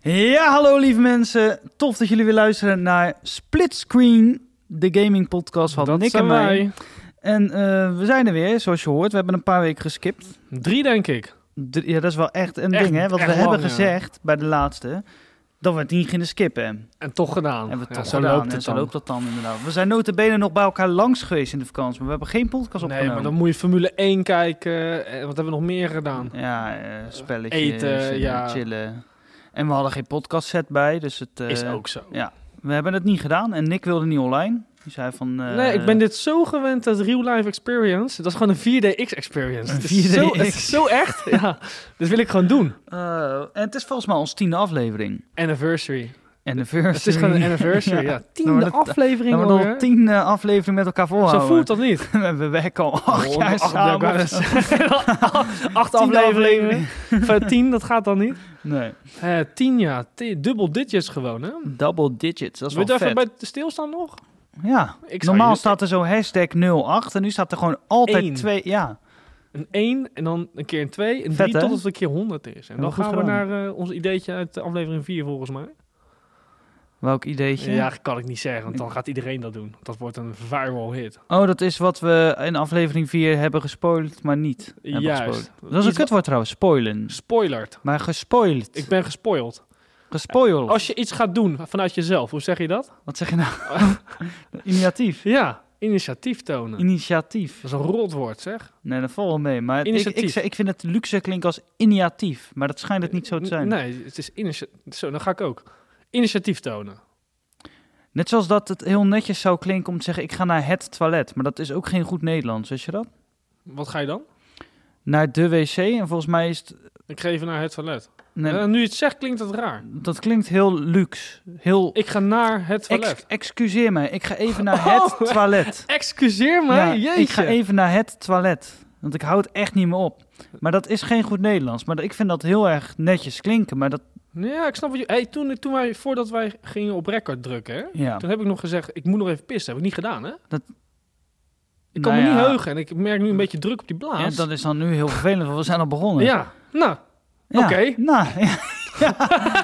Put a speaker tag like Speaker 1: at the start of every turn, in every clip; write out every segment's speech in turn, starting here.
Speaker 1: Ja, hallo lieve mensen. Tof dat jullie weer luisteren naar Split Screen, de gaming podcast van
Speaker 2: dat
Speaker 1: Nick
Speaker 2: zijn
Speaker 1: en mij.
Speaker 2: wij.
Speaker 1: En eh, we zijn er weer, zoals je hoort. We hebben een paar weken geskipt.
Speaker 2: Drie, denk ik.
Speaker 1: D- ja, dat is wel echt een
Speaker 2: Echt-
Speaker 1: ding, hè? Wat we
Speaker 2: echt
Speaker 1: hebben
Speaker 2: lang, ja.
Speaker 1: gezegd bij de laatste, dat we het niet gingen skippen.
Speaker 2: En toch gedaan.
Speaker 1: Hebben we
Speaker 2: Oh, Ja,
Speaker 1: toch
Speaker 2: zo
Speaker 1: gedaan.
Speaker 2: loopt
Speaker 1: en
Speaker 2: het
Speaker 1: zo
Speaker 2: dan.
Speaker 1: loopt dat dan inderdaad. We zijn notabene nog bij elkaar langs geweest in de vakantie, maar we hebben geen podcast
Speaker 2: Nee,
Speaker 1: opgenomen.
Speaker 2: maar dan moet je Formule 1 kijken. Eh, Wat hebben we nog meer gedaan?
Speaker 1: Ja, eh spelletjes,
Speaker 2: Eten,
Speaker 1: en
Speaker 2: ja.
Speaker 1: chillen. En we hadden geen podcast set bij, dus het... eh,
Speaker 2: Is ook zo.
Speaker 1: ja. We hebben het niet gedaan en Nick wilde niet online. Die zei van... eh,
Speaker 2: nee, ik ben dit zo gewend, dat real life experience. Dat is gewoon een 4DX experience.
Speaker 1: Een
Speaker 2: Het is zo,
Speaker 1: 4DX.
Speaker 2: het is zo echt. ja. Dit wil ik gewoon doen.
Speaker 1: eh, en het is volgens mij ons tiende aflevering.
Speaker 2: Anniversary.
Speaker 1: En de
Speaker 2: Het is gewoon een anniversary.
Speaker 1: Ja. Nou,
Speaker 2: ja.
Speaker 1: Dan
Speaker 2: Tiende
Speaker 1: wordt het-
Speaker 2: aflevering
Speaker 1: Dan hebben we
Speaker 2: alweer.
Speaker 1: al tien eh, afleveringen met elkaar
Speaker 2: Zo
Speaker 1: volhouden.
Speaker 2: voelt dat niet.
Speaker 1: We werken al acht
Speaker 2: Oh,
Speaker 1: jaar
Speaker 2: ja, ik
Speaker 1: samen.
Speaker 2: wou net zeggen. acht
Speaker 1: Tien
Speaker 2: afleveringen. Van tien, dat gaat dan niet.
Speaker 1: Nee,
Speaker 2: Eh, tien jaar. Dubbel digits gewoon, hè?
Speaker 1: double digits, dat is
Speaker 2: Wil je
Speaker 1: wel
Speaker 2: daar
Speaker 1: vet.
Speaker 2: even bij stilstaan nog?
Speaker 1: Ja,
Speaker 2: Ik zou
Speaker 1: normaal
Speaker 2: je-
Speaker 1: staat er zo hashtag 08 en nu staat er gewoon altijd
Speaker 2: Eén.
Speaker 1: twee. Ja,
Speaker 2: Een 1 en dan een keer een 2. Een
Speaker 1: Vet,
Speaker 2: 3 tot
Speaker 1: hè?
Speaker 2: het een keer 100 is. En
Speaker 1: Heel
Speaker 2: dan
Speaker 1: goed
Speaker 2: gaan we
Speaker 1: gedaan.
Speaker 2: naar eh, ons ideetje uit eh, aflevering 4 volgens mij.
Speaker 1: welk ideetje?
Speaker 2: Ja, kan ik niet zeggen, want dan gaat iedereen dat doen. Dat wordt een viral hit.
Speaker 1: Oh, dat is wat we in aflevering 4 hebben gespoild, maar niet hebben
Speaker 2: Juist.
Speaker 1: gespoild. Dat is een
Speaker 2: Iets wat-
Speaker 1: kutwoord trouwens, spoilen.
Speaker 2: Spoilert.
Speaker 1: Maar gespoild.
Speaker 2: Ik ben gespoild.
Speaker 1: Gespoild.
Speaker 2: Als je iets gaat doen vanuit jezelf, hoe zeg je dat?
Speaker 1: Wat zeg je nou? Initiatief.
Speaker 2: Ja, initiatief tonen.
Speaker 1: Initiatief.
Speaker 2: dat is een rotwoord, zeg.
Speaker 1: Nee, dat valt wel mee. Maar het- ik, ik,
Speaker 2: Initiatief.
Speaker 1: zeg- ik vind het luxe klinkt als initiatief. Maar dat schijnt het niet zo te zijn.
Speaker 2: Nee, het is initiatief. Zo, dan ga ik ook. Initiatief tonen.
Speaker 1: Net zoals dat het heel netjes zou klinken om te zeggen: ik ga naar het toilet. Maar dat is ook geen goed Nederlands, weet je dat?
Speaker 2: Wat ga je dan?
Speaker 1: Naar de wc. En volgens mij is het.
Speaker 2: Ik geef naar het toilet.
Speaker 1: nee,
Speaker 2: Eh, nu je het zegt, klinkt dat raar.
Speaker 1: dat klinkt heel luxe. Heel.
Speaker 2: Ik ga naar het toilet.
Speaker 1: Ex- excuseer mij, ik ga even naar
Speaker 2: Oh.
Speaker 1: het toilet.
Speaker 2: Excuseer me,
Speaker 1: Ja,
Speaker 2: jeetje.
Speaker 1: ik ga even naar het toilet. Want ik hou het echt niet meer op. Maar dat is geen goed Nederlands. Maar ik vind dat heel erg netjes klinken. Maar dat.
Speaker 2: Ja, ik snap wat je... Hey, toen, toen wij, voordat wij gingen op record drukken, hè,
Speaker 1: Ja.
Speaker 2: toen heb ik nog gezegd, ik moet nog even pissen. heb ik niet gedaan, hè?
Speaker 1: Dat-
Speaker 2: Ik kan
Speaker 1: Nou
Speaker 2: me
Speaker 1: ja.
Speaker 2: niet heugen en ik merk nu een beetje druk op die
Speaker 1: Ja,
Speaker 2: blaas.
Speaker 1: dat is dan nu heel vervelend, want we zijn al begonnen.
Speaker 2: Ja, nou,
Speaker 1: Ja.
Speaker 2: oké.
Speaker 1: Nou, ja. ja,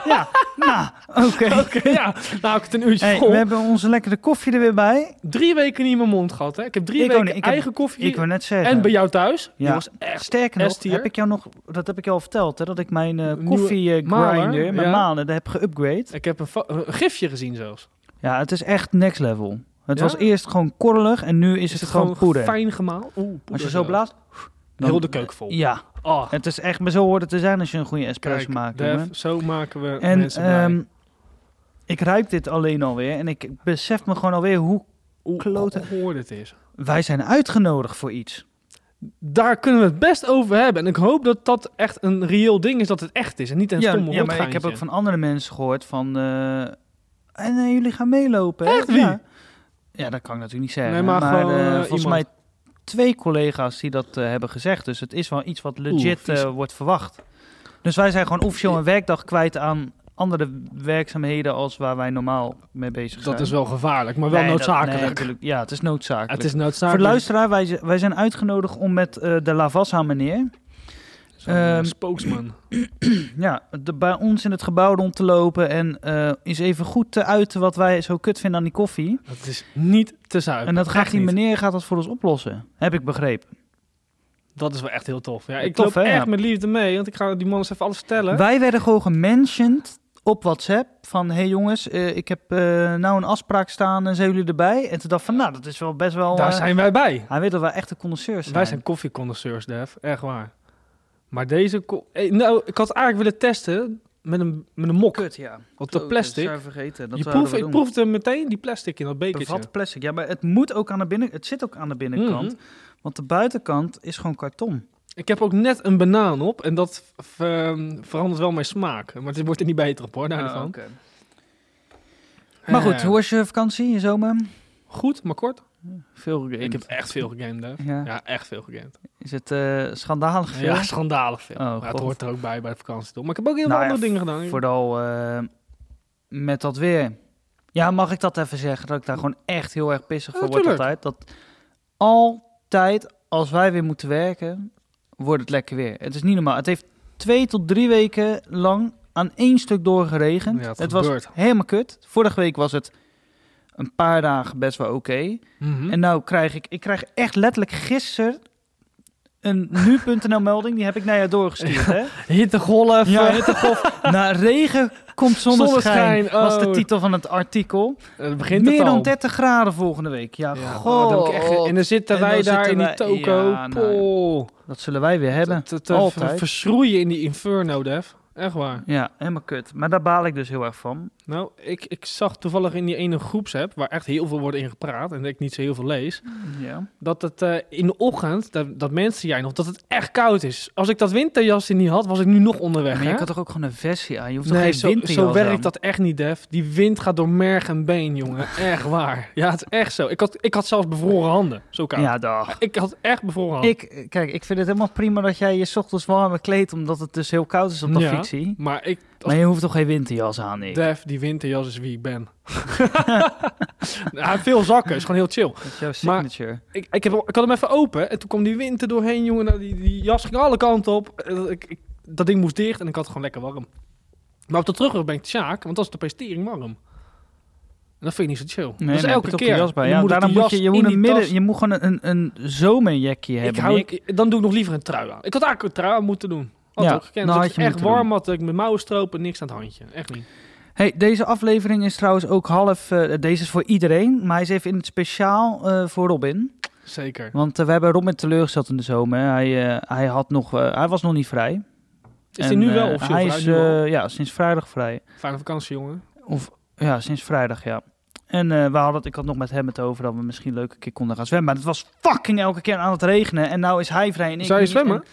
Speaker 1: ja, nou, oké.
Speaker 2: oké, ja. Nou, ik het een uurtje
Speaker 1: Hey,
Speaker 2: vol.
Speaker 1: we hebben onze lekkere koffie er weer bij.
Speaker 2: Drie weken niet in mijn mond gehad, hè? Ik heb drie
Speaker 1: Ik ook
Speaker 2: weken
Speaker 1: niet. Ik heb-
Speaker 2: eigen koffie
Speaker 1: Ik wou net zeggen.
Speaker 2: en bij jou thuis.
Speaker 1: Ja.
Speaker 2: Die was echt...
Speaker 1: Sterker nog,
Speaker 2: S-tier.
Speaker 1: heb ik jou nog, dat heb ik jou al verteld, hè, dat ik mijn eh
Speaker 2: Nieuwe
Speaker 1: koffie eh,
Speaker 2: maler,
Speaker 1: grinder, mijn
Speaker 2: ja.
Speaker 1: maler, dat heb geüpgrade.
Speaker 2: Ik heb een, fo- een gifje gezien zelfs.
Speaker 1: Ja, het is echt next level. Het
Speaker 2: Ja?
Speaker 1: was eerst gewoon korrelig en nu is, het, gewoon, poeder.
Speaker 2: fijn gemaald. Oeh, poeder
Speaker 1: Als je zo
Speaker 2: zelfs.
Speaker 1: blaast, dan-
Speaker 2: Heel de keuken vol.
Speaker 1: ja.
Speaker 2: Oh,
Speaker 1: Het is echt, maar zo hoort het te zijn als je een goede espresso
Speaker 2: kijk,
Speaker 1: maakt.
Speaker 2: Def,
Speaker 1: jongen.
Speaker 2: zo maken we
Speaker 1: En
Speaker 2: mensen blij.
Speaker 1: ehm, ik ruik dit alleen alweer en ik besef me gewoon alweer hoe
Speaker 2: Hoe
Speaker 1: klote-
Speaker 2: gehoord het is.
Speaker 1: wij zijn uitgenodigd voor iets.
Speaker 2: Daar kunnen we het best over hebben. En ik hoop dat dat echt een reëel ding is, dat het echt is. En niet een
Speaker 1: ja,
Speaker 2: stomme
Speaker 1: ja, maar ik heb ook van andere mensen gehoord van... eh, en eh, jullie gaan meelopen, hè?
Speaker 2: Echt, wie?
Speaker 1: Ja. ja, dat kan ik natuurlijk niet zeggen.
Speaker 2: Nee, maar gewoon,
Speaker 1: eh,
Speaker 2: eh,
Speaker 1: volgens
Speaker 2: iemand.
Speaker 1: mij twee collega's die dat eh, hebben gezegd. Dus het is wel iets wat legit
Speaker 2: vies.
Speaker 1: eh, wordt verwacht. Dus wij zijn gewoon officieel een werkdag kwijt aan andere werkzaamheden... als waar wij normaal mee bezig zijn.
Speaker 2: Dat is wel gevaarlijk, maar wel
Speaker 1: Nee, dat- nee,
Speaker 2: noodzakelijk.
Speaker 1: natuurlijk. ja, het is noodzakelijk.
Speaker 2: het is
Speaker 1: Voor de
Speaker 2: noodzakelijk.
Speaker 1: luisteraar, wij, z- wij zijn uitgenodigd om met eh, de Lavassa-meneer...
Speaker 2: Zo'n, eh,
Speaker 1: ehm,
Speaker 2: spokesman.
Speaker 1: Ja, de, bij ons in het gebouw rond te lopen en eh eens even goed te uiten wat wij zo kut vinden aan die koffie.
Speaker 2: Dat is niet te zuiver.
Speaker 1: En dat gaat
Speaker 2: Echt
Speaker 1: die
Speaker 2: niet.
Speaker 1: meneer gaat dat voor ons oplossen, heb ik begrepen.
Speaker 2: Dat is wel echt heel tof. Ja, ik
Speaker 1: Tof,
Speaker 2: loop
Speaker 1: hè,
Speaker 2: echt
Speaker 1: ja.
Speaker 2: met liefde mee, want ik ga die man eens even alles vertellen.
Speaker 1: Wij werden gewoon gementioned op WhatsApp van, hé hey jongens, eh, ik heb eh, nou een afspraak staan en zijn jullie erbij? En toen dacht ik van, nou, dat is wel best wel...
Speaker 2: Daar
Speaker 1: eh,
Speaker 2: zijn wij bij.
Speaker 1: Hij weet dat wij echte connoisseurs zijn.
Speaker 2: Wij zijn koffiecondenseurs, Def. Echt waar. Maar deze... ko- Eh, nou, ik had eigenlijk willen testen met een, met een mok.
Speaker 1: kut, ja. Oh,
Speaker 2: Want de plastic...
Speaker 1: vergeten.
Speaker 2: Je proeft, ik proefde meteen die plastic in dat bekertje.
Speaker 1: Bevat plastic. Ja, maar het moet ook aan de binnen... Het zit ook aan de binnenkant.
Speaker 2: Mhm.
Speaker 1: Want de buitenkant is gewoon karton.
Speaker 2: Ik heb ook net een banaan op en dat v- ehm, verandert wel mijn smaak. Maar het wordt er niet beter op hoor,
Speaker 1: Oh,
Speaker 2: daarvan.
Speaker 1: Ah, Maar goed,
Speaker 2: Eh,
Speaker 1: hoe was je vakantie, je zomer?
Speaker 2: Goed, maar kort.
Speaker 1: Veel gegamed.
Speaker 2: Ik heb echt veel gegamed, hè.
Speaker 1: ja.
Speaker 2: Ja, echt veel gegamed.
Speaker 1: Is het eh, schandalig veel?
Speaker 2: Ja, schandalig veel.
Speaker 1: Oh,
Speaker 2: Maar het
Speaker 1: God.
Speaker 2: hoort er ook bij, bij de vakantie. toch? Maar ik heb ook heel
Speaker 1: Nou
Speaker 2: veel
Speaker 1: ja,
Speaker 2: andere dingen gedaan.
Speaker 1: Vooral eh, met dat weer. Ja, mag ik dat even zeggen? Dat ik daar gewoon echt heel erg pissig
Speaker 2: Ja,
Speaker 1: voor word
Speaker 2: tuurlijk.
Speaker 1: altijd. Dat altijd, als wij weer moeten werken, wordt het lekker weer. Het is niet normaal. Het heeft twee tot drie weken lang aan één stuk doorgeregend.
Speaker 2: Ja, het
Speaker 1: het was
Speaker 2: gebeurt.
Speaker 1: helemaal kut. Vorige week was het een paar dagen best wel oké.
Speaker 2: Mhm.
Speaker 1: En nou krijg ik, ik krijg echt letterlijk gisteren een nu.nl melding. Die heb ik naar jou doorgestuurd, hè?
Speaker 2: Hittegolf.
Speaker 1: Ja,
Speaker 2: eh,
Speaker 1: hittegolf. Na regen komt zonneschijn,
Speaker 2: Zonneschijn,
Speaker 1: was de
Speaker 2: oh.
Speaker 1: titel van het artikel.
Speaker 2: het begint
Speaker 1: Meer
Speaker 2: het al.
Speaker 1: dan 30 graden volgende week. Ja,
Speaker 2: Ja,
Speaker 1: god.
Speaker 2: oh, dat heb ik echt ge- en dan zitten
Speaker 1: En
Speaker 2: wij
Speaker 1: dan
Speaker 2: daar
Speaker 1: zitten
Speaker 2: in die
Speaker 1: wij-
Speaker 2: toko.
Speaker 1: ja, nou,
Speaker 2: Poh.
Speaker 1: Dat zullen wij weer hebben.
Speaker 2: Te- te- te
Speaker 1: Altijd.
Speaker 2: ver- Verschroeien in die inferno, Def. Echt waar.
Speaker 1: Ja, helemaal kut. Maar daar baal ik dus heel erg van.
Speaker 2: Nou, ik, ik zag toevallig in die ene groepsapp, waar echt heel veel wordt in gepraat en ik niet zo heel veel lees,
Speaker 1: Ja.
Speaker 2: dat het eh, in de ochtend, dat, dat mensen jij nog, dat het echt koud is. Als ik dat winterjasje niet had, was ik nu nog onderweg.
Speaker 1: Maar je
Speaker 2: hè?
Speaker 1: kan toch ook gewoon een versie aan? Je hoeft toch
Speaker 2: Nee,
Speaker 1: geen
Speaker 2: zo,
Speaker 1: winterjas
Speaker 2: zo werkt
Speaker 1: aan?
Speaker 2: dat echt niet, Def. Die wind gaat door merg en been, jongen. Echt waar. Ja, het is echt zo. Ik had, ik had zelfs bevroren handen. Zo koud.
Speaker 1: Ja, dag.
Speaker 2: Ik had echt bevroren handen.
Speaker 1: Ik, kijk, ik vind het helemaal prima dat jij je 's ochtends warme kleedt, omdat het dus heel koud is op de
Speaker 2: Ja.
Speaker 1: fictie.
Speaker 2: Maar ik, als
Speaker 1: Maar je hoeft toch geen winterjas aan, ik?
Speaker 2: Def, die winterjas is wie ik ben. Hij heeft veel zakken, is gewoon heel chill.
Speaker 1: Dat is jouw
Speaker 2: Maar-
Speaker 1: signature.
Speaker 2: Ik, ik, heb, ik had hem even open en toen kwam die wind er doorheen, jongen. Nou, die, die jas ging alle kanten op. Eh, dat- Ik, ik- dat ding moest dicht en ik had het gewoon lekker warm. Maar op de terugweg ben ik Sjaak, want dat is de prestering warm. En dat vind ik niet zo chill.
Speaker 1: Nee,
Speaker 2: dat is
Speaker 1: nee,
Speaker 2: elke
Speaker 1: pas op de
Speaker 2: keer.
Speaker 1: jas bij.
Speaker 2: Je
Speaker 1: Ja,
Speaker 2: moet ook
Speaker 1: daarom
Speaker 2: die
Speaker 1: moet je,
Speaker 2: jas
Speaker 1: je, moet
Speaker 2: in
Speaker 1: een
Speaker 2: die
Speaker 1: midden,
Speaker 2: tas-
Speaker 1: je moet gewoon een, een zomerjekje
Speaker 2: Ik
Speaker 1: hebben.
Speaker 2: hou,
Speaker 1: Nick.
Speaker 2: ik- dan doe ik nog liever een trui aan. Ik had eigenlijk een trui aan moeten doen. Had
Speaker 1: Ja,
Speaker 2: ook gekend.
Speaker 1: dan
Speaker 2: Als
Speaker 1: had
Speaker 2: ik
Speaker 1: je
Speaker 2: echt
Speaker 1: moeten doen.
Speaker 2: warm had, dat ik mijn mouwen stropen, niks aan het handje. Echt niet.
Speaker 1: Hey, deze aflevering is trouwens ook half. eh, deze is voor iedereen, maar hij is even in het speciaal eh, voor Robin.
Speaker 2: Zeker.
Speaker 1: Want eh, we hebben Robin teleurgesteld in de zomer. Hij, eh, hij, had nog, eh, hij was nog niet vrij.
Speaker 2: Is
Speaker 1: En,
Speaker 2: hij nu wel
Speaker 1: eh,
Speaker 2: officieel?
Speaker 1: Hij
Speaker 2: vrij?
Speaker 1: is
Speaker 2: Nu al?
Speaker 1: eh, ja, sinds vrijdag vrij.
Speaker 2: Fijne vakantie, jongen.
Speaker 1: Of ja, sinds vrijdag, ja. En eh, we hadden het, ik had nog met hem het over dat we misschien leuk een keer konden gaan zwemmen. Maar het was fucking elke keer aan het regenen. En nou is hij vrij en ik
Speaker 2: Zou je
Speaker 1: niet.
Speaker 2: zwemmen?
Speaker 1: En-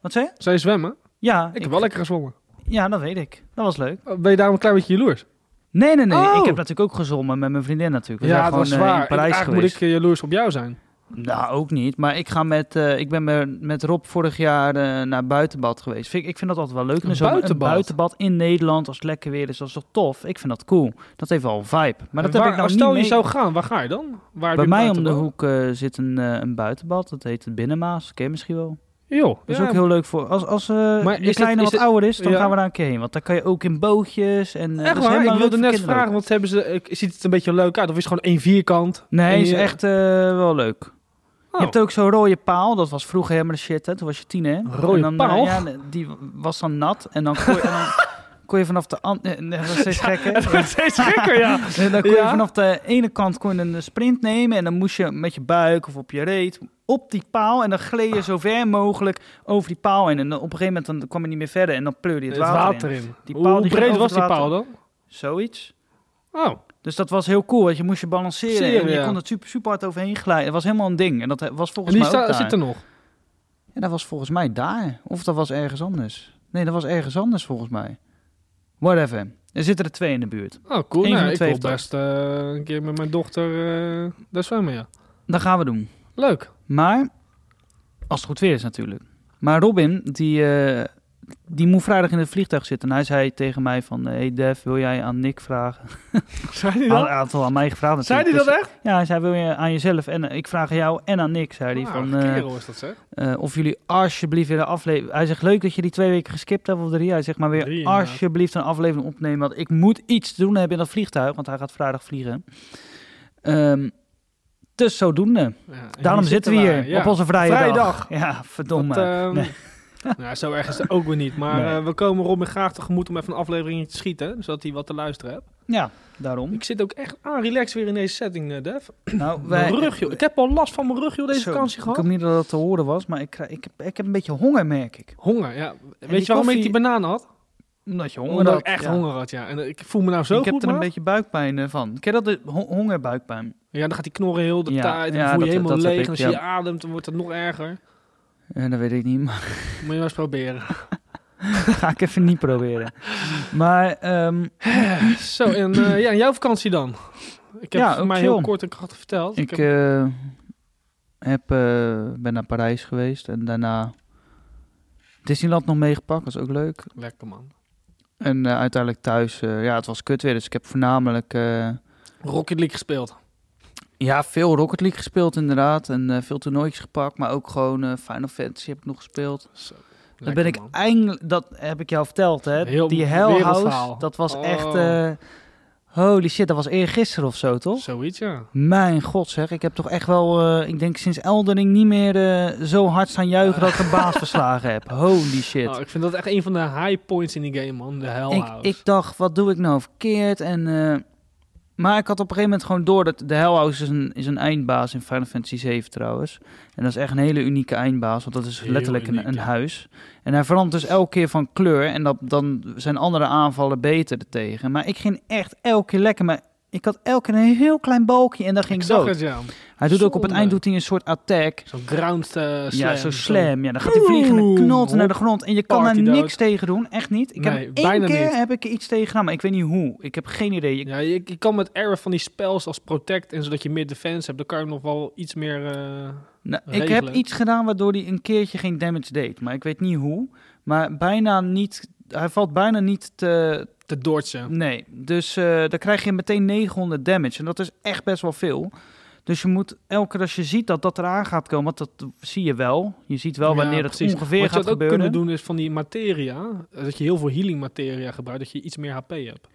Speaker 1: wat zei je?
Speaker 2: Zou je zwemmen?
Speaker 1: Ja,
Speaker 2: Ik heb wel lekker gezwommen. Eh,
Speaker 1: ja, dat weet ik. Dat was leuk.
Speaker 2: Ben je daarom een klein beetje jaloers?
Speaker 1: Nee, nee, nee.
Speaker 2: Oh.
Speaker 1: Ik heb natuurlijk ook gezongen met mijn vriendin natuurlijk. We
Speaker 2: ja,
Speaker 1: zijn
Speaker 2: dat
Speaker 1: gewoon
Speaker 2: was
Speaker 1: eh,
Speaker 2: waar.
Speaker 1: in Parijs
Speaker 2: Eigenlijk
Speaker 1: geweest.
Speaker 2: moet ik eh, jaloers op jou zijn.
Speaker 1: Nou, ook niet. Maar ik, ga met, eh, ik ben met- met Rob vorig jaar eh, naar buitenbad geweest. Vind, ik- ik vind dat altijd wel leuk. in de
Speaker 2: Een
Speaker 1: zomer.
Speaker 2: buitenbad?
Speaker 1: Een buitenbad in Nederland, als het lekker weer is, dat is toch tof? Ik vind dat cool. Dat heeft wel een vibe. Maar dat
Speaker 2: En
Speaker 1: heb
Speaker 2: waar-
Speaker 1: ik nou
Speaker 2: als
Speaker 1: niet
Speaker 2: stel
Speaker 1: mee-
Speaker 2: je zou gaan, waar ga je dan? Waar heb
Speaker 1: Bij
Speaker 2: je
Speaker 1: mij om
Speaker 2: buiten
Speaker 1: de
Speaker 2: dan?
Speaker 1: hoek eh, zit een, eh, een buitenbad. Dat heet het Binnenmaas. Ken je misschien wel.
Speaker 2: Joh,
Speaker 1: Dat is
Speaker 2: ja,
Speaker 1: ook heel leuk voor... Als, als eh,
Speaker 2: Maar
Speaker 1: je
Speaker 2: is
Speaker 1: kleine
Speaker 2: het-
Speaker 1: wat
Speaker 2: is het-
Speaker 1: ouder is, dan
Speaker 2: ja.
Speaker 1: gaan we daar een keer heen. Want daar kan je ook in bootjes. En, eh, dat
Speaker 2: Echt
Speaker 1: is
Speaker 2: waar?
Speaker 1: helemaal
Speaker 2: Ik wilde
Speaker 1: leuk voor
Speaker 2: net
Speaker 1: kinderen ook.
Speaker 2: vragen, want hebben ze, ik- ziet het een beetje leuk uit? Of is het gewoon één vierkant?
Speaker 1: Nee,
Speaker 2: En
Speaker 1: is
Speaker 2: je-
Speaker 1: echt eh, wel leuk.
Speaker 2: Oh.
Speaker 1: Je hebt ook zo'n rode paal. Dat was vroeger helemaal de shit, hè. Toen was je tien, hè?
Speaker 2: Rode
Speaker 1: En dan, eh,
Speaker 2: paal?
Speaker 1: ja, die was dan nat. En dan kon je, en dan kon je vanaf de... an- eh, nee, dat was steeds gekker.
Speaker 2: Het wordt steeds gekker, ja.
Speaker 1: En dan kon je
Speaker 2: Ja.
Speaker 1: vanaf de ene kant kon je een sprint nemen. En dan moest je met je buik of op je reet op die paal. En dan gleed je zo ver mogelijk over die paal heen. En dan op een gegeven moment dan kwam je niet meer verder. En dan pleurde je
Speaker 2: Het
Speaker 1: het water,
Speaker 2: water
Speaker 1: in.
Speaker 2: in.
Speaker 1: Die
Speaker 2: Hoe
Speaker 1: paal die ging
Speaker 2: breed
Speaker 1: over
Speaker 2: was
Speaker 1: het
Speaker 2: die
Speaker 1: water.
Speaker 2: paal dan?
Speaker 1: Zoiets.
Speaker 2: Oh,
Speaker 1: Dus dat was heel cool. Want je moest je balanceren.
Speaker 2: Zeer,
Speaker 1: en je
Speaker 2: ja.
Speaker 1: kon het super, super hard overheen glijden. Het was helemaal een ding. En dat eh, was
Speaker 2: en
Speaker 1: volgens
Speaker 2: die
Speaker 1: mij ook
Speaker 2: sta-
Speaker 1: daar.
Speaker 2: zit er nog.
Speaker 1: Ja, dat was volgens mij daar. Of dat was ergens anders. Nee, dat was ergens anders volgens mij. Whatever. Er zitten er twee in de buurt.
Speaker 2: Oh, cool.
Speaker 1: Eén van
Speaker 2: Nou,
Speaker 1: de
Speaker 2: ik
Speaker 1: twee
Speaker 2: wil
Speaker 1: heeft dat.
Speaker 2: best eh, een keer met mijn dochter eh, daar zwemmen, ja.
Speaker 1: Dat gaan we doen.
Speaker 2: Leuk.
Speaker 1: Maar, als het goed weer is natuurlijk. Maar Robin, die, eh, die moet vrijdag in het vliegtuig zitten. En hij zei tegen mij van, eh, hey Def, wil jij aan Nick vragen?
Speaker 2: Zei die
Speaker 1: Hij had
Speaker 2: dat?
Speaker 1: hij had al aan mij gevraagd
Speaker 2: Zei
Speaker 1: natuurlijk.
Speaker 2: die dat
Speaker 1: Dus-
Speaker 2: echt?
Speaker 1: Ja, hij zei, wil je aan jezelf? En eh, ik vraag aan jou en aan Nick, zei hij.
Speaker 2: Ah,
Speaker 1: van, eh,
Speaker 2: kerel is dat, zeg.
Speaker 1: eh, of jullie alsjeblieft weer een aflevering... Hij zegt, leuk dat je die twee weken geskipt hebt of drie. Hij zegt, maar weer
Speaker 2: Drie, inderdaad.
Speaker 1: alsjeblieft een aflevering opnemen. Want ik moet iets te doen hebben in dat vliegtuig. Want hij gaat vrijdag vliegen. Ehm, dus zodoende.
Speaker 2: Ja, en
Speaker 1: Daarom
Speaker 2: hier
Speaker 1: zitten we hier,
Speaker 2: ja.
Speaker 1: op onze vrije,
Speaker 2: Vrijdag.
Speaker 1: dag. Ja, verdomme.
Speaker 2: Dat, ehm,
Speaker 1: Nee.
Speaker 2: nou, zo erg is het ook weer niet. Maar
Speaker 1: Nee.
Speaker 2: eh, we komen Robin graag tegemoet om even een aflevering te schieten. Zodat hij wat te luisteren hebt.
Speaker 1: Ja, daarom.
Speaker 2: Ik zit ook echt aan relax weer in deze setting, eh, Def.
Speaker 1: Nou,
Speaker 2: mijn rug, joh. Ik heb al last van mijn rug, joh, deze
Speaker 1: Zo,
Speaker 2: vakantie
Speaker 1: Ik
Speaker 2: gehad.
Speaker 1: hoop niet dat dat te horen was, maar ik, krijg- ik, heb, ik heb een beetje honger, merk ik.
Speaker 2: Honger, ja. Weet je
Speaker 1: die
Speaker 2: waarom ik
Speaker 1: koffie-
Speaker 2: die banaan had?
Speaker 1: Omdat je honger
Speaker 2: Omdat
Speaker 1: had,
Speaker 2: ik echt
Speaker 1: ja.
Speaker 2: honger had, ja. En eh, ik voel me nou zo
Speaker 1: ik
Speaker 2: goed,
Speaker 1: heb er een
Speaker 2: maat.
Speaker 1: beetje buikpijn eh, van. Ken je dat? De ho- hongerbuikpijn.
Speaker 2: Ja, dan gaat die knorren heel de
Speaker 1: Ja,
Speaker 2: tijd. En
Speaker 1: ja,
Speaker 2: dan voel je
Speaker 1: dat-
Speaker 2: helemaal
Speaker 1: dat heb
Speaker 2: leeg.
Speaker 1: ik,
Speaker 2: en als
Speaker 1: ja.
Speaker 2: je je ademt, dan wordt het nog erger. Eh,
Speaker 1: En dat weet ik niet, maar
Speaker 2: Moet je maar eens proberen.
Speaker 1: dat ga ik even niet proberen. Maar ehm,
Speaker 2: zo, en eh, ja, en jouw vakantie dan? Ik heb
Speaker 1: Ja,
Speaker 2: het voor
Speaker 1: ook
Speaker 2: mij
Speaker 1: chill.
Speaker 2: heel kort en krachtig verteld.
Speaker 1: ik
Speaker 2: heb-
Speaker 1: eh, heb, eh, ben naar Parijs geweest en daarna Disneyland nog meegepakt. was ook leuk.
Speaker 2: Lekker, man.
Speaker 1: En eh, uiteindelijk thuis, eh, ja, het was kut weer. Dus ik heb voornamelijk eh,
Speaker 2: Rocket League gespeeld.
Speaker 1: ja, veel Rocket League gespeeld inderdaad. En eh, veel toernooitjes gepakt. Maar ook gewoon eh, Final Fantasy heb ik nog gespeeld.
Speaker 2: Zo.
Speaker 1: Dat ben ik
Speaker 2: man.
Speaker 1: eindelijk, dat heb ik jou verteld, hè?
Speaker 2: Heel
Speaker 1: die Hell House,
Speaker 2: wereldverhaal.
Speaker 1: dat was echt.
Speaker 2: Oh.
Speaker 1: eh, holy shit, dat was eergisteren of zo, toch?
Speaker 2: Zoiets, ja.
Speaker 1: Mijn god, zeg. Ik heb toch echt wel, eh, ik denk sinds Eldering niet meer eh, zo hard staan juichen dat ik een baas verslagen heb. Holy shit.
Speaker 2: Oh, ik vind dat echt een van de high points in die game, man. De Hell
Speaker 1: ik,
Speaker 2: House.
Speaker 1: ik dacht, wat doe ik nou verkeerd? En, eh, maar ik had op een gegeven moment gewoon door dat de Hellhouse is een, is een eindbaas in Final Fantasy 7 trouwens. En dat is echt een hele unieke eindbaas, want dat is
Speaker 2: Heel
Speaker 1: letterlijk
Speaker 2: uniek,
Speaker 1: een, een
Speaker 2: ja.
Speaker 1: huis. En hij verandert dus elke keer van kleur en dat, dan zijn andere aanvallen beter tegen. Maar ik ging echt elke keer lekker, maar ik had elke keer een heel klein balkje en dan ging
Speaker 2: Ik
Speaker 1: ik
Speaker 2: zag
Speaker 1: dood.
Speaker 2: het, ja.
Speaker 1: Hij doet ook op het
Speaker 2: zonde.
Speaker 1: eind doet hij een soort attack.
Speaker 2: Zo'n ground eh, slam.
Speaker 1: Ja, zo slam. Ja, dan gaat hij vliegen en
Speaker 2: Oeh,
Speaker 1: knalt naar de
Speaker 2: hop.
Speaker 1: grond. En je kan daar
Speaker 2: Party dood.
Speaker 1: niks tegen doen. Echt niet. Ik
Speaker 2: Nee,
Speaker 1: heb één
Speaker 2: bijna
Speaker 1: keer
Speaker 2: niet.
Speaker 1: heb ik er iets tegen gedaan, maar ik weet niet hoe. Ik heb geen idee. Ik-
Speaker 2: Ja, je, je kan met error van die spells als protect en zodat je meer defense hebt, dan kan je nog wel iets meer... eh,
Speaker 1: nou, ik
Speaker 2: regelen.
Speaker 1: heb iets gedaan waardoor hij een keertje geen damage deed. Maar ik weet niet hoe. Maar bijna niet... Hij valt bijna niet te...
Speaker 2: te dodgen.
Speaker 1: Nee. Dus eh, dan krijg je meteen 900 damage. En dat is echt best wel veel. Dus je moet elke keer als je ziet dat dat eraan gaat komen... Want dat zie je wel. Je ziet wel
Speaker 2: Ja,
Speaker 1: wanneer het
Speaker 2: precies.
Speaker 1: ongeveer
Speaker 2: Wat je
Speaker 1: gaat
Speaker 2: had ook
Speaker 1: gebeuren.
Speaker 2: kunnen doen is van die materia, eh, dat je heel veel healing materia gebruikt, dat je iets meer HP hebt.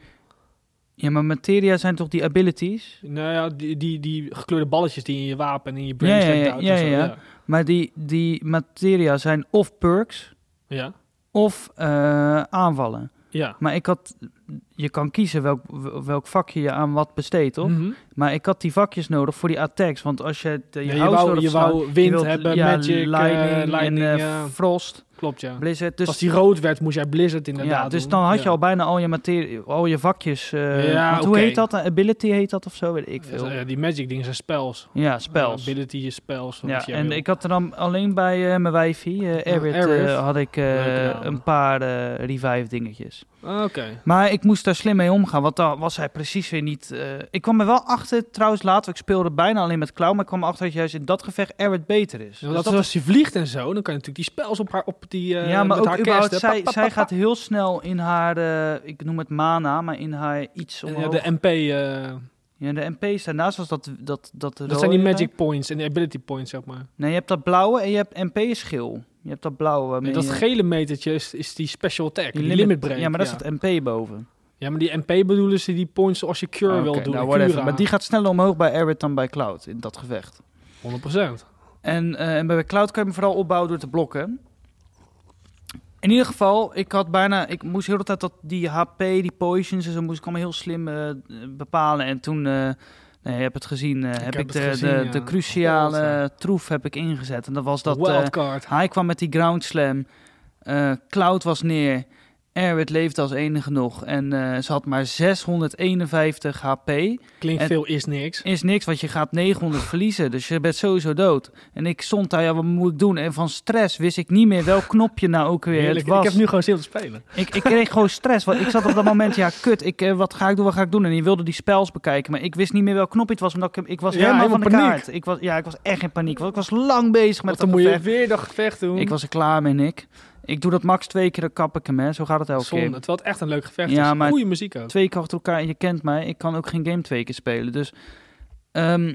Speaker 1: Ja, maar materia zijn toch die abilities?
Speaker 2: Nou ja, die, die, die gekleurde balletjes die in je wapen en in je brain
Speaker 1: Ja, ja,
Speaker 2: slikt
Speaker 1: ja,
Speaker 2: uit
Speaker 1: ja,
Speaker 2: en zo,
Speaker 1: ja.
Speaker 2: ja.
Speaker 1: Maar die, die materia zijn of perks
Speaker 2: Ja,
Speaker 1: of eh, aanvallen.
Speaker 2: ja.
Speaker 1: Maar ik had, je kan kiezen welk, welk vakje je aan wat besteedt, toch?
Speaker 2: Mhm.
Speaker 1: Maar ik had die vakjes nodig voor die attacks. Want als je de, je,
Speaker 2: Ja, je,
Speaker 1: house
Speaker 2: wou,
Speaker 1: nodig
Speaker 2: je
Speaker 1: slaan,
Speaker 2: wou wind
Speaker 1: wilt,
Speaker 2: hebben,
Speaker 1: ja,
Speaker 2: magic, lightning,
Speaker 1: lightning,
Speaker 2: lightning
Speaker 1: en eh,
Speaker 2: ja.
Speaker 1: frost,
Speaker 2: klopt ja.
Speaker 1: blizzard. Dus,
Speaker 2: Als die rood werd, moest jij blizzard inderdaad
Speaker 1: ja, dus
Speaker 2: doen.
Speaker 1: dan had je
Speaker 2: Ja.
Speaker 1: al bijna al je, materie, al je vakjes. eh,
Speaker 2: Ja,
Speaker 1: want hoe
Speaker 2: oké.
Speaker 1: heet dat? Een Ability heet dat of zo, weet ik veel.
Speaker 2: Ja, die magic dingen zijn spells.
Speaker 1: Ja, spells.
Speaker 2: Ability spells.
Speaker 1: Ja, en ik had er dan alleen bij eh, mijn wijfie, eh Erit, eh,
Speaker 2: Erit.
Speaker 1: had ik eh,
Speaker 2: Leuke naam.
Speaker 1: een paar eh, revive dingetjes.
Speaker 2: Ah, Oké.
Speaker 1: Maar ik moest daar slim mee omgaan, want daar was hij precies weer niet... eh, ik kwam er wel achter, trouwens later, ik speelde bijna alleen met Klauw, maar ik kwam erachter dat juist in dat gevecht Erit beter is.
Speaker 2: Ja,
Speaker 1: Dus
Speaker 2: dat
Speaker 1: dat-
Speaker 2: als je vliegt en zo, dan kan je natuurlijk die spels op haar op die eh
Speaker 1: ja, maar
Speaker 2: met
Speaker 1: ook
Speaker 2: haar
Speaker 1: überhaupt,
Speaker 2: kerst, hè,
Speaker 1: zij,
Speaker 2: pa, pa,
Speaker 1: zij
Speaker 2: pa,
Speaker 1: gaat
Speaker 2: pa.
Speaker 1: heel snel in haar, eh, ik noem het mana, maar in haar iets
Speaker 2: En, ja,
Speaker 1: omhoog. Ja,
Speaker 2: de MP, eh,
Speaker 1: de, MP's, daarnaast was dat... Dat, dat,
Speaker 2: dat zijn die
Speaker 1: rode.
Speaker 2: magic points en die ability points, zeg maar.
Speaker 1: Nee, je hebt dat blauwe en je hebt MP-schil. Je hebt dat blauwe. waarmee
Speaker 2: En dat
Speaker 1: je-
Speaker 2: gele metertje is, is die special attack, die,
Speaker 1: Die
Speaker 2: limit, break.
Speaker 1: Ja, maar daar staat MP boven.
Speaker 2: Ja, maar die MP bedoelen ze die points als je cure
Speaker 1: Oké,
Speaker 2: wil doen.
Speaker 1: nou,
Speaker 2: en
Speaker 1: whatever.
Speaker 2: cura.
Speaker 1: Maar die gaat sneller omhoog bij Arid dan bij Cloud in dat gevecht.
Speaker 2: 100%.
Speaker 1: En, eh, en bij Cloud kan je hem vooral opbouwen door te blokken. In ieder geval, ik had bijna, ik moest heel de tijd dat die HP, die potions en zo, moest ik allemaal heel slim eh, bepalen. En toen, eh nee, je hebt het gezien, eh, heb
Speaker 2: heb
Speaker 1: ik
Speaker 2: het
Speaker 1: de,
Speaker 2: gezien,
Speaker 1: de,
Speaker 2: ja.
Speaker 1: de cruciale
Speaker 2: God, ja.
Speaker 1: eh, troef heb ik ingezet. En dat was dat eh,
Speaker 2: Wildcard.
Speaker 1: hij kwam met die ground slam. Eh, Cloud was neer. Arid leefde als enige nog. En eh, ze had maar 651 HP.
Speaker 2: Klinkt
Speaker 1: en-
Speaker 2: veel, is niks.
Speaker 1: Is niks, want je gaat 900 verliezen. Dus je bent sowieso dood. En ik stond daar, ja, wat moet ik doen? En van stress wist ik niet meer welk knopje nou ook weer
Speaker 2: Heerlijk.
Speaker 1: het was.
Speaker 2: Ik heb nu gewoon zin om te spelen.
Speaker 1: ik, ik kreeg gewoon stress. Want ik zat op dat moment, ja, kut. Ik, eh, wat ga ik doen, wat ga ik doen? En die wilde die spels bekijken. Maar ik wist niet meer welk knopje het was. Omdat ik, hem- ik was
Speaker 2: Ja,
Speaker 1: helemaal van de
Speaker 2: helemaal paniek.
Speaker 1: kaart. Ik was, ja, ik was echt in paniek. Want ik was lang bezig met
Speaker 2: Want
Speaker 1: dat
Speaker 2: dan moet je
Speaker 1: gevecht.
Speaker 2: weer dat gevecht doen.
Speaker 1: Ik was er klaar mee, Nick. Ik doe dat max twee keer, dan kap ik hem, hè. Zo gaat het elke
Speaker 2: Zonde,
Speaker 1: keer.
Speaker 2: terwijl het echt een leuk gevecht
Speaker 1: Ja,
Speaker 2: is.
Speaker 1: maar-
Speaker 2: Goeie muziek ook.
Speaker 1: Twee keer achter elkaar en je kent mij. Ik kan ook geen game twee keer spelen. Dus ehm,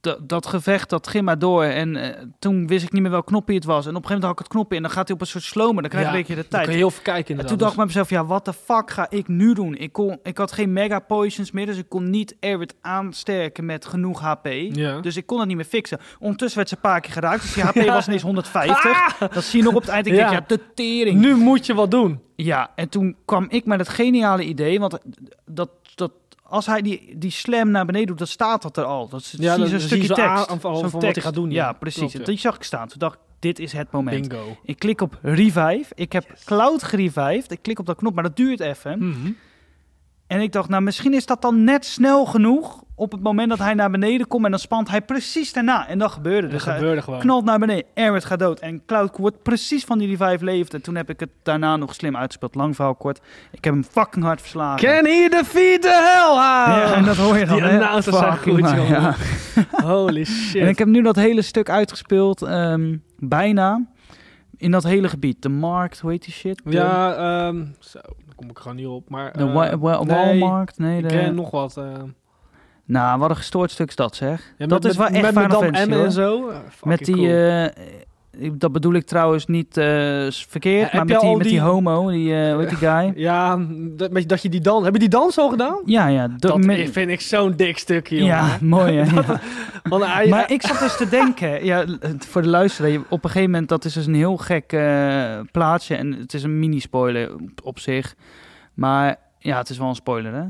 Speaker 1: da- dat gevecht, dat ging maar door. En eh, toen wist ik niet meer welk knopje het was. En op een gegeven moment had ik het knopje en dan gaat hij op een soort slomer. Dan krijg je
Speaker 2: Ja,
Speaker 1: een beetje de
Speaker 2: Dan
Speaker 1: tijd.
Speaker 2: kan je dus. heel veel kijken
Speaker 1: En
Speaker 2: inderdaad.
Speaker 1: toen dacht ik bij mezelf, ja, wat de fuck ga ik nu doen? Ik, kon, ik had geen mega potions meer, dus ik kon niet Arid aansterken met genoeg HP.
Speaker 2: Ja.
Speaker 1: Dus ik kon het niet meer fixen. Ondertussen werd ze een paar keer geraakt, dus die HP was ineens 150. Dat zie je nog op het eind. Ik
Speaker 2: Ah! Ja.
Speaker 1: denk, ja, de tering.
Speaker 2: Nu moet je wat doen.
Speaker 1: Ja, en toen kwam ik met het geniale idee, want dat, dat, als hij die, die slam naar beneden doet, dan staat dat er al. Dat is
Speaker 2: Ja,
Speaker 1: zie je zo'n
Speaker 2: dan zie
Speaker 1: stukje
Speaker 2: je zo'n
Speaker 1: tekst.
Speaker 2: aan- van
Speaker 1: zo'n
Speaker 2: wat hij
Speaker 1: tekst.
Speaker 2: gaat doen,
Speaker 1: Ja,
Speaker 2: ja.
Speaker 1: precies.
Speaker 2: Klopt, ja.
Speaker 1: En die zag ik staan. Toen dacht ik, dit is het moment.
Speaker 2: Bingo.
Speaker 1: Ik klik op revive. Ik heb cloud gerevived. Ik klik op dat knop, maar dat duurt even.
Speaker 2: Mhm.
Speaker 1: En ik dacht, nou, misschien is dat dan net snel genoeg op het moment dat hij naar beneden komt en dan spant hij precies daarna. En dat gebeurde.
Speaker 2: Dat
Speaker 1: Dus hij
Speaker 2: gebeurde gewoon.
Speaker 1: knalt naar beneden, Arid gaat dood en Cloud wordt precies van die revive leeft. En toen heb ik het daarna nog slim uitgespeeld. Lang verhaal kort. Ik heb hem fucking hard verslagen.
Speaker 2: Can he defeat the hell out?
Speaker 1: ja, en dat hoor je dan.
Speaker 2: Die
Speaker 1: hè?
Speaker 2: announcers zijn
Speaker 1: Fucking
Speaker 2: goed,
Speaker 1: maar,
Speaker 2: joh.
Speaker 1: ja.
Speaker 2: Holy
Speaker 1: En
Speaker 2: shit.
Speaker 1: ik heb nu dat hele stuk uitgespeeld, ehm, bijna, in dat hele gebied. De markt, hoe heet die shit? De-
Speaker 2: Ja, ehm zo, daar kom ik gewoon niet op. Maar,
Speaker 1: De
Speaker 2: eh,
Speaker 1: wa- wa-
Speaker 2: nee,
Speaker 1: Walmarkt, nee.
Speaker 2: ik
Speaker 1: de-
Speaker 2: ken nog wat. eh, ja,
Speaker 1: Nou, wat een gestoord stuk is dat zeg.
Speaker 2: met-
Speaker 1: Dat is
Speaker 2: met-
Speaker 1: wel echt Final
Speaker 2: met Madame
Speaker 1: Fantasy,
Speaker 2: M
Speaker 1: hoor.
Speaker 2: en zo. Eh, fucking
Speaker 1: Met die,
Speaker 2: cool.
Speaker 1: eh, ik- dat bedoel ik trouwens niet eh, s- verkeerd,
Speaker 2: Ja,
Speaker 1: maar
Speaker 2: heb
Speaker 1: met
Speaker 2: je
Speaker 1: die,
Speaker 2: al
Speaker 1: met die
Speaker 2: die-
Speaker 1: homo, die, eh hoe heet die guy.
Speaker 2: Ja, dat, met- dat je die dan... Heb je die dans al gedaan?
Speaker 1: Ja, ja. de-
Speaker 2: Dat
Speaker 1: me-
Speaker 2: vind ik zo'n dik stukje, jongen.
Speaker 1: ja, mooi hè. ja.
Speaker 2: Want hij-
Speaker 1: Maar ik zat dus te denken, ja, l- voor de luisteraar, je- op een gegeven moment, dat is dus een heel gek eh, plaatsje. En het is een mini-spoiler op, op zich. Maar ja, het is wel een spoiler, hè?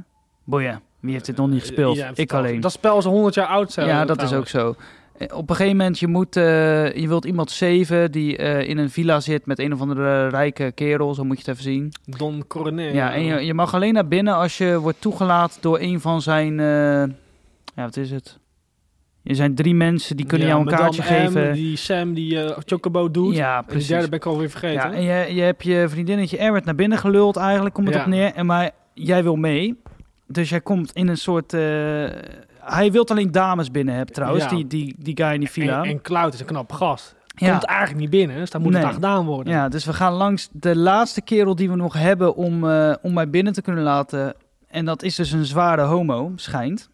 Speaker 1: Boeien, wie heeft dit nog niet gespeeld?
Speaker 2: Eh, Ja,
Speaker 1: ik alleen.
Speaker 2: Dat spel is al 100 jaar oud. Zo,
Speaker 1: ja, dat is ook zo. Eh, Op een gegeven moment, je, moet, eh, je wilt iemand zeven die eh, in een villa zit met een of andere rijke kerel, zo moet je het even zien.
Speaker 2: Don Cornet.
Speaker 1: Ja, en je, je mag alleen naar binnen als je wordt toegelaten door een van zijn. eh, ja, wat is het? Er zijn drie mensen die kunnen
Speaker 2: Ja,
Speaker 1: jou een
Speaker 2: Madame
Speaker 1: kaartje
Speaker 2: M,
Speaker 1: geven.
Speaker 2: Die Sam die eh, Chocobo doet.
Speaker 1: ja,
Speaker 2: en die
Speaker 1: precies.
Speaker 2: derde ben ik alweer vergeten.
Speaker 1: ja, en je, je hebt je vriendinnetje Erwert naar binnen geluld eigenlijk, komt het
Speaker 2: Ja.
Speaker 1: op neer. En maar jij wil mee. Dus jij komt in een soort. eh, hij wil alleen dames binnen hebben trouwens,
Speaker 2: Ja.
Speaker 1: die, die, die guy in die
Speaker 2: en,
Speaker 1: villa.
Speaker 2: en Cloud is een knap gast.
Speaker 1: ja.
Speaker 2: Komt eigenlijk niet binnen, dus daar moet
Speaker 1: Nee.
Speaker 2: het aan gedaan worden.
Speaker 1: ja, dus we gaan langs de laatste kerel die we nog hebben om, eh, om mij binnen te kunnen laten. En dat is dus een zware homo, schijnt.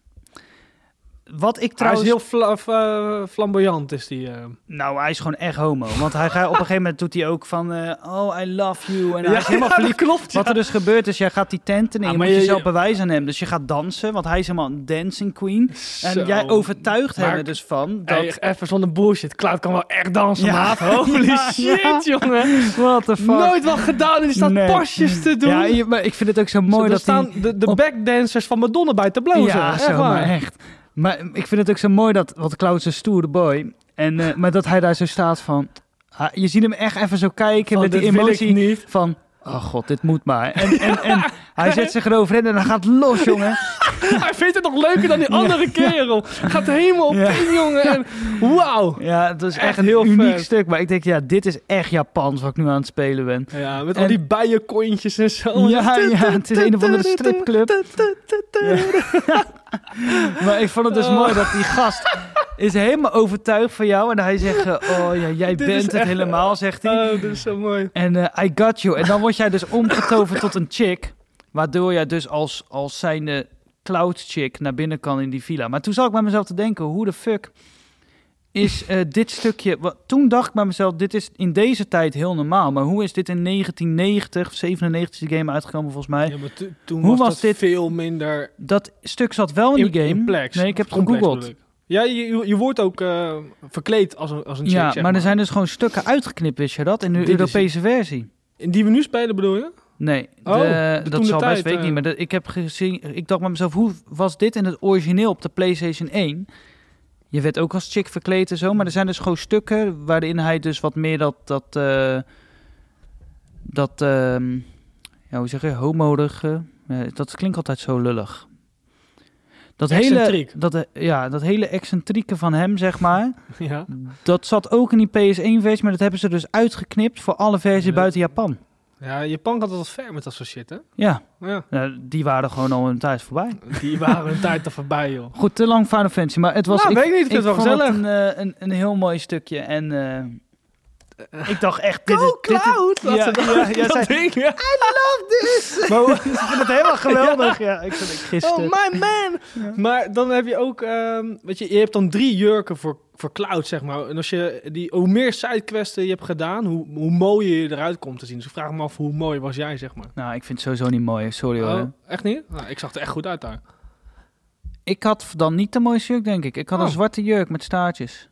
Speaker 1: Wat ik trouwens...
Speaker 2: Hij is heel fla- f- eh, flamboyant, is die. eh.
Speaker 1: Nou, hij is gewoon echt homo. Want hij gaat, op een gegeven moment doet hij ook van... eh, oh, I love you. En hij is helemaal verliefd.
Speaker 2: klopt.
Speaker 1: Wat er dus gebeurt is, jij gaat die tent in. en
Speaker 2: Ah,
Speaker 1: je
Speaker 2: maar
Speaker 1: moet
Speaker 2: je-
Speaker 1: jezelf bewijzen aan hem. Dus je gaat dansen, want hij is helemaal een dancing queen. En jij overtuigt hem
Speaker 2: Maar-
Speaker 1: er dus van dat...
Speaker 2: Hey, even zonder bullshit. Cloud kan wel echt dansen,
Speaker 1: Ja.
Speaker 2: maat. Holy
Speaker 1: Ja,
Speaker 2: shit,
Speaker 1: ja.
Speaker 2: jongen.
Speaker 1: What the fuck?
Speaker 2: Nooit wat gedaan en die staat
Speaker 1: Nee.
Speaker 2: pasjes te doen.
Speaker 1: ja, je- maar ik vind het ook zo
Speaker 2: Zo,
Speaker 1: mooi
Speaker 2: daar
Speaker 1: dat hij...
Speaker 2: staan de, de
Speaker 1: op-
Speaker 2: backdancers van Madonna bij te blozen.
Speaker 1: Ja,
Speaker 2: echt
Speaker 1: zo,
Speaker 2: waar. Oh,
Speaker 1: maar echt. Maar ik vind het ook zo mooi dat, wat Klaus een stoere boy, en, eh, maar dat hij daar zo staat van, ah, je ziet hem echt even zo kijken
Speaker 2: Van,
Speaker 1: met die
Speaker 2: dit wil ik
Speaker 1: emotie
Speaker 2: niet.
Speaker 1: van, oh god, dit moet maar. En, en, en hij zet zich eroverheen en dan gaat het los, jongen.
Speaker 2: Hij vindt het nog leuker dan die
Speaker 1: Ja.
Speaker 2: andere kerel. Gaat er helemaal op
Speaker 1: Ja.
Speaker 2: in, jongen. En, wauw.
Speaker 1: Ja, het is echt,
Speaker 2: Echt
Speaker 1: een
Speaker 2: heel
Speaker 1: uniek
Speaker 2: vet.
Speaker 1: stuk, maar ik denk, ja, dit is echt Japans wat ik nu aan het spelen ben.
Speaker 2: Ja, met
Speaker 1: En-
Speaker 2: al die bijenkontjes en zo.
Speaker 1: Ja, ja, het is een of andere stripclub. Maar ik vond het dus
Speaker 2: Oh.
Speaker 1: mooi dat die gast is helemaal overtuigd van jou en hij zegt, eh, oh ja, jij
Speaker 2: Dit
Speaker 1: bent
Speaker 2: is
Speaker 1: het
Speaker 2: echt-
Speaker 1: helemaal, zegt hij.
Speaker 2: Oh, dat is zo mooi.
Speaker 1: En eh, I got you. En dan word jij dus omgetoverd tot een chick. Waardoor jij dus als, als zijnde cloud chick naar binnen kan in die villa. Maar toen zat ik bij mezelf te denken, hoe de fuck is eh, dit stukje... Wat, toen dacht ik bij mezelf, dit is in deze tijd heel normaal. Maar hoe is dit in 1990 of 97 is die game uitgekomen volgens mij?
Speaker 2: Ja, maar to- toen
Speaker 1: Hoe
Speaker 2: was,
Speaker 1: was
Speaker 2: dat
Speaker 1: dit
Speaker 2: veel minder
Speaker 1: Dat stuk zat wel in
Speaker 2: in,
Speaker 1: die game.
Speaker 2: complex.
Speaker 1: Nee, ik heb het
Speaker 2: Complex,
Speaker 1: gegoogeld.
Speaker 2: bedoel ik. Ja, je- je, je wordt ook eh, verkleed als een, als een chick,
Speaker 1: Ja,
Speaker 2: zeg
Speaker 1: maar er zijn dus gewoon stukken uitgeknipt, wist je dat? In de
Speaker 2: Dit is-
Speaker 1: Europese versie.
Speaker 2: In die we nu spelen, bedoel je?
Speaker 1: Nee,
Speaker 2: Oh,
Speaker 1: de-
Speaker 2: de
Speaker 1: dat
Speaker 2: toen
Speaker 1: zal
Speaker 2: de
Speaker 1: best
Speaker 2: tijd,
Speaker 1: weet ik
Speaker 2: eh.
Speaker 1: niet. Maar dat- ik heb gezien, ik dacht bij mezelf, hoe was dit in het origineel op de PlayStation 1? Je werd ook als chick verkleed en zo, maar er zijn dus gewoon stukken waarin hij dus wat meer dat, dat, eh, dat, ehm, ja, hoe zeg je, homodige, ja, dat klinkt altijd zo lullig. Dat hele,
Speaker 2: Excentriek.
Speaker 1: dat, eh, ja, dat hele excentrieke van hem, zeg maar,
Speaker 2: Ja.
Speaker 1: dat zat ook in die PS1-versie, maar dat hebben ze dus uitgeknipt voor alle versies
Speaker 2: Ja.
Speaker 1: buiten Japan.
Speaker 2: Ja, Japan gaat altijd ver met dat soort shit, hè?
Speaker 1: Ja.
Speaker 2: Ja.
Speaker 1: Nou, die waren gewoon al een tijd voorbij.
Speaker 2: Die waren een tijd er voorbij, joh.
Speaker 1: Goed, te lang Final Fantasy, maar het was...
Speaker 2: nou, weet ik niet, ik
Speaker 1: ik
Speaker 2: vind het wel
Speaker 1: vond
Speaker 2: gezellig.
Speaker 1: een, eh, een, een heel mooi stukje en eh, ik dacht echt... Dit is,
Speaker 2: Go
Speaker 1: dit is-
Speaker 2: Cloud!
Speaker 1: ja, ja, ja, zij-
Speaker 2: ding, ja.
Speaker 1: Maar- ik vind het helemaal geweldig. Ja, ik zat ik gisteren...
Speaker 2: Oh, my man!
Speaker 1: Ja.
Speaker 2: Maar dan heb je ook, ehm, weet je, je hebt dan drie jurken voor, voor Cloud, zeg maar. En als je die, hoe meer sidequesten je hebt gedaan, hoe, hoe mooier je eruit komt te zien. Dus ik vraag me af, hoe mooi was jij, zeg maar?
Speaker 1: nou, ik vind het sowieso niet mooi, sorry hoor.
Speaker 2: Oh, echt niet? Nou, ik zag er echt goed uit daar.
Speaker 1: Ik had dan niet de mooiste jurk, denk ik. Ik had
Speaker 2: Oh.
Speaker 1: een zwarte jurk met staartjes.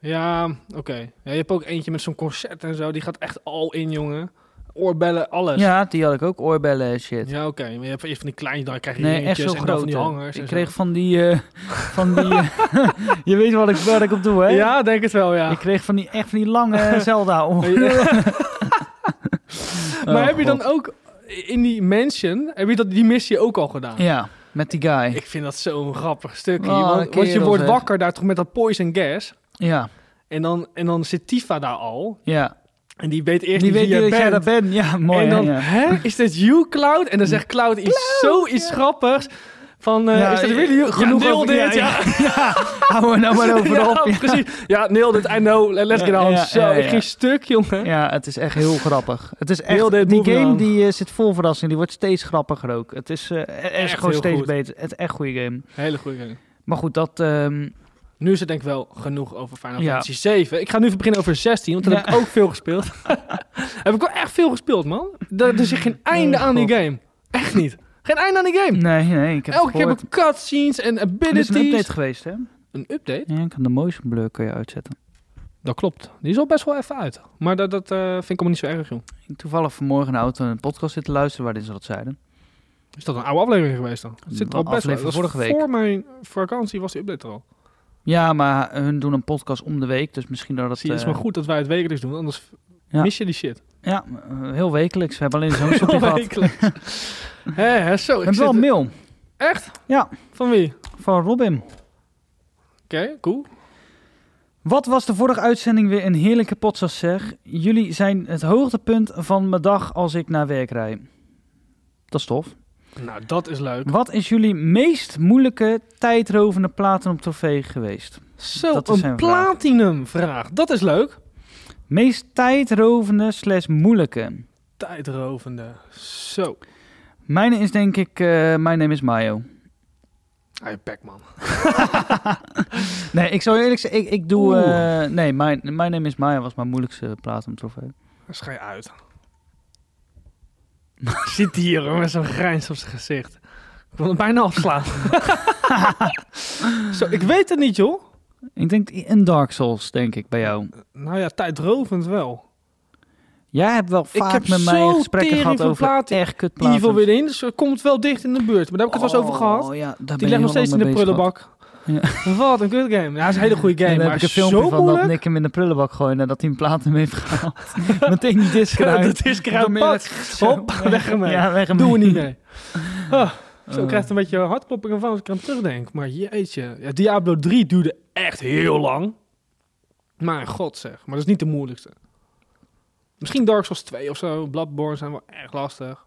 Speaker 2: Ja, oké. Ja, je hebt ook eentje met zo'n corset en zo, die gaat echt al in, jongen. Oorbellen, alles.
Speaker 1: Ja, die had ik ook, oorbellen en shit.
Speaker 2: Ja, oké. Maar je hebt eerst van die kleine, dan krijg je
Speaker 1: Nee, echt
Speaker 2: ringetjes
Speaker 1: zo
Speaker 2: en dan van
Speaker 1: groot.
Speaker 2: die
Speaker 1: joh.
Speaker 2: hangers.
Speaker 1: Ik
Speaker 2: en
Speaker 1: kreeg
Speaker 2: zo.
Speaker 1: van die... eh, van die eh, je weet wat ik, waar ik op doe, hè?
Speaker 2: Ja, denk het wel, ja.
Speaker 1: Ik kreeg van die, echt van die lange Zelda. om.
Speaker 2: maar
Speaker 1: Oh,
Speaker 2: heb je
Speaker 1: God.
Speaker 2: dan ook in die mansion, heb je dat, die missie ook al gedaan?
Speaker 1: Ja, met die guy.
Speaker 2: Ik vind dat zo'n grappig stukje.
Speaker 1: Oh,
Speaker 2: want,
Speaker 1: een
Speaker 2: want je
Speaker 1: kerel,
Speaker 2: wordt
Speaker 1: zeg.
Speaker 2: wakker daar toch met dat poison gas.
Speaker 1: Ja,
Speaker 2: En dan, en dan zit Tifa daar al.
Speaker 1: ja.
Speaker 2: En die weet eerst
Speaker 1: Die
Speaker 2: niet
Speaker 1: weet
Speaker 2: wie
Speaker 1: niet
Speaker 2: je
Speaker 1: dat jij dat
Speaker 2: bent.
Speaker 1: bent. Ja, mooi.
Speaker 2: en
Speaker 1: hè,
Speaker 2: dan,
Speaker 1: ja.
Speaker 2: hè, is dit you, Cloud? En dan zegt Cloud iets zoiets grappigs. Van, eh,
Speaker 1: Ja,
Speaker 2: is dat
Speaker 1: ja,
Speaker 2: really you?
Speaker 1: ja,
Speaker 2: Genoeg
Speaker 1: nailed
Speaker 2: over dit,
Speaker 1: it,
Speaker 2: ja.
Speaker 1: Hou er nou maar over
Speaker 2: Ja,
Speaker 1: op. Ja.
Speaker 2: precies. Ja, nailed it, I know. Let's
Speaker 1: Ja,
Speaker 2: get on.
Speaker 1: ja,
Speaker 2: Zo,
Speaker 1: ja,
Speaker 2: ik
Speaker 1: ja.
Speaker 2: ging stuk, jongen.
Speaker 1: Ja, het is echt heel grappig. Het is
Speaker 2: Heel
Speaker 1: echt,
Speaker 2: dit
Speaker 1: die
Speaker 2: moving
Speaker 1: game
Speaker 2: on.
Speaker 1: die eh, zit vol verrassing. Die wordt steeds grappiger ook. Het is eh, er- er is
Speaker 2: Echt
Speaker 1: gewoon
Speaker 2: heel
Speaker 1: steeds
Speaker 2: goed.
Speaker 1: beter. Het is echt goede game.
Speaker 2: Hele goede.
Speaker 1: Maar goed, dat... ehm,
Speaker 2: Nu is het denk ik wel genoeg over Final
Speaker 1: Ja.
Speaker 2: Fantasy 7. Ik ga nu even beginnen over 16, want daar
Speaker 1: Ja.
Speaker 2: heb ik ook veel gespeeld. heb ik wel echt veel gespeeld, man. Er, er zit geen einde aan die
Speaker 1: God.
Speaker 2: game. Echt niet. Geen einde aan die game.
Speaker 1: Nee, nee, ik heb
Speaker 2: Elke
Speaker 1: Elke
Speaker 2: keer heb ik cutscenes en
Speaker 1: Dit is
Speaker 2: abilities.
Speaker 1: een update geweest, hè?
Speaker 2: Een update?
Speaker 1: Ja, ik kan de motion blur kun je uitzetten.
Speaker 2: Dat klopt. Die is al best wel even uit. Maar dat, dat eh, vind ik allemaal niet zo erg, joh.
Speaker 1: Ik toevallig vanmorgen in de auto een podcast zitten luisteren waarin ze dat zeiden.
Speaker 2: Is dat een oude aflevering geweest dan? Het zit
Speaker 1: Een
Speaker 2: al best wel.
Speaker 1: aflevering
Speaker 2: dat is
Speaker 1: vorige week.
Speaker 2: Voor mijn vakantie was de update er al.
Speaker 1: Ja, maar hun doen een podcast om de week, dus misschien dat dat...
Speaker 2: Zie je, het is
Speaker 1: eh,
Speaker 2: maar goed dat wij het wekelijks doen, anders
Speaker 1: Ja.
Speaker 2: mis je die shit.
Speaker 1: Ja, eh, heel wekelijks. We hebben alleen zo'n sopje gehad. We
Speaker 2: Wekelijks. Hé, hè, zo. Ik
Speaker 1: hebben wel
Speaker 2: zit...
Speaker 1: een mail
Speaker 2: Echt?
Speaker 1: Ja.
Speaker 2: Van wie? Oké,
Speaker 1: van Robin.
Speaker 2: cool.
Speaker 1: Wat was de vorige uitzending weer een heerlijke podcast zeg. Jullie zijn het hoogtepunt van mijn dag als ik naar werk rijd. Dat is tof.
Speaker 2: Nou, dat is leuk.
Speaker 1: Wat is jullie meest moeilijke tijdrovende platen op trofee geweest?
Speaker 2: Zo,
Speaker 1: Dat is
Speaker 2: een
Speaker 1: zijn vraag.
Speaker 2: platinum vraag. Dat is leuk.
Speaker 1: Meest tijdrovende slash moeilijke.
Speaker 2: Tijdrovende. Zo.
Speaker 1: Mijn is denk ik, eh mijn name is Mayo.
Speaker 2: Hij back man.
Speaker 1: Nee, ik zou eerlijk zeggen, ik, ik doe...
Speaker 2: Oeh.
Speaker 1: eh, nee, mijn mijn name is Mayo was mijn moeilijkste plaat om trofee.
Speaker 2: Dan schij je uit. Zit hier hoor, met zo'n grijns op zijn gezicht. Ik wil hem bijna afslaan. Zo, ik weet het niet, joh.
Speaker 1: Ik denk een Dark Souls, denk ik, bij jou.
Speaker 2: Nou ja, tijdrovend wel.
Speaker 1: Jij hebt wel vaak
Speaker 2: heb
Speaker 1: met mij
Speaker 2: zo
Speaker 1: gesprekken
Speaker 2: tering
Speaker 1: gehad
Speaker 2: veel
Speaker 1: over
Speaker 2: platen.
Speaker 1: echt kutplaten.
Speaker 2: Evil Within, dus er komt wel dicht in de buurt. Maar daar heb ik het wel eens over gehad.
Speaker 1: Oh, ja, daar
Speaker 2: Die
Speaker 1: ben
Speaker 2: ligt
Speaker 1: je
Speaker 2: nog
Speaker 1: wel
Speaker 2: steeds in de
Speaker 1: mee bezig, wat.
Speaker 2: prullenbak. Wat een kut game. Ja, dat is een hele goede game,
Speaker 1: En dan
Speaker 2: maar
Speaker 1: heb ik een
Speaker 2: zo
Speaker 1: filmpje van dat
Speaker 2: moeilijk.
Speaker 1: Nick hem in de prullenbak gooien nadat hij een plaat hem heeft gehaald. Meteen die disc eruit.
Speaker 2: dat is
Speaker 1: Dan ben je
Speaker 2: kruimpad.
Speaker 1: Zo.
Speaker 2: Hop, weg ermee.
Speaker 1: Ja, weg hem.
Speaker 2: Doen we niet mee. Ah, zo
Speaker 1: Eh.
Speaker 2: krijgt een beetje hartkloppingen van als ik aan terugdenk. Maar jeetje. Ja, Diablo 3 duurde echt heel lang. Maar god zeg. Maar dat is niet de moeilijkste. Misschien Dark Souls 2 of zo. Bloodborne zijn wel erg lastig.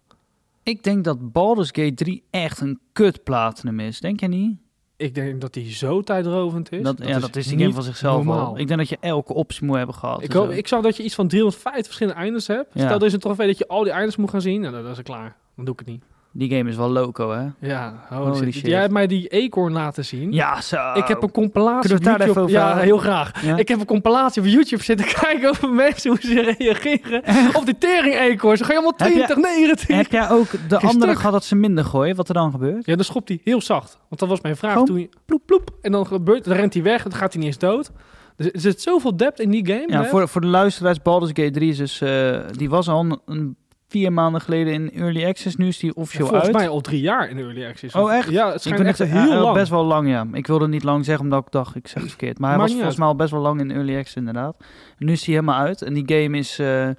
Speaker 1: Ik denk dat Baldur's Gate 3 echt een kut platinum is. Denk jij niet?
Speaker 2: Ik denk dat die zo tijdrovend is.
Speaker 1: dat, ja, dat is die game
Speaker 2: niet
Speaker 1: van zichzelf
Speaker 2: normaal.
Speaker 1: al. Ik denk dat je elke optie moet hebben gehad.
Speaker 2: Ik,
Speaker 1: en
Speaker 2: hoop,
Speaker 1: zo.
Speaker 2: ik zag dat je iets van 350 verschillende eindes hebt.
Speaker 1: Ja.
Speaker 2: Stel, er is een trofee dat je al die eindes moet gaan zien. Nou, dan- dan is het klaar. Dan doe ik het niet.
Speaker 1: Die game is wel loco, hè?
Speaker 2: Ja, holy,
Speaker 1: Holy
Speaker 2: shit.
Speaker 1: shit.
Speaker 2: Jij hebt mij die eekhoorn laten zien.
Speaker 1: Ja, zo.
Speaker 2: Ik heb een compilatie
Speaker 1: Kunnen we het
Speaker 2: op
Speaker 1: daar
Speaker 2: YouTube.
Speaker 1: even over
Speaker 2: Ja,
Speaker 1: hebben?
Speaker 2: heel graag.
Speaker 1: Ja?
Speaker 2: Ik heb een compilatie op YouTube zitten kijken over mensen, hoe ze reageren op die tering-eekhoorn. Ze gaan allemaal
Speaker 1: Heb je-
Speaker 2: 20, 19.
Speaker 1: Heb jij ook de
Speaker 2: Geen
Speaker 1: andere
Speaker 2: stuk.
Speaker 1: gehad dat ze minder gooien? Wat er dan gebeurt?
Speaker 2: Ja, dan schopt hij heel zacht. Want dat was mijn vraag
Speaker 1: Gewoon
Speaker 2: toen je ploep, ploep. En dan gebeurt dan rent hij weg en dan gaat hij niet eens dood. Dus er zit zoveel depth in die game.
Speaker 1: Ja,
Speaker 2: hè?
Speaker 1: voor, voor de luisteraars, Baldur's Gate 3 is dus... eh, die was al een, een vier maanden geleden in Early Access. Nu is die
Speaker 2: Ja,
Speaker 1: officieel
Speaker 2: volgens
Speaker 1: uit.
Speaker 2: mij al drie jaar in Early Access.
Speaker 1: Oh, echt?
Speaker 2: Ja, het
Speaker 1: ik
Speaker 2: schijnt
Speaker 1: ben
Speaker 2: echt
Speaker 1: echt
Speaker 2: heel
Speaker 1: eh,
Speaker 2: lang.
Speaker 1: best wel lang, ja. Ik wilde niet lang zeggen, omdat ik dacht, ik zeg het verkeerd. Maar hij
Speaker 2: Maakt
Speaker 1: was
Speaker 2: niet
Speaker 1: volgens mij al best wel lang in Early Access, inderdaad. En nu is hij helemaal uit. En die game is eh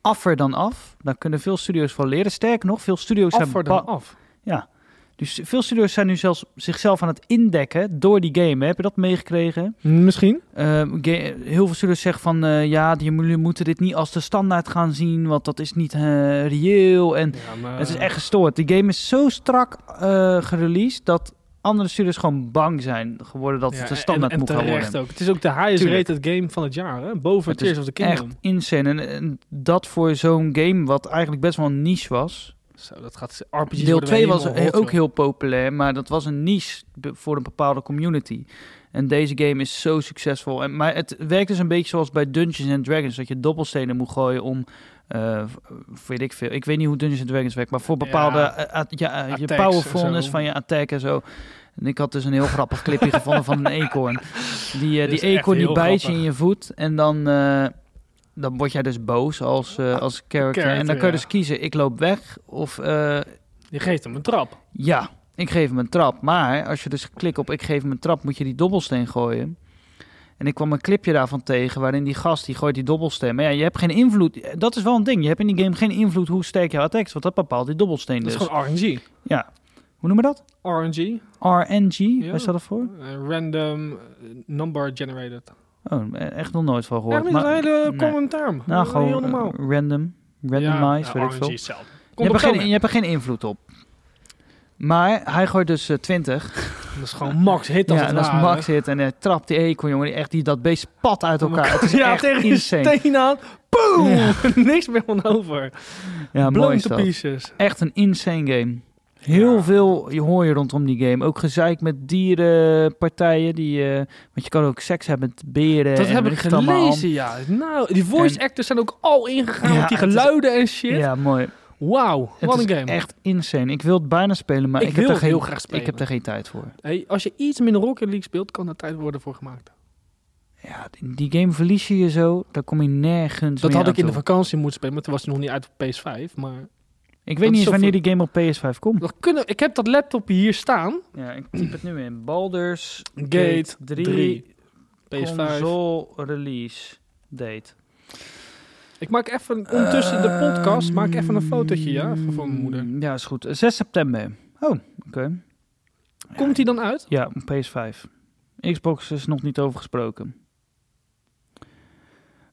Speaker 1: affer dan af. Daar kunnen veel studio's van leren. Sterker nog, veel studio's
Speaker 2: af
Speaker 1: zijn...
Speaker 2: voor dan
Speaker 1: ba-
Speaker 2: af.
Speaker 1: Dus veel studio's zijn nu zelfs zichzelf aan het indekken door die game. hè. Heb je dat meegekregen?
Speaker 2: Misschien.
Speaker 1: Eh, ga- heel veel studio's zeggen van eh, ja, die, jullie moeten dit niet als de standaard gaan zien, want dat is niet eh, reëel. En
Speaker 2: Ja, maar-
Speaker 1: het is echt gestoord. Die game is zo strak eh gereleased dat andere studios gewoon bang zijn geworden dat
Speaker 2: Ja,
Speaker 1: het
Speaker 2: en-
Speaker 1: de standaard
Speaker 2: en
Speaker 1: moet gaan
Speaker 2: terecht
Speaker 1: worden.
Speaker 2: Ook. Het is ook de highest
Speaker 1: Tuurlijk.
Speaker 2: rated game van het jaar. Hè? Boven
Speaker 1: Het is
Speaker 2: Tears of the
Speaker 1: Echt
Speaker 2: Kingdom.
Speaker 1: insane. En, en dat voor zo'n game, wat eigenlijk best wel een niche was.
Speaker 2: Zo, dat gaat RPG's
Speaker 1: Deel
Speaker 2: worden
Speaker 1: 2
Speaker 2: weer
Speaker 1: was eh,
Speaker 2: helemaal hot,
Speaker 1: ook
Speaker 2: joh.
Speaker 1: heel populair, maar dat was een niche be- voor een bepaalde community. En deze game is zo succesvol. En, maar het werkt dus een beetje zoals bij Dungeons and Dragons, dat je dobbelstenen moet gooien om, eh, v- weet ik veel, ik weet niet hoe Dungeons and Dragons werkt, maar voor bepaalde,
Speaker 2: Ja,
Speaker 1: eh, at- ja, eh, je
Speaker 2: attacks en
Speaker 1: powerfulness
Speaker 2: zo.
Speaker 1: van je attack en zo. En ik had dus een heel grappig clipje gevonden van een eekhoorn. Die, eh,
Speaker 2: Dit
Speaker 1: die
Speaker 2: is echt
Speaker 1: eekhoorn die
Speaker 2: heel
Speaker 1: bijt je
Speaker 2: grappig.
Speaker 1: in je voet en dan... eh, dan word jij dus boos als, eh, als character. En dan
Speaker 2: character,
Speaker 1: kun je
Speaker 2: ja.
Speaker 1: dus kiezen, ik loop weg of eh,
Speaker 2: Je geeft hem een trap.
Speaker 1: ja, ik geef hem een trap. Maar als je dus klikt op ik geef hem een trap, moet je die dobbelsteen gooien. En ik kwam een clipje daarvan tegen waarin die gast die gooit die dobbelsteen. Maar ja, je hebt geen invloed. Dat is wel een ding. Je hebt in die game geen invloed hoe sterk jouw attack is, want dat bepaalt die dobbelsteen
Speaker 2: Dat
Speaker 1: dus.
Speaker 2: is gewoon RNG.
Speaker 1: Ja. Hoe noemen we dat?
Speaker 2: RNG, eh,
Speaker 1: RNG?
Speaker 2: Ja.
Speaker 1: Waar staat dat voor?
Speaker 2: Random eh, Number Generated.
Speaker 1: Oh, e- echt nog nooit van
Speaker 2: Ja,
Speaker 1: gehoord.
Speaker 2: maar dat is een hele
Speaker 1: nee.
Speaker 2: common term.
Speaker 1: Nou,
Speaker 2: Eh,
Speaker 1: gewoon
Speaker 2: heel normaal.
Speaker 1: eh, random. Randomized,
Speaker 2: ja,
Speaker 1: weet ik
Speaker 2: RNG
Speaker 1: veel.
Speaker 2: is hetzelfde.
Speaker 1: Je
Speaker 2: Komt
Speaker 1: hebt,
Speaker 2: op
Speaker 1: er
Speaker 2: zo
Speaker 1: geen,
Speaker 2: mee.
Speaker 1: je hebt er geen invloed op. Maar hij gooit dus eh, 20.
Speaker 2: Dat is gewoon max hit als
Speaker 1: ja,
Speaker 2: het
Speaker 1: en als
Speaker 2: ware.
Speaker 1: Max zit en hij trapt die eekhoorn, jongen, die echt die dat beest spat uit elkaar. Het is
Speaker 2: ja,
Speaker 1: echt
Speaker 2: tegen die
Speaker 1: insane.
Speaker 2: steen aan. Boom!
Speaker 1: Ja.
Speaker 2: Niks meer van over.
Speaker 1: ja, mooi
Speaker 2: Blown
Speaker 1: is
Speaker 2: to
Speaker 1: dat.
Speaker 2: pieces.
Speaker 1: Echt een insane game. Heel
Speaker 2: Ja.
Speaker 1: veel je hoor je rondom die game. Ook gezeik met dierenpartijen. Die, eh, want je kan ook seks hebben met beren.
Speaker 2: Dat
Speaker 1: en
Speaker 2: heb
Speaker 1: weet
Speaker 2: ik
Speaker 1: het allemaal.
Speaker 2: gelezen, ja. Nou, die voice actors zijn ook al ingegaan
Speaker 1: Ja,
Speaker 2: met die
Speaker 1: het is-
Speaker 2: geluiden en shit.
Speaker 1: Ja, mooi.
Speaker 2: Wauw,
Speaker 1: Het
Speaker 2: wat
Speaker 1: is
Speaker 2: een game.
Speaker 1: echt insane. Ik wil het bijna spelen, maar
Speaker 2: Ik
Speaker 1: ik, heb
Speaker 2: wil
Speaker 1: er geen,
Speaker 2: heel graag spelen.
Speaker 1: ik heb er geen tijd voor.
Speaker 2: Hey, als je iets minder Rocket League speelt, kan daar tijd worden voor gemaakt.
Speaker 1: Ja, die, die game verlies je je zo, daar kom je nergens
Speaker 2: Dat
Speaker 1: meer
Speaker 2: had
Speaker 1: aan
Speaker 2: ik in de
Speaker 1: toe.
Speaker 2: vakantie moeten spelen, maar toen was hij nog niet uit op PS5. Maar
Speaker 1: Ik weet niet
Speaker 2: dat is
Speaker 1: eens
Speaker 2: zo
Speaker 1: wanneer die game op PS5 komt.
Speaker 2: dat kunnen, ik heb dat laptop hier staan.
Speaker 1: Ja, ik typ het nu in. Baldur's
Speaker 2: Gate
Speaker 1: 3,
Speaker 2: 3, PS5.
Speaker 1: console release date.
Speaker 2: Ik maak even ondertussen de podcast, maak ik even een fotootje ja, van van mijn moeder.
Speaker 1: Mm, Ja, is goed. Eh, 6 september. Oh, oké.
Speaker 2: Komt die dan uit?
Speaker 1: Ja, op PS5. Xbox is nog niet over gesproken.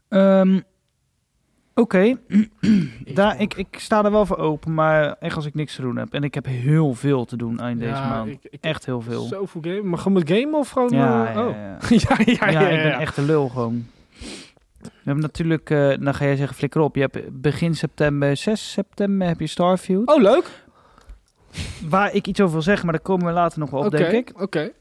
Speaker 1: Ehm, Oké, daar ik, ik sta er wel voor open, maar echt als ik niks te doen heb. En ik heb heel veel te doen eind deze maand.
Speaker 2: Ik, ik
Speaker 1: Echt heel veel.
Speaker 2: Zoveel game. Maar gewoon met game of gewoon...
Speaker 1: ja,
Speaker 2: eh,
Speaker 1: ja,
Speaker 2: oh.
Speaker 1: ja. Ja,
Speaker 2: ja, ja, ja,
Speaker 1: ik ben
Speaker 2: ja.
Speaker 1: echt een lul gewoon. We hebben natuurlijk, eh nou ga jij zeggen flikker op. Je hebt begin september, 6 september heb je Starfield.
Speaker 2: Oh, leuk.
Speaker 1: Waar ik iets over wil zeggen, maar daar komen we later nog wel op,
Speaker 2: Oké,
Speaker 1: denk ik.
Speaker 2: Oké.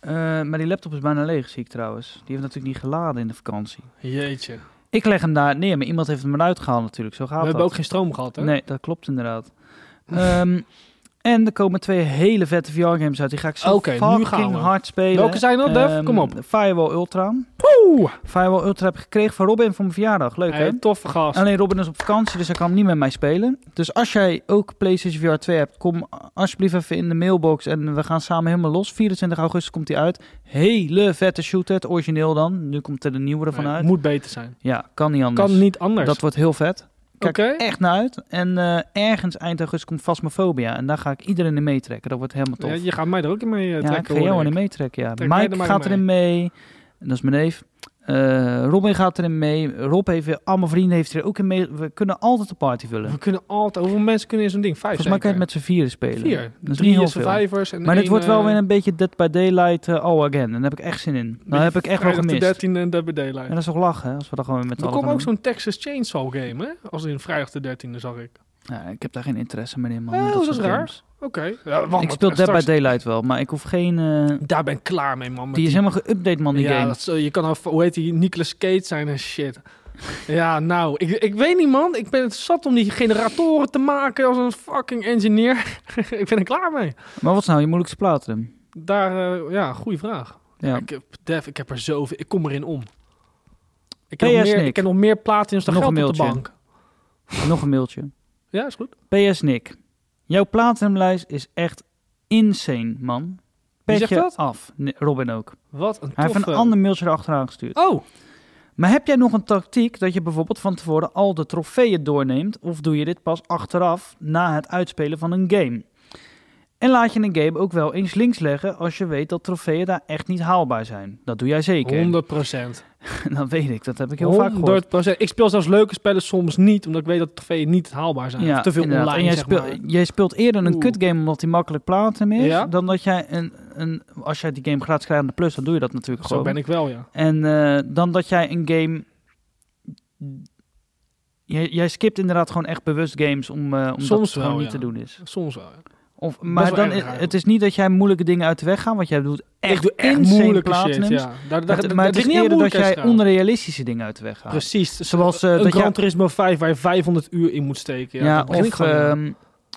Speaker 1: Eh, maar die laptop is bijna leeg, zie ik trouwens. Die heeft natuurlijk niet geladen in de vakantie.
Speaker 2: Jeetje. We
Speaker 1: Ik leg hem daar neer, maar iemand heeft hem eruit gehaald natuurlijk. Zo gaat
Speaker 2: hebben
Speaker 1: dat.
Speaker 2: ook geen stroom gehad, hè?
Speaker 1: Nee, dat klopt inderdaad. Ehm, en er komen twee hele vette VR-games uit. Die ga ik zo
Speaker 2: Oké, nu gaan
Speaker 1: fucking
Speaker 2: we.
Speaker 1: hard spelen.
Speaker 2: Welke zijn dat, Def?
Speaker 1: Ehm,
Speaker 2: Kom op.
Speaker 1: Firewall Ultra.
Speaker 2: Oeh.
Speaker 1: Firewall Ultra heb ik gekregen van Robin voor mijn verjaardag. Leuk hè?
Speaker 2: Hey, toffe gast.
Speaker 1: Alleen Robin is op vakantie, dus hij kan niet met mij spelen. Dus als jij ook PlayStation VR 2 hebt, kom alsjeblieft even in de mailbox en we gaan samen helemaal los. 24 augustus komt hij uit. Hele vette shooter, het origineel dan. Nu komt er de nieuwe ervan
Speaker 2: Nee,
Speaker 1: uit.
Speaker 2: Moet beter zijn.
Speaker 1: Ja, kan niet anders.
Speaker 2: Kan niet anders.
Speaker 1: Dat wordt heel vet.
Speaker 2: Oké.
Speaker 1: Kijk echt naar uit. En eh, ergens eind augustus komt Phasmophobia. En daar ga ik iedereen in meetrekken. Dat wordt helemaal tof.
Speaker 2: Ja, je gaat mij er ook in mee eh,
Speaker 1: Ja, ik
Speaker 2: trekken.
Speaker 1: ga jou
Speaker 2: hoor
Speaker 1: erin
Speaker 2: ik.
Speaker 1: meetrekken, ja.
Speaker 2: Trek mij er
Speaker 1: Mike
Speaker 2: maar
Speaker 1: gaat
Speaker 2: in
Speaker 1: erin mee. En dat is mijn neef. Eh, Robin gaat erin mee. Rob heeft weer, al mijn vrienden heeft er ook in mee. We kunnen altijd een party vullen.
Speaker 2: We kunnen altijd... Hoeveel mensen kunnen in zo'n ding? Vijf
Speaker 1: Volgens mij kan je het
Speaker 2: zeker?
Speaker 1: met z'n vieren spelen.
Speaker 2: Vier.
Speaker 1: Dat is
Speaker 2: Drie
Speaker 1: niet heel veel.
Speaker 2: survivors. En
Speaker 1: Maar dit
Speaker 2: één,
Speaker 1: wordt wel
Speaker 2: eh,
Speaker 1: weer een beetje Dead by Daylight eh, all again. En daar heb ik echt zin in. Dan heb ik echt wel
Speaker 2: Vrijdag de
Speaker 1: gemist.
Speaker 2: 13e en Dead by
Speaker 1: En
Speaker 2: Daylight.
Speaker 1: dat is toch lachen, hè, als we dat gewoon weer met
Speaker 2: Er
Speaker 1: allen
Speaker 2: komt
Speaker 1: gaan
Speaker 2: ook
Speaker 1: doen.
Speaker 2: zo'n Texas Chainsaw game, hè? Als in vrijdag de 13e zag ik.
Speaker 1: Ja, ik heb daar geen interesse meer in, man.
Speaker 2: Oh,
Speaker 1: met
Speaker 2: dat
Speaker 1: soort
Speaker 2: is raar.
Speaker 1: games.
Speaker 2: Oké. Ja, wacht,
Speaker 1: Ik
Speaker 2: maar
Speaker 1: speel Dead by
Speaker 2: straks-
Speaker 1: Daylight wel, maar ik hoef geen... eh,
Speaker 2: Daar ben ik klaar mee, man. met
Speaker 1: die is helemaal geüpdate, man, die
Speaker 2: ja,
Speaker 1: game.
Speaker 2: dat is- eh, je kan al, hoe heet die, Nicolas Cage zijn en shit. Ja, nou, ik, ik weet niet, man. Ik ben het zat om die generatoren te maken als een fucking engineer. ik ben er klaar mee.
Speaker 1: Maar wat is nou je moeilijkste platinum?
Speaker 2: Daar, eh, ja, goede vraag.
Speaker 1: Ja.
Speaker 2: Ik, heb, Def, ik heb er zoveel. Ik kom erin om. Ik
Speaker 1: PS
Speaker 2: heb, nog meer,
Speaker 1: Nick.
Speaker 2: ik heb nog meer platins dan
Speaker 1: Nog
Speaker 2: geld
Speaker 1: een
Speaker 2: op de
Speaker 1: mailtje.
Speaker 2: bank.
Speaker 1: Nog een mailtje.
Speaker 2: Ja, is goed.
Speaker 1: PS Nick, jouw platinumlijst is echt insane, man. Petje
Speaker 2: zegt dat? eh.
Speaker 1: af. Nee, Robin ook.
Speaker 2: Wat een
Speaker 1: Hij
Speaker 2: toffe...
Speaker 1: heeft een ander mailtje erachteraan gestuurd.
Speaker 2: Oh,
Speaker 1: Maar heb jij nog een tactiek dat je bijvoorbeeld van tevoren al de trofeeën doorneemt? Of doe je dit pas achteraf na het uitspelen van een game? En laat je een game ook wel eens links leggen als je weet dat trofeeën daar echt niet haalbaar zijn. Dat doe jij zeker.
Speaker 2: 100 procent.
Speaker 1: Dat weet ik, dat heb ik heel vaak gehoord.
Speaker 2: 100 procent. Ik speel zelfs leuke spellen soms niet, omdat ik weet dat trofeeën niet haalbaar zijn. Of Nou, te veel
Speaker 1: inderdaad.
Speaker 2: online,
Speaker 1: En jij,
Speaker 2: zeg
Speaker 1: speel-
Speaker 2: maar.
Speaker 1: jij speelt eerder een
Speaker 2: Oeh.
Speaker 1: kutgame omdat die makkelijk platinum is,
Speaker 2: Ja.
Speaker 1: dan dat jij een, een... Als jij die game gratis krijgt aan de plus, dan doe je dat natuurlijk
Speaker 2: Zo
Speaker 1: gewoon.
Speaker 2: ben ik wel, ja.
Speaker 1: En eh, dan dat jij een game... Jij, jij skipt inderdaad gewoon echt bewust games om, eh omdat
Speaker 2: Soms
Speaker 1: het gewoon
Speaker 2: wel,
Speaker 1: niet
Speaker 2: ja.
Speaker 1: te doen is.
Speaker 2: Soms wel, ja.
Speaker 1: Of, maar
Speaker 2: wel
Speaker 1: dan,
Speaker 2: erg
Speaker 1: is-
Speaker 2: eigenlijk.
Speaker 1: het is niet dat jij moeilijke dingen uit de weg gaat, want jij doet echt,
Speaker 2: ik doe echt
Speaker 1: insane
Speaker 2: moeilijke shit,
Speaker 1: platinums.
Speaker 2: ja. Daar,
Speaker 1: Maar,
Speaker 2: daar,
Speaker 1: het-
Speaker 2: daar,
Speaker 1: maar het
Speaker 2: dat
Speaker 1: is
Speaker 2: niet aan
Speaker 1: eerder dat
Speaker 2: moeilijk
Speaker 1: jij
Speaker 2: is trouwens.
Speaker 1: onrealistische dingen uit de weg gaat.
Speaker 2: Precies. Dus,
Speaker 1: Zoals, eh,
Speaker 2: een
Speaker 1: dat jij-
Speaker 2: Gran Turismo 5 waar je 500 uur in moet steken.
Speaker 1: Ja,
Speaker 2: Ja, daar begin ik
Speaker 1: of
Speaker 2: gewoon aan.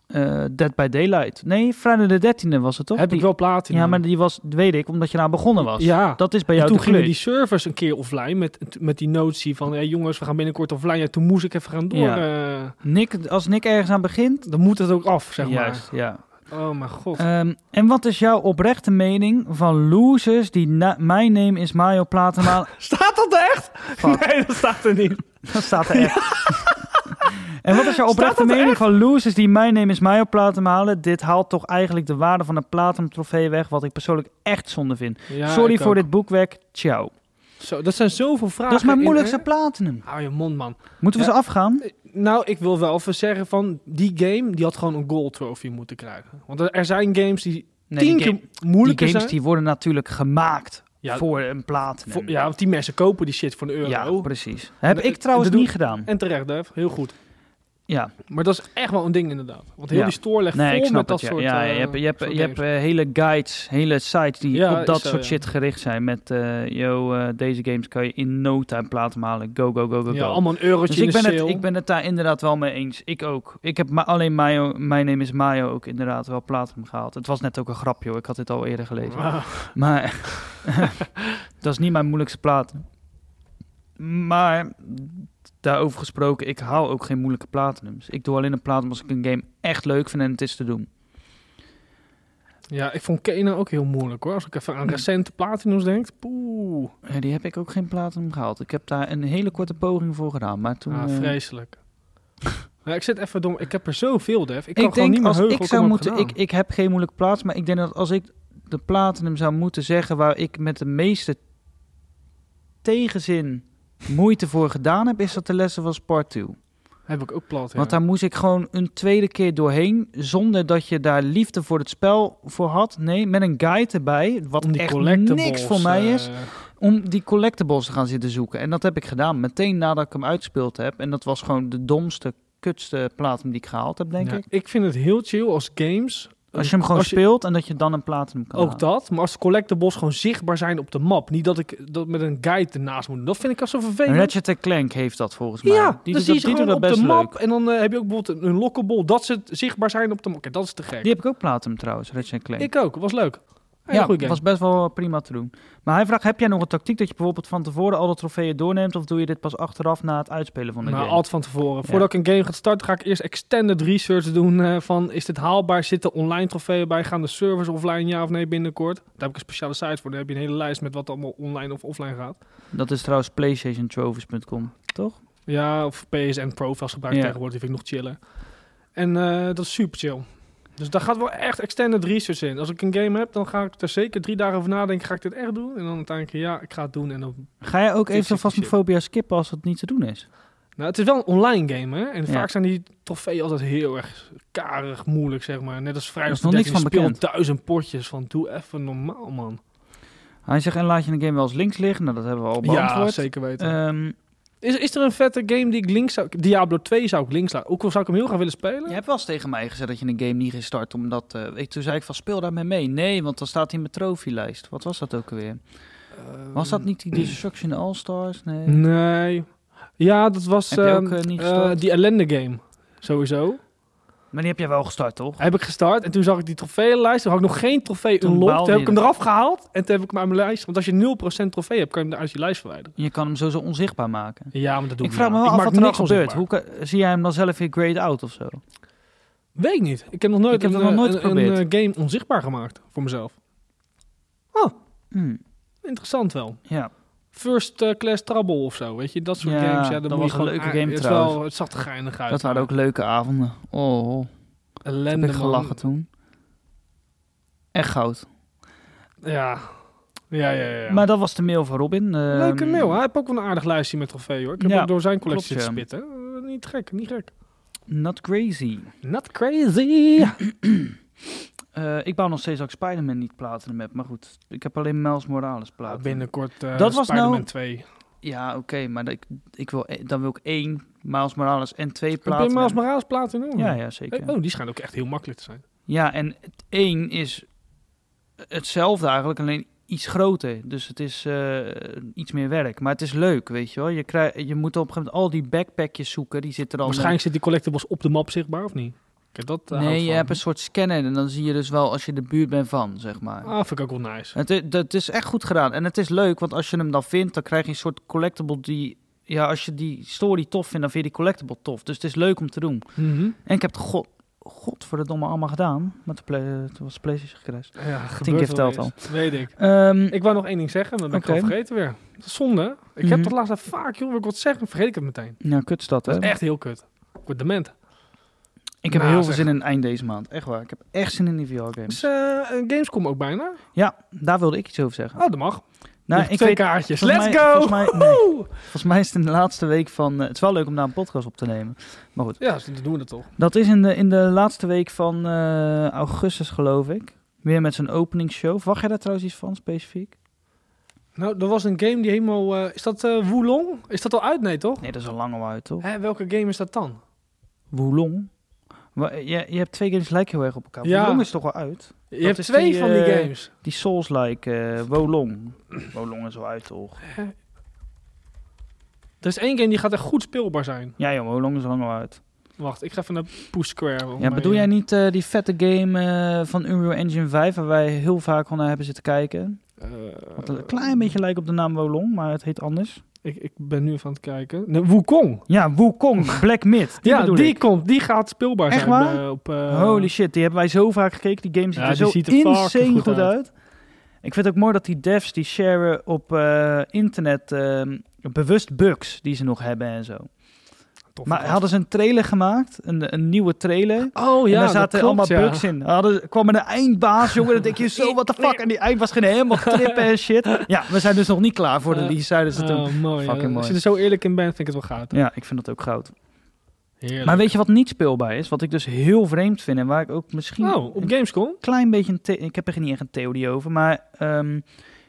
Speaker 1: ehm eh, Dead by Daylight. Nee, Friday the 13e was het toch?
Speaker 2: heb
Speaker 1: Die-
Speaker 2: ik wel platen.
Speaker 1: Ja, maar die was, weet ik, omdat je daar begonnen was.
Speaker 2: Ja.
Speaker 1: Dat is bij
Speaker 2: En
Speaker 1: jou
Speaker 2: toen
Speaker 1: de
Speaker 2: gingen
Speaker 1: kleur.
Speaker 2: die servers een keer offline met, met die notie van... Hey, jongens, we gaan binnenkort offline. Ja, toen moest ik even gaan door. eh,
Speaker 1: Nick, als Nick ergens aan begint,
Speaker 2: dan moet het ook af, zeg
Speaker 1: juist, ja.
Speaker 2: maar. Oh mijn god.
Speaker 1: Ehm, en wat is jouw oprechte mening van losers die na- My Name is Mario Platema...
Speaker 2: staat dat er echt?
Speaker 1: Fuck,
Speaker 2: Nee, dat staat er niet.
Speaker 1: dat staat er echt. en wat is jouw oprechte
Speaker 2: dat er
Speaker 1: mening van losers die My Name is Mario Platema halen? Dit haalt toch eigenlijk de waarde van een Platinum trofee weg, wat ik persoonlijk echt zonde vind.
Speaker 2: Ja,
Speaker 1: Sorry
Speaker 2: ik
Speaker 1: voor
Speaker 2: ook.
Speaker 1: dit boekwerk, ciao.
Speaker 2: Zo, dat zijn zoveel vragen.
Speaker 1: Dat is mijn
Speaker 2: in,
Speaker 1: moeilijkste
Speaker 2: hè?
Speaker 1: Platinum.
Speaker 2: Hou je mond, man.
Speaker 1: Moeten we
Speaker 2: Ja.
Speaker 1: ze afgaan?
Speaker 2: Nou, ik wil wel even zeggen van die game, die had gewoon een gold trophy moeten krijgen. Want er- er zijn games die
Speaker 1: Nee,
Speaker 2: tien
Speaker 1: die game-
Speaker 2: keer moeilijker
Speaker 1: die games
Speaker 2: zijn.
Speaker 1: die worden natuurlijk gemaakt
Speaker 2: Ja,
Speaker 1: voor een platinum.
Speaker 2: voor- ja, want die mensen kopen die shit voor een euro.
Speaker 1: Ja, precies. Dat heb
Speaker 2: En-
Speaker 1: ik trouwens
Speaker 2: dat doe-
Speaker 1: niet gedaan.
Speaker 2: En terecht, Def. Heel goed.
Speaker 1: Ja,
Speaker 2: Maar dat is echt wel een ding inderdaad. Want heel
Speaker 1: Ja.
Speaker 2: die store legt
Speaker 1: nee,
Speaker 2: vol
Speaker 1: ik snap
Speaker 2: met
Speaker 1: het.
Speaker 2: dat
Speaker 1: Ja.
Speaker 2: soort
Speaker 1: ja,
Speaker 2: eh,
Speaker 1: je hebt, je hebt,
Speaker 2: soort
Speaker 1: je hebt
Speaker 2: games.
Speaker 1: eh, hele guides, hele sites die
Speaker 2: Ja,
Speaker 1: op
Speaker 2: is
Speaker 1: dat
Speaker 2: zo,
Speaker 1: soort
Speaker 2: ja.
Speaker 1: shit gericht zijn. Met, eh yo, eh, deze games kan je in no time platen halen. Go, go, go, go,
Speaker 2: ja,
Speaker 1: go.
Speaker 2: allemaal een eurotje
Speaker 1: Dus
Speaker 2: in
Speaker 1: ik ben,
Speaker 2: de
Speaker 1: het,
Speaker 2: sale.
Speaker 1: ik ben het daar inderdaad wel mee eens. Ik ook. Ik heb ma- alleen Mayo, My Name is Mayo ook inderdaad wel platinum gehaald. Het was net ook een grapje hoor, ik had dit al eerder gelezen.
Speaker 2: Ah,
Speaker 1: Maar dat is niet mijn moeilijkste platen. Maar daarover gesproken, ik haal ook geen moeilijke platinums. Ik doe alleen een platinum als ik een game echt leuk vind en het is te doen.
Speaker 2: ja, ik vond Kena ook heel moeilijk hoor. Als ik
Speaker 1: Hmm.
Speaker 2: even aan recente platinums denk. Poeh,
Speaker 1: Ja, eh, die heb ik ook geen platinum gehaald. Ik heb daar een hele korte poging voor gedaan, maar toen...
Speaker 2: ah,
Speaker 1: eh,
Speaker 2: vreselijk. Ja, ik zit even dom. Ik heb er zoveel, Def. Ik
Speaker 1: ik
Speaker 2: kan gewoon
Speaker 1: denk
Speaker 2: niet meer
Speaker 1: als
Speaker 2: heugen.
Speaker 1: ik zou moeten,
Speaker 2: Ik,
Speaker 1: ik, ik heb geen moeilijke plaats, maar ik denk dat als ik de platinum zou moeten zeggen waar ik met de meeste tegenzin moeite voor gedaan heb, is dat de lessen was part 2.
Speaker 2: heb ik ook plat. Ja.
Speaker 1: Want daar moest ik gewoon een tweede keer doorheen, zonder dat je daar liefde voor het spel voor had. Nee, met een guide erbij, wat
Speaker 2: Om die
Speaker 1: echt
Speaker 2: collectibles,
Speaker 1: niks voor mij
Speaker 2: eh,
Speaker 1: is, om die collectibles te gaan zitten zoeken. En dat heb ik gedaan, meteen nadat ik hem uitgespeeld heb. En dat was gewoon de domste, kutste platinum die ik gehaald heb, denk
Speaker 2: ja,
Speaker 1: ik.
Speaker 2: Ik vind het heel chill als games.
Speaker 1: Als je hem gewoon
Speaker 2: als je-
Speaker 1: speelt en dat je dan een platinum kan
Speaker 2: Ook
Speaker 1: halen.
Speaker 2: dat, maar als de collectibles gewoon zichtbaar zijn op de map. Niet dat ik dat met een guide ernaast moet doen. Dat vind ik al zo
Speaker 1: En
Speaker 2: vervelend.
Speaker 1: Ratchet Clank heeft dat volgens mij.
Speaker 2: ja,
Speaker 1: die doet
Speaker 2: dan zie je
Speaker 1: dat,
Speaker 2: ze
Speaker 1: die doet
Speaker 2: gewoon
Speaker 1: dat
Speaker 2: op
Speaker 1: best
Speaker 2: de map.
Speaker 1: leuk.
Speaker 2: En dan eh, heb je ook bijvoorbeeld een, een lockable. Dat ze zichtbaar zijn op de map. Kijk, dat is te gek.
Speaker 1: Die heb ik ook platinum trouwens, Ratchet Clank.
Speaker 2: Ik ook, was leuk. Hele
Speaker 1: ja,
Speaker 2: goede game.
Speaker 1: was best wel eh, prima te doen. Maar hij vraagt, heb jij nog een tactiek dat je bijvoorbeeld van tevoren alle trofeeën doorneemt... of doe je dit pas achteraf na het uitspelen van de
Speaker 2: Nou,
Speaker 1: game?
Speaker 2: altijd van tevoren. Voordat ik een game ga starten, ga ik eerst extended research doen. eh, van is dit haalbaar? Zitten online trofeeën bij? Gaan de servers offline ja of nee binnenkort? Daar heb ik een speciale site voor. Daar heb je een hele lijst met wat allemaal online of offline gaat.
Speaker 1: Dat is trouwens PlayStationTrophies.com, toch?
Speaker 2: Ja, of PSN Profiles gebruik ik
Speaker 1: Ja.
Speaker 2: tegenwoordig. Die vind ik nog chiller. En eh, dat is super chill. Dus daar gaat wel echt extended research in. Als ik een game heb, dan ga ik er zeker drie dagen over nadenken. Ga ik dit echt doen? En dan uiteindelijk, ja, ik ga het doen. En dan...
Speaker 1: Ga jij ook
Speaker 2: Ik
Speaker 1: even
Speaker 2: zit- ik zit.
Speaker 1: Phasmophobia skippen als dat niet te doen is?
Speaker 2: Nou, het is wel een online game, hè? En
Speaker 1: Ja.
Speaker 2: vaak zijn die trofeeën altijd heel erg karig, moeilijk, zeg maar. Net als vrijdag
Speaker 1: Er is nog niks van
Speaker 2: speelt
Speaker 1: bekend.
Speaker 2: duizend potjes van doe even normaal, man.
Speaker 1: Hij zegt, en laat je een game wel eens links liggen? Nou, dat hebben we al
Speaker 2: Ja,
Speaker 1: beantwoord.
Speaker 2: zeker weten.
Speaker 1: Ehm,
Speaker 2: is, is er een vette game die ik links zou... Diablo 2 zou ik links laten. Ook al zou ik hem heel graag willen spelen.
Speaker 1: Je hebt wel eens tegen mij gezegd dat je een game niet gestart omdat... eh, ik, toen zei ik van, speel daarmee mee. Nee, want dan staat hij in mijn trofeelijst. Wat was dat ook alweer? Was dat niet die Destruction All-Stars? Nee.
Speaker 2: Ehm, Nee. Ja, dat was
Speaker 1: Heb je ook,
Speaker 2: ehm,
Speaker 1: eh, niet
Speaker 2: eh,
Speaker 1: gestart?
Speaker 2: die ellende game. Sowieso.
Speaker 1: Maar die heb jij wel gestart, toch?
Speaker 2: Heb ik gestart en toen zag ik die trofeeënlijst. Toen had ik nog geen trofee
Speaker 1: Toen
Speaker 2: unlocked.
Speaker 1: baalde
Speaker 2: Toen heb ik
Speaker 1: je
Speaker 2: hem eraf gehaald en toen heb ik hem uit mijn lijst. Want als je 0% trofee hebt, kan je hem uit je lijst verwijderen.
Speaker 1: Je kan hem sowieso onzichtbaar maken.
Speaker 2: Ja, maar dat doe
Speaker 1: Ik
Speaker 2: ik
Speaker 1: vraag
Speaker 2: niet
Speaker 1: me
Speaker 2: aan.
Speaker 1: wel af
Speaker 2: Ik maak
Speaker 1: wat er dan
Speaker 2: niks
Speaker 1: gebeurt.
Speaker 2: onzichtbaar.
Speaker 1: Hoe kan- zie jij hem dan zelf weer grade out of zo?
Speaker 2: Weet ik niet. Ik heb nog nooit,
Speaker 1: Ik heb
Speaker 2: een,
Speaker 1: dat nog nooit
Speaker 2: eh, een,
Speaker 1: geprobeerd.
Speaker 2: eh, game onzichtbaar gemaakt voor mezelf. Hmm.
Speaker 1: Hm,
Speaker 2: Interessant wel.
Speaker 1: ja.
Speaker 2: First eh, Class Trouble of zo, weet je? Dat soort
Speaker 1: Ja,
Speaker 2: games. Ja, dan
Speaker 1: dat
Speaker 2: moet
Speaker 1: was
Speaker 2: je
Speaker 1: een
Speaker 2: gewoon
Speaker 1: leuke
Speaker 2: aan-
Speaker 1: game
Speaker 2: het is
Speaker 1: trouwens.
Speaker 2: Wel, het zag er geinig uit.
Speaker 1: Dat waren ook leuke avonden. Oh, heb
Speaker 2: ellende,
Speaker 1: ik gelachen
Speaker 2: man.
Speaker 1: toen. Echt goud.
Speaker 2: Ja. Ja, ja, ja. ja.
Speaker 1: Maar dat was de mail van Robin. Ehm,
Speaker 2: Leuke mail. Hij heeft ook wel een aardig lijstje met trofee hoor. Ik heb
Speaker 1: Ja,
Speaker 2: ook door zijn collectie
Speaker 1: klopt,
Speaker 2: zitten spitten. Eh, niet gek, niet gek.
Speaker 1: Not crazy.
Speaker 2: Not crazy.
Speaker 1: Eh, ik bouw nog steeds dat ik Spider-Man niet platinum heb. Maar goed, ik heb alleen Miles Morales
Speaker 2: Nou,
Speaker 1: platinum.
Speaker 2: binnenkort eh
Speaker 1: Dat was
Speaker 2: Spider-Man
Speaker 1: nou-
Speaker 2: 2.
Speaker 1: Ja, oké. maar dat ik, ik wil, e- dan wil ik één Miles Morales en twee
Speaker 2: Heb je
Speaker 1: platinum.
Speaker 2: Miles Morales platinum?
Speaker 1: Ja, ja,
Speaker 2: Hey,
Speaker 1: zeker.
Speaker 2: oh, die schijnt ook echt heel makkelijk te zijn.
Speaker 1: Ja, en het één is hetzelfde eigenlijk, alleen iets groter. Dus het is eh, iets meer werk. Maar het is leuk, weet je wel. Je, krijg, je moet op een gegeven moment al die backpackjes zoeken. Die zitten dan...
Speaker 2: Waarschijnlijk zit die collectibles op de map zichtbaar, of niet? Kijk, dat eh, hou ik
Speaker 1: nee, je
Speaker 2: van.
Speaker 1: hebt een soort scanner en dan zie je dus wel als je de buurt bent van, zeg maar.
Speaker 2: Ah, vind ik ook wel nice.
Speaker 1: Het, i- dat is echt goed gedaan. En het is leuk, want als je hem dan vindt, dan krijg je een soort collectible die... Ja, als je die story tof vindt, dan vind je die collectible tof. Dus het is leuk om te doen.
Speaker 2: Mhm.
Speaker 1: En ik heb het god, godverdomme allemaal gedaan. Maar toen play- toen was de PlayStation gecrashed.
Speaker 2: Ja, gebeurt
Speaker 1: keer
Speaker 2: wel
Speaker 1: verteld
Speaker 2: eens. Weet ik.
Speaker 1: Ehm,
Speaker 2: Ik wou nog één ding zeggen, maar dat ben
Speaker 1: Oké.
Speaker 2: ik al vergeten weer. Dat is zonde. hè? Ik
Speaker 1: Mhm.
Speaker 2: heb dat laatst vaak, joh, wil ik wat zeggen, vergeet ik het meteen.
Speaker 1: nou, kut is dat, hè?
Speaker 2: Dat is echt heel kut. Ik word dement.
Speaker 1: Ik heb
Speaker 2: Nou,
Speaker 1: heel veel
Speaker 2: zeg.
Speaker 1: zin in het eind deze maand. Echt waar. Ik heb echt zin in die VR-games.
Speaker 2: Is eh, Gamescom ook bijna?
Speaker 1: Ja, daar wilde ik iets over zeggen.
Speaker 2: Oh, dat mag.
Speaker 1: Nou,
Speaker 2: Nog
Speaker 1: ik
Speaker 2: twee
Speaker 1: weet,
Speaker 2: kaartjes.
Speaker 1: volgens
Speaker 2: Let's
Speaker 1: mij-
Speaker 2: go!
Speaker 1: volgens mij- nee.
Speaker 2: Woe!
Speaker 1: volgens mij is het in de laatste week van... eh, het is wel leuk om daar een podcast op te nemen. Maar goed.
Speaker 2: Ja, ze doen we dat toch.
Speaker 1: Dat is in de, in de laatste week van eh, augustus, geloof ik. Weer met zo'n openingsshow. Verwacht jij daar trouwens iets van, specifiek?
Speaker 2: Nou, er was een game die helemaal... eh, is dat eh Wulong? Is dat al uit? Nee, toch?
Speaker 1: Nee, dat is al lang al uit, toch?
Speaker 2: Hè, welke game is dat dan?
Speaker 1: Wulong. Wa- Je, je hebt twee games lijken heel erg op elkaar.
Speaker 2: Ja.
Speaker 1: Wulong is toch wel uit?
Speaker 2: Je hebt
Speaker 1: is
Speaker 2: twee
Speaker 1: die,
Speaker 2: van die
Speaker 1: eh,
Speaker 2: games.
Speaker 1: Die Souls-like, eh Wolong. Wolong is wel uit, toch?
Speaker 2: Er is één game die gaat echt goed speelbaar zijn.
Speaker 1: Ja, joh, Wolong is lang al uit.
Speaker 2: Wacht, ik ga even naar Push Square. om
Speaker 1: Ja,
Speaker 2: mij-
Speaker 1: bedoel jij niet eh, die vette game eh, van Unreal Engine 5, waar wij heel vaak al naar hebben zitten kijken?
Speaker 2: Eh,
Speaker 1: Wat een klein beetje lijkt op de naam Wolong, maar het heet anders.
Speaker 2: Ik, ik ben nu even aan het kijken. Nee, Wukong.
Speaker 1: Ja, Wukong, Black Myth. Die
Speaker 2: ja,
Speaker 1: bedoel
Speaker 2: die
Speaker 1: ik.
Speaker 2: komt. Die gaat speelbaar
Speaker 1: Echt
Speaker 2: zijn.
Speaker 1: waar?
Speaker 2: eh, op, eh,
Speaker 1: Holy shit, die hebben wij zo vaak gekeken. Die game ziet
Speaker 2: Ja,
Speaker 1: er
Speaker 2: die
Speaker 1: zo
Speaker 2: ziet er
Speaker 1: insane
Speaker 2: fucking
Speaker 1: goed,
Speaker 2: goed
Speaker 1: uit.
Speaker 2: uit.
Speaker 1: Ik vind het ook mooi dat die devs die sharen op eh, internet ehm, bewust bugs die ze nog hebben en zo.
Speaker 2: tof,
Speaker 1: Maar
Speaker 2: gast.
Speaker 1: hadden ze een trailer gemaakt, een, een nieuwe trailer.
Speaker 2: Oh
Speaker 1: en
Speaker 2: ja,
Speaker 1: daar
Speaker 2: dat
Speaker 1: zaten
Speaker 2: klopt,
Speaker 1: allemaal
Speaker 2: ja.
Speaker 1: bugs in. Hadden, kwam er een eindbaas, jongen. Dan denk je zo, what the fuck. En die eindbaas ging helemaal trippen en shit. Ja, we zijn dus nog niet klaar voor de
Speaker 2: Eh,
Speaker 1: lease, zeiden ze toen.
Speaker 2: Oh, mooi.
Speaker 1: Fucking
Speaker 2: ja.
Speaker 1: mooi.
Speaker 2: Als je er zo eerlijk in bent, vind ik het wel gaaf.
Speaker 1: Ja, ik vind dat ook goud.
Speaker 2: Heerlijk.
Speaker 1: Maar weet je wat niet speelbaar is? Wat ik dus heel vreemd vind en waar ik ook misschien
Speaker 2: oh, op
Speaker 1: een
Speaker 2: Gamescom?
Speaker 1: klein beetje een the- ik heb er niet echt een theorie over, maar ehm,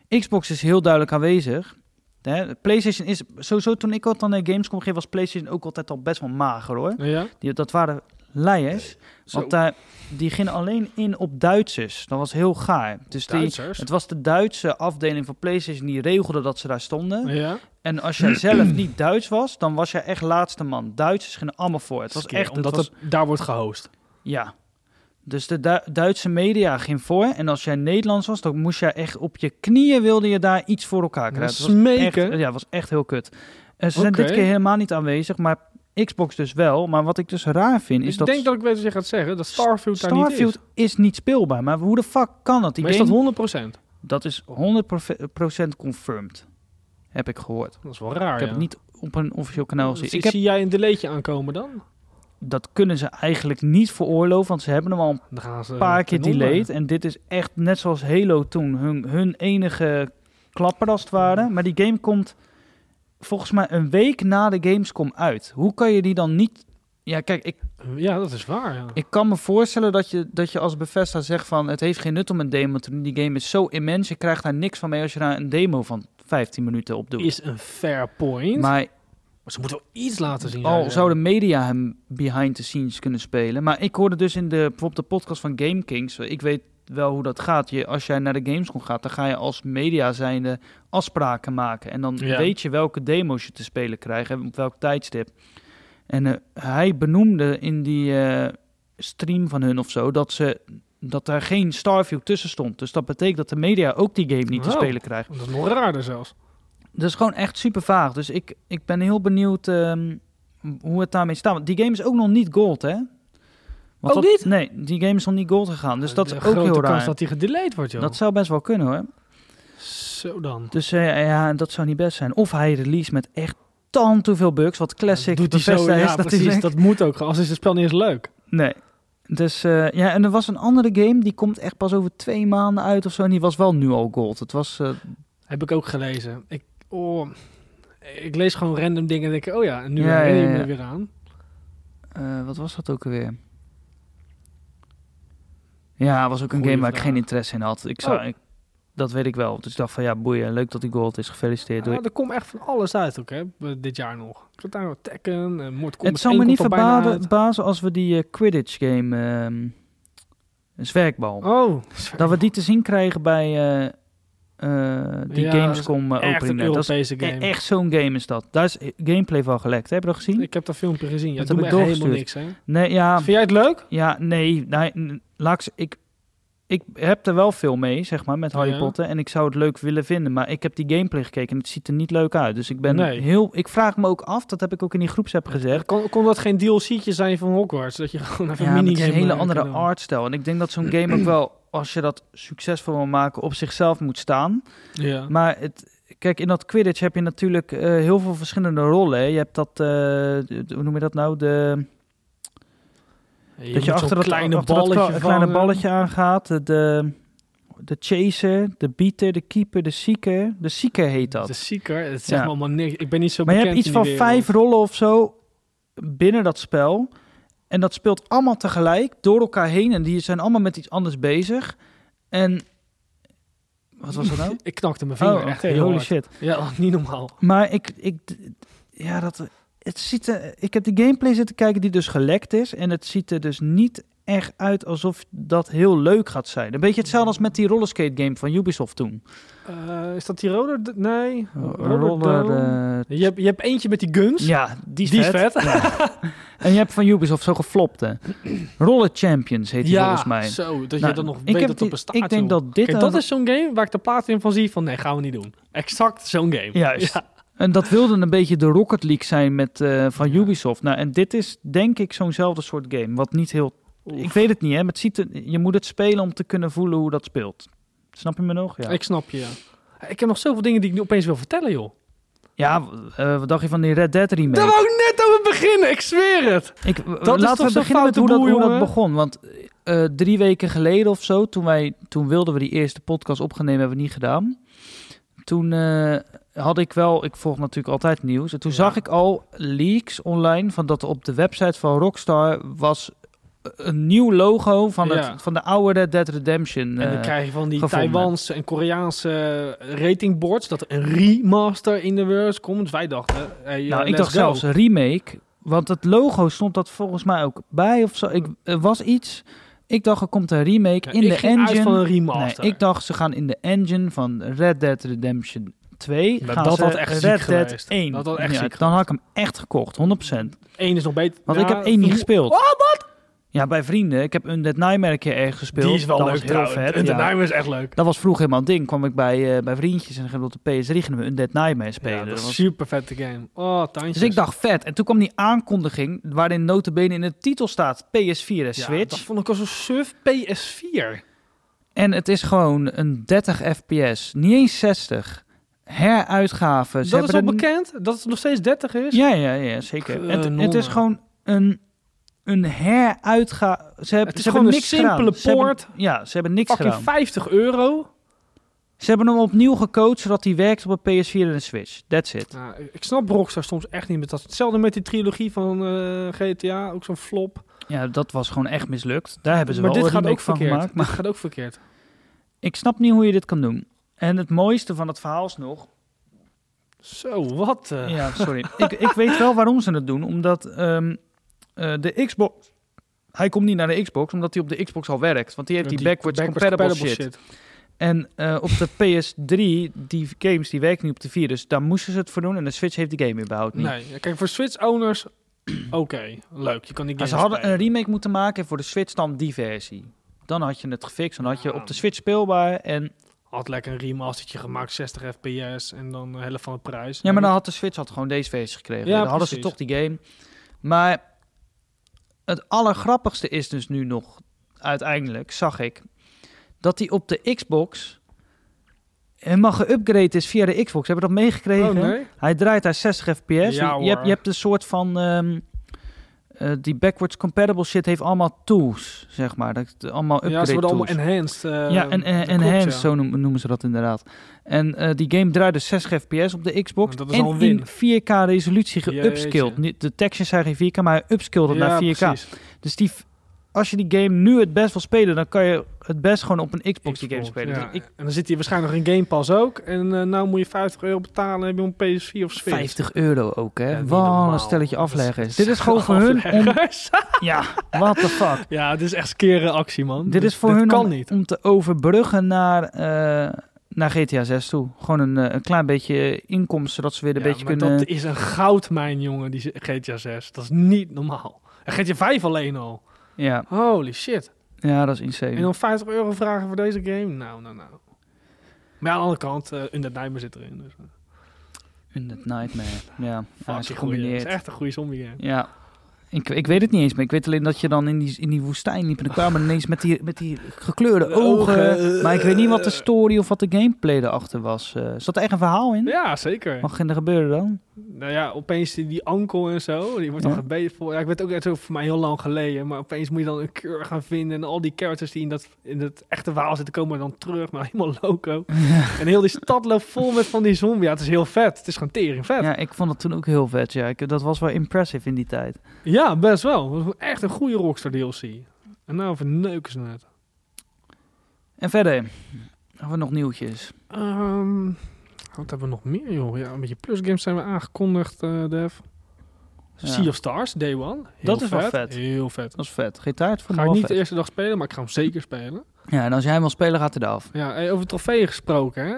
Speaker 1: Xbox is heel duidelijk aanwezig. Hè, de PlayStation is sowieso toen ik altijd naar Gamescom ging, was PlayStation ook altijd al best wel mager hoor.
Speaker 2: Ja.
Speaker 1: Die, dat waren leiers, want daar, die gingen alleen in op Duitsers. Dat was heel gaar. Dus die,
Speaker 2: Duitsers.
Speaker 1: het was de Duitse afdeling van PlayStation die regelde dat ze daar stonden.
Speaker 2: Ja.
Speaker 1: En als jij zelf niet Duits was, dan was jij echt laatste man. Duitsers gingen allemaal voor. Het was echt het
Speaker 2: omdat
Speaker 1: was-
Speaker 2: het, daar wordt gehost.
Speaker 1: ja. Dus de Du- Duitse media ging voor. En als jij Nederlands was, dan moest jij echt op je knieën wilde je daar iets voor elkaar krijgen. Het was echt,
Speaker 2: Smeken.
Speaker 1: ja, het was echt heel kut. Eh, ze zijn
Speaker 2: Oké.
Speaker 1: dit keer helemaal niet aanwezig, maar Xbox dus wel. Maar wat ik dus raar vind, is
Speaker 2: ik
Speaker 1: dat,
Speaker 2: denk dat ik weet wat je gaat zeggen. Dat Starfield, daar niet
Speaker 1: Starfield
Speaker 2: is.
Speaker 1: is. niet speelbaar. Maar hoe de fuck kan dat? Die
Speaker 2: Maar is
Speaker 1: game,
Speaker 2: dat 100%?
Speaker 1: dat is 100% confirmed, heb ik gehoord.
Speaker 2: Dat is wel raar,
Speaker 1: ik heb
Speaker 2: Ah,
Speaker 1: het
Speaker 2: ja.
Speaker 1: niet op een officieel kanaal gezien.
Speaker 2: Zie,
Speaker 1: Ik heb,
Speaker 2: zie jij een delaytje aankomen dan?
Speaker 1: dat kunnen ze eigenlijk niet veroorloven, want ze hebben hem al een
Speaker 2: Dan gaan ze
Speaker 1: een paar keer
Speaker 2: ten onder.
Speaker 1: delayed. En dit is echt net zoals Halo toen. Hun, hun enige klapper als het ware.
Speaker 2: Mm.
Speaker 1: Maar die game komt volgens mij een week na de Gamescom uit. Hoe kan je die dan niet... Ja, kijk, ik,
Speaker 2: Ja, dat is waar, ja.
Speaker 1: ik kan me voorstellen dat je, dat je als Bethesda zegt van... het heeft geen nut om een demo te doen. Die game is zo immens, je krijgt daar niks van mee... als je daar een demo van 15 minuten op doet.
Speaker 2: Is een fair point. Maar,
Speaker 1: Maar
Speaker 2: ze moeten wel iets laten zien.
Speaker 1: al
Speaker 2: ja.
Speaker 1: zou de media hem behind the scenes kunnen spelen. Maar ik hoorde dus in de, bijvoorbeeld de podcast van Game Kings. eh, Ik weet wel hoe dat gaat. Je, als jij naar de Gamescom gaat, dan ga je als media zijnde afspraken maken. En dan
Speaker 2: Ja.
Speaker 1: weet je welke demo's je te spelen krijgt en op welk tijdstip. En eh, hij benoemde in die eh, stream van hun of zo dat ze dat er geen Starfield tussen stond. Dus dat betekent dat de media ook die game niet te
Speaker 2: Oh.
Speaker 1: spelen krijgt.
Speaker 2: Dat is nog raarder zelfs.
Speaker 1: Dat is gewoon echt super vaag. Dus ik, ik ben heel benieuwd ehm, hoe het daarmee staat. Want die game is ook nog niet gold, hè? Want dat-
Speaker 2: Ook niet?
Speaker 1: Nee, die game is nog niet gold gegaan. Dus dat is
Speaker 2: De
Speaker 1: ook
Speaker 2: grote
Speaker 1: heel
Speaker 2: kans
Speaker 1: raar.
Speaker 2: dat die gedelayed wordt, joh.
Speaker 1: Dat zou best wel kunnen, hoor.
Speaker 2: Zo dan.
Speaker 1: Dus eh, ja, dat zou niet best zijn. Of hij release met echt tant hoeveel bugs, wat classic
Speaker 2: doet hij zo,
Speaker 1: Bethesda
Speaker 2: ja,
Speaker 1: is
Speaker 2: precies.
Speaker 1: natuurlijk.
Speaker 2: Dat moet ook. Als is het spel niet eens leuk.
Speaker 1: Nee. Dus eh, ja, en er was een andere game, die komt echt pas over twee maanden uit of zo. En die was wel nu al gold. Het was... eh,
Speaker 2: Heb ik ook gelezen. Ik, oh, ik lees gewoon random dingen en denk, oh ja, en nu
Speaker 1: Ja,
Speaker 2: herinner je
Speaker 1: ja,
Speaker 2: me
Speaker 1: ja.
Speaker 2: er weer aan.
Speaker 1: Eh, wat was dat ook alweer? Ja, was ook een
Speaker 2: Goeie
Speaker 1: game waar ik
Speaker 2: vraag.
Speaker 1: geen interesse in had. Ik zou,
Speaker 2: Oh.
Speaker 1: ik- dat weet ik wel. Dus ik dacht van ja, boeien. Leuk dat die gold is. Gefeliciteerd. doei.
Speaker 2: Ah, er komt echt van alles uit ook, hè, b- dit jaar nog. Ik zat daar nog Tekken, en Mortal Kombat
Speaker 1: het zou me
Speaker 2: 1
Speaker 1: niet
Speaker 2: komt al bijna
Speaker 1: verbazen bazen als we die eh, Quidditch game, ehm, een zwerkbal,
Speaker 2: uit. Oh,
Speaker 1: dat we die te zien krijgen bij eh, eh, die
Speaker 2: Ja, dat is
Speaker 1: Gamescom eh,
Speaker 2: echt een
Speaker 1: opening. Dat is
Speaker 2: Europese
Speaker 1: e-
Speaker 2: game.
Speaker 1: echt zo'n game is dat. Daar is eh, gameplay van gelekt. Heb je dat gezien?
Speaker 2: Ik heb dat filmpje gezien. Ja,
Speaker 1: Dat
Speaker 2: dat doet me
Speaker 1: heb
Speaker 2: echt
Speaker 1: ik
Speaker 2: helemaal niks, hè.
Speaker 1: Nee, ja.
Speaker 2: Vind jij het leuk?
Speaker 1: Ja, nee, nee, n- laat ik, z- ik, ik heb er wel veel mee, zeg maar, met Harry
Speaker 2: Ja.
Speaker 1: Potter. En ik zou het leuk willen vinden, maar ik heb die gameplay gekeken en het ziet er niet leuk uit. Dus ik ben
Speaker 2: Nee.
Speaker 1: heel, ik vraag me ook af, dat heb ik ook in die groepsapp gezegd.
Speaker 2: Kon, kon dat geen DLC'tje zijn van Hogwarts? Dat je gewoon even
Speaker 1: Ja,
Speaker 2: een
Speaker 1: maar het is
Speaker 2: minigame...
Speaker 1: een hele
Speaker 2: eh,
Speaker 1: andere
Speaker 2: kan doen?
Speaker 1: artstijl. En ik denk dat zo'n game ook wel, als je dat succesvol wil maken, op zichzelf moet staan.
Speaker 2: Ja.
Speaker 1: Maar het, kijk, in dat Quidditch heb je natuurlijk eh, heel veel verschillende rollen. hè. Je hebt dat, eh, de- hoe noem je dat nou? De, dat je achter dat
Speaker 2: kleine
Speaker 1: achter dat
Speaker 2: balletje eh,
Speaker 1: kle- kleine
Speaker 2: vangen.
Speaker 1: balletje aangaat. De, de, de chaser, de beater, de keeper, de seeker. De seeker heet dat.
Speaker 2: De seeker, het zegt
Speaker 1: Ja.
Speaker 2: me allemaal niks. Ik ben niet zo
Speaker 1: maar je
Speaker 2: bekend
Speaker 1: hebt iets
Speaker 2: in die
Speaker 1: van
Speaker 2: wereld.
Speaker 1: vijf rollen of zo binnen dat spel. En dat speelt allemaal tegelijk door elkaar heen. En die zijn allemaal met iets anders bezig. En wat was dat nou?
Speaker 2: Ik knakte mijn vinger echt heel
Speaker 1: holy
Speaker 2: hard.
Speaker 1: shit.
Speaker 2: Ja, niet normaal.
Speaker 1: Maar ik, ik, ja, dat, het ziet er, ik heb de gameplay zitten kijken die dus gelekt is. En het ziet er dus niet echt uit alsof dat heel leuk gaat zijn. Een beetje hetzelfde als met die rollerskate game van Ubisoft toen.
Speaker 2: Eh, is dat die roller? d- Nee.
Speaker 1: Oh, Roller...
Speaker 2: Down?
Speaker 1: eh,
Speaker 2: je, hebt, je hebt eentje met die guns.
Speaker 1: ja, die is
Speaker 2: Die is
Speaker 1: vet.
Speaker 2: vet.
Speaker 1: En je hebt van Ubisoft zo geflopt, hè. Roller Champions heet die volgens mij.
Speaker 2: zo. Dat
Speaker 1: Nou,
Speaker 2: je dan nog
Speaker 1: ik
Speaker 2: weet
Speaker 1: heb
Speaker 2: dat
Speaker 1: die-
Speaker 2: dat bestaat.
Speaker 1: Ik denk
Speaker 2: joh.
Speaker 1: dat dit...
Speaker 2: Kijk,
Speaker 1: een-
Speaker 2: dat is zo'n game waar ik de plaat in van zie van nee, gaan we niet doen. Exact zo'n game.
Speaker 1: Juist.
Speaker 2: Ja.
Speaker 1: En dat wilde een beetje de Rocket League zijn met, eh, van
Speaker 2: Ja.
Speaker 1: Ubisoft. Nou, en dit is denk ik zo'nzelfde soort game. Wat niet heel...
Speaker 2: Oef.
Speaker 1: Ik weet het niet, hè. Maar het ziet er- je moet het spelen om te kunnen voelen hoe dat speelt. Snap je me nog? Ja,
Speaker 2: Ik snap je. ja. Ik heb nog zoveel dingen die ik nu opeens wil vertellen, joh.
Speaker 1: ja w- eh, wat dacht je van die Red Dead remake?
Speaker 2: Daar wou ik net over beginnen, ik zweer het.
Speaker 1: Ik,
Speaker 2: toch
Speaker 1: laten we
Speaker 2: zo'n
Speaker 1: beginnen met
Speaker 2: foute
Speaker 1: hoe dat,
Speaker 2: boel,
Speaker 1: hoe dat
Speaker 2: jongen?
Speaker 1: begon. Want eh, drie weken geleden of zo, toen, wij, toen wilden we die eerste podcast opgenomen, hebben we niet gedaan. Toen eh, had ik wel, ik volg natuurlijk altijd nieuws. En toen
Speaker 2: Ja.
Speaker 1: zag ik al leaks online van dat op de website van Rockstar was eh, een nieuw logo van,
Speaker 2: Ja.
Speaker 1: het, van de oude Red Dead Redemption.
Speaker 2: en dan
Speaker 1: eh,
Speaker 2: krijg je van die
Speaker 1: gevonden.
Speaker 2: Taiwanse en Koreaanse ratingboards dat er een remaster in de works komt. Dus wij dachten, hey,
Speaker 1: nou,
Speaker 2: eh,
Speaker 1: ik
Speaker 2: let's
Speaker 1: dacht
Speaker 2: go.
Speaker 1: zelfs een remake. Want het logo stond dat volgens mij ook bij of zo. Ik, er was iets. Ik dacht, er komt een remake
Speaker 2: Ja,
Speaker 1: in
Speaker 2: ik
Speaker 1: de
Speaker 2: ging
Speaker 1: engine.
Speaker 2: uit van een
Speaker 1: Nee,
Speaker 2: remaster.
Speaker 1: ik dacht ze gaan in de engine van Red Dead Redemption 2.
Speaker 2: Maar
Speaker 1: gaan
Speaker 2: dat
Speaker 1: ze
Speaker 2: had echt ziek
Speaker 1: Red Dead
Speaker 2: geweest.
Speaker 1: 1.
Speaker 2: Dat had echt
Speaker 1: Ja,
Speaker 2: ziek
Speaker 1: dan had ik hem echt gekocht, 100%. Want
Speaker 2: Eén is Oh, nog beter.
Speaker 1: ik
Speaker 2: Ja,
Speaker 1: heb één niet
Speaker 2: die-
Speaker 1: gespeeld. wat? Ja, bij vrienden. Ik heb een Dead Nightmare een keer erg gespeeld.
Speaker 2: Die is wel
Speaker 1: dat
Speaker 2: leuk
Speaker 1: was heel
Speaker 2: trouwens.
Speaker 1: vet.
Speaker 2: En de
Speaker 1: ja.
Speaker 2: Nijmer is echt leuk.
Speaker 1: Dat was vroeger helemaal een ding. Kwam ik bij, eh, bij vriendjes en dan gingen we op de PS3 gingen we een Dead Nightmare spelen.
Speaker 2: Ja, dat
Speaker 1: Dat
Speaker 2: is
Speaker 1: was-
Speaker 2: super vette game. Oh, tandjes.
Speaker 1: dus ik dacht vet. En toen kwam die aankondiging waarin notabene in de titel staat PS4 en
Speaker 2: Ja,
Speaker 1: Switch.
Speaker 2: dat vond ik al zo suf PS4.
Speaker 1: En het is gewoon een 30 fps. Niet eens 60. Heruitgave. Ze
Speaker 2: dat is
Speaker 1: hebben
Speaker 2: al
Speaker 1: er
Speaker 2: bekend, dat het nog steeds 30 is.
Speaker 1: Ja, ja, ja, zeker. Het,
Speaker 2: Kanonnen.
Speaker 1: het is gewoon een, een heruitga... Ze, hebben
Speaker 2: Het is
Speaker 1: ze
Speaker 2: gewoon
Speaker 1: hebben
Speaker 2: een
Speaker 1: niks
Speaker 2: simpele
Speaker 1: gedaan. Ze hebben-
Speaker 2: poort.
Speaker 1: ja, ze hebben niks
Speaker 2: Fucking
Speaker 1: gedaan.
Speaker 2: 50 euro.
Speaker 1: Ze hebben hem opnieuw gecoacht, zodat hij werkt op een PS4 en een Switch. That's it.
Speaker 2: Nou, ik snap Rockstar soms echt niet. Met dat. Hetzelfde met die trilogie van eh, GTA, ook zo'n flop.
Speaker 1: Ja, dat was gewoon echt mislukt. Daar hebben ze
Speaker 2: maar
Speaker 1: wel
Speaker 2: dit
Speaker 1: een
Speaker 2: gaat
Speaker 1: remake
Speaker 2: ook
Speaker 1: van
Speaker 2: verkeerd.
Speaker 1: gemaakt. Maar
Speaker 2: Dit gaat ook verkeerd.
Speaker 1: ik snap niet hoe je dit kan doen. En het mooiste van het verhaal is nog...
Speaker 2: Zo, wat? eh.
Speaker 1: Ja, sorry. ik, ik weet wel waarom ze het doen. Omdat ehm, eh, de Xbox... Hij komt niet naar de Xbox, omdat hij op de Xbox al werkt. Want die heeft die, backwards, compatible shit. En eh, op de PS3, die games die werken niet op de 4, dus daar moesten ze het voor doen. En de Switch heeft die game überhaupt niet.
Speaker 2: Nee, kijk, voor Switch-owners, oké, leuk. Je kan die
Speaker 1: Maar
Speaker 2: game
Speaker 1: ze hadden
Speaker 2: spelen.
Speaker 1: een remake moeten maken en voor de Switch dan die versie. Dan had je het gefixt, dan had je
Speaker 2: Ja.
Speaker 1: op de Switch speelbaar. En,
Speaker 2: Had lekker een remastertje gemaakt, 60 fps en dan de helft van de prijs.
Speaker 1: ja, maar dan had de Switch had gewoon deze versie gekregen.
Speaker 2: Ja,
Speaker 1: dan hadden ze
Speaker 2: precies.
Speaker 1: toch die game. Maar het allergrappigste is dus nu nog, uiteindelijk, zag ik, dat die op de Xbox helemaal geüpgrade is via de Xbox. Hebben we dat meegekregen?
Speaker 2: Oh, nee?
Speaker 1: Hij draait daar 60 fps.
Speaker 2: Ja,
Speaker 1: je, je, hebt,
Speaker 2: hoor.
Speaker 1: je hebt een soort van... ehm, eh, die backwards compatible shit heeft allemaal tools, zeg maar. Dat, allemaal upgrade
Speaker 2: Ja, ze worden allemaal
Speaker 1: tools.
Speaker 2: enhanced. eh,
Speaker 1: ja, en, en,
Speaker 2: dat klopt,
Speaker 1: enhanced,
Speaker 2: ja.
Speaker 1: zo noemen, noemen ze dat inderdaad. En eh, die game draait dus 60 fps op de Xbox.
Speaker 2: Nou, dat is
Speaker 1: en
Speaker 2: al een win.
Speaker 1: in 4K resolutie geupskilled.
Speaker 2: Jeetje.
Speaker 1: Niet- De tekstjes zijn geen 4K, maar hij upskilled
Speaker 2: Ja,
Speaker 1: naar 4K.
Speaker 2: precies.
Speaker 1: Dus die, f- als je die game nu het best wil spelen, dan kan je het best gewoon op een Xbox, die game
Speaker 2: Xbox,
Speaker 1: spelen.
Speaker 2: ja.
Speaker 1: Dus ik,
Speaker 2: En dan zit hier waarschijnlijk nog in Game Pass ook. En eh, nou moet je 50 euro betalen en heb je een PS4 of Switch.
Speaker 1: 50 euro ook, hè?
Speaker 2: Ja, niet
Speaker 1: Wat
Speaker 2: normaal.
Speaker 1: een stelletje
Speaker 2: Dat is-
Speaker 1: afleggers.
Speaker 2: dat is
Speaker 1: Dit is gewoon voor hun om
Speaker 2: afleggers.
Speaker 1: Ja, what the fuck.
Speaker 2: ja, dit is echt skere actie, man.
Speaker 1: Dit is voor hun
Speaker 2: kan
Speaker 1: om,
Speaker 2: niet.
Speaker 1: om te overbruggen naar, eh, naar GTA 6 toe. Gewoon een, eh, een klein beetje inkomsten, zodat ze weer een
Speaker 2: Ja,
Speaker 1: beetje
Speaker 2: maar
Speaker 1: kunnen...
Speaker 2: Dat is een goudmijn, jongen, die GTA 6. Dat is niet normaal. En GTA 5 alleen al.
Speaker 1: Ja,
Speaker 2: Holy shit.
Speaker 1: ja, dat is insane.
Speaker 2: En dan 50 euro vragen voor deze game? Nou, nou, nou. Maar ja, aan de andere kant, eh Undead Nightmare zit erin. Dus, eh,
Speaker 1: Undead Nightmare. Ja, ja, is
Speaker 2: fucking goeie. Dat is
Speaker 1: gecombineerd.
Speaker 2: echt een goede zombie game.
Speaker 1: Ja. Ik, ik weet het niet eens, maar ik weet alleen dat je dan in die, in die woestijn liep. En dan kwamen ineens met die, met die gekleurde
Speaker 2: De
Speaker 1: ogen.
Speaker 2: ogen.
Speaker 1: Maar ik weet niet wat de story of wat de gameplay erachter was. Eh zat er echt een verhaal in?
Speaker 2: Ja, zeker.
Speaker 1: Wat ging er gebeuren dan?
Speaker 2: Nou ja, opeens die, die ankel en zo, die wordt
Speaker 1: Ja.
Speaker 2: dan gebeten voor. Ja, ik weet ook, het is ook voor mij heel lang geleden, maar opeens moet je dan een keur gaan vinden en al die characters die in dat, in dat echte verhaal zitten komen dan terug, maar helemaal loco. En heel die stad loopt vol met van die zombie. Ja, het is heel vet. Het is gewoon tering vet. Ja,
Speaker 1: Ja, ik vond dat toen ook heel vet. Ja. Ik, dat was wel impressive in die tijd.
Speaker 2: best wel. Dat was echt een goede Rockstar DLC. En nou verneuken ze het.
Speaker 1: En verder, hebben we nog nieuwtjes?
Speaker 2: Ehm, wat hebben we nog meer, joh? Ja, een beetje plusgames zijn we aangekondigd, eh Dev. Sea of Stars, Day One. Heel
Speaker 1: Dat is wel vet.
Speaker 2: Heel vet.
Speaker 1: Dat is vet. Gitaar voor
Speaker 2: Ga ik niet de eerste dag spelen, maar ik ga hem zeker spelen.
Speaker 1: Ja, en als jij hem wil spelen, gaat hij eraf.
Speaker 2: Ja, hey, over trofeeën gesproken. Hè?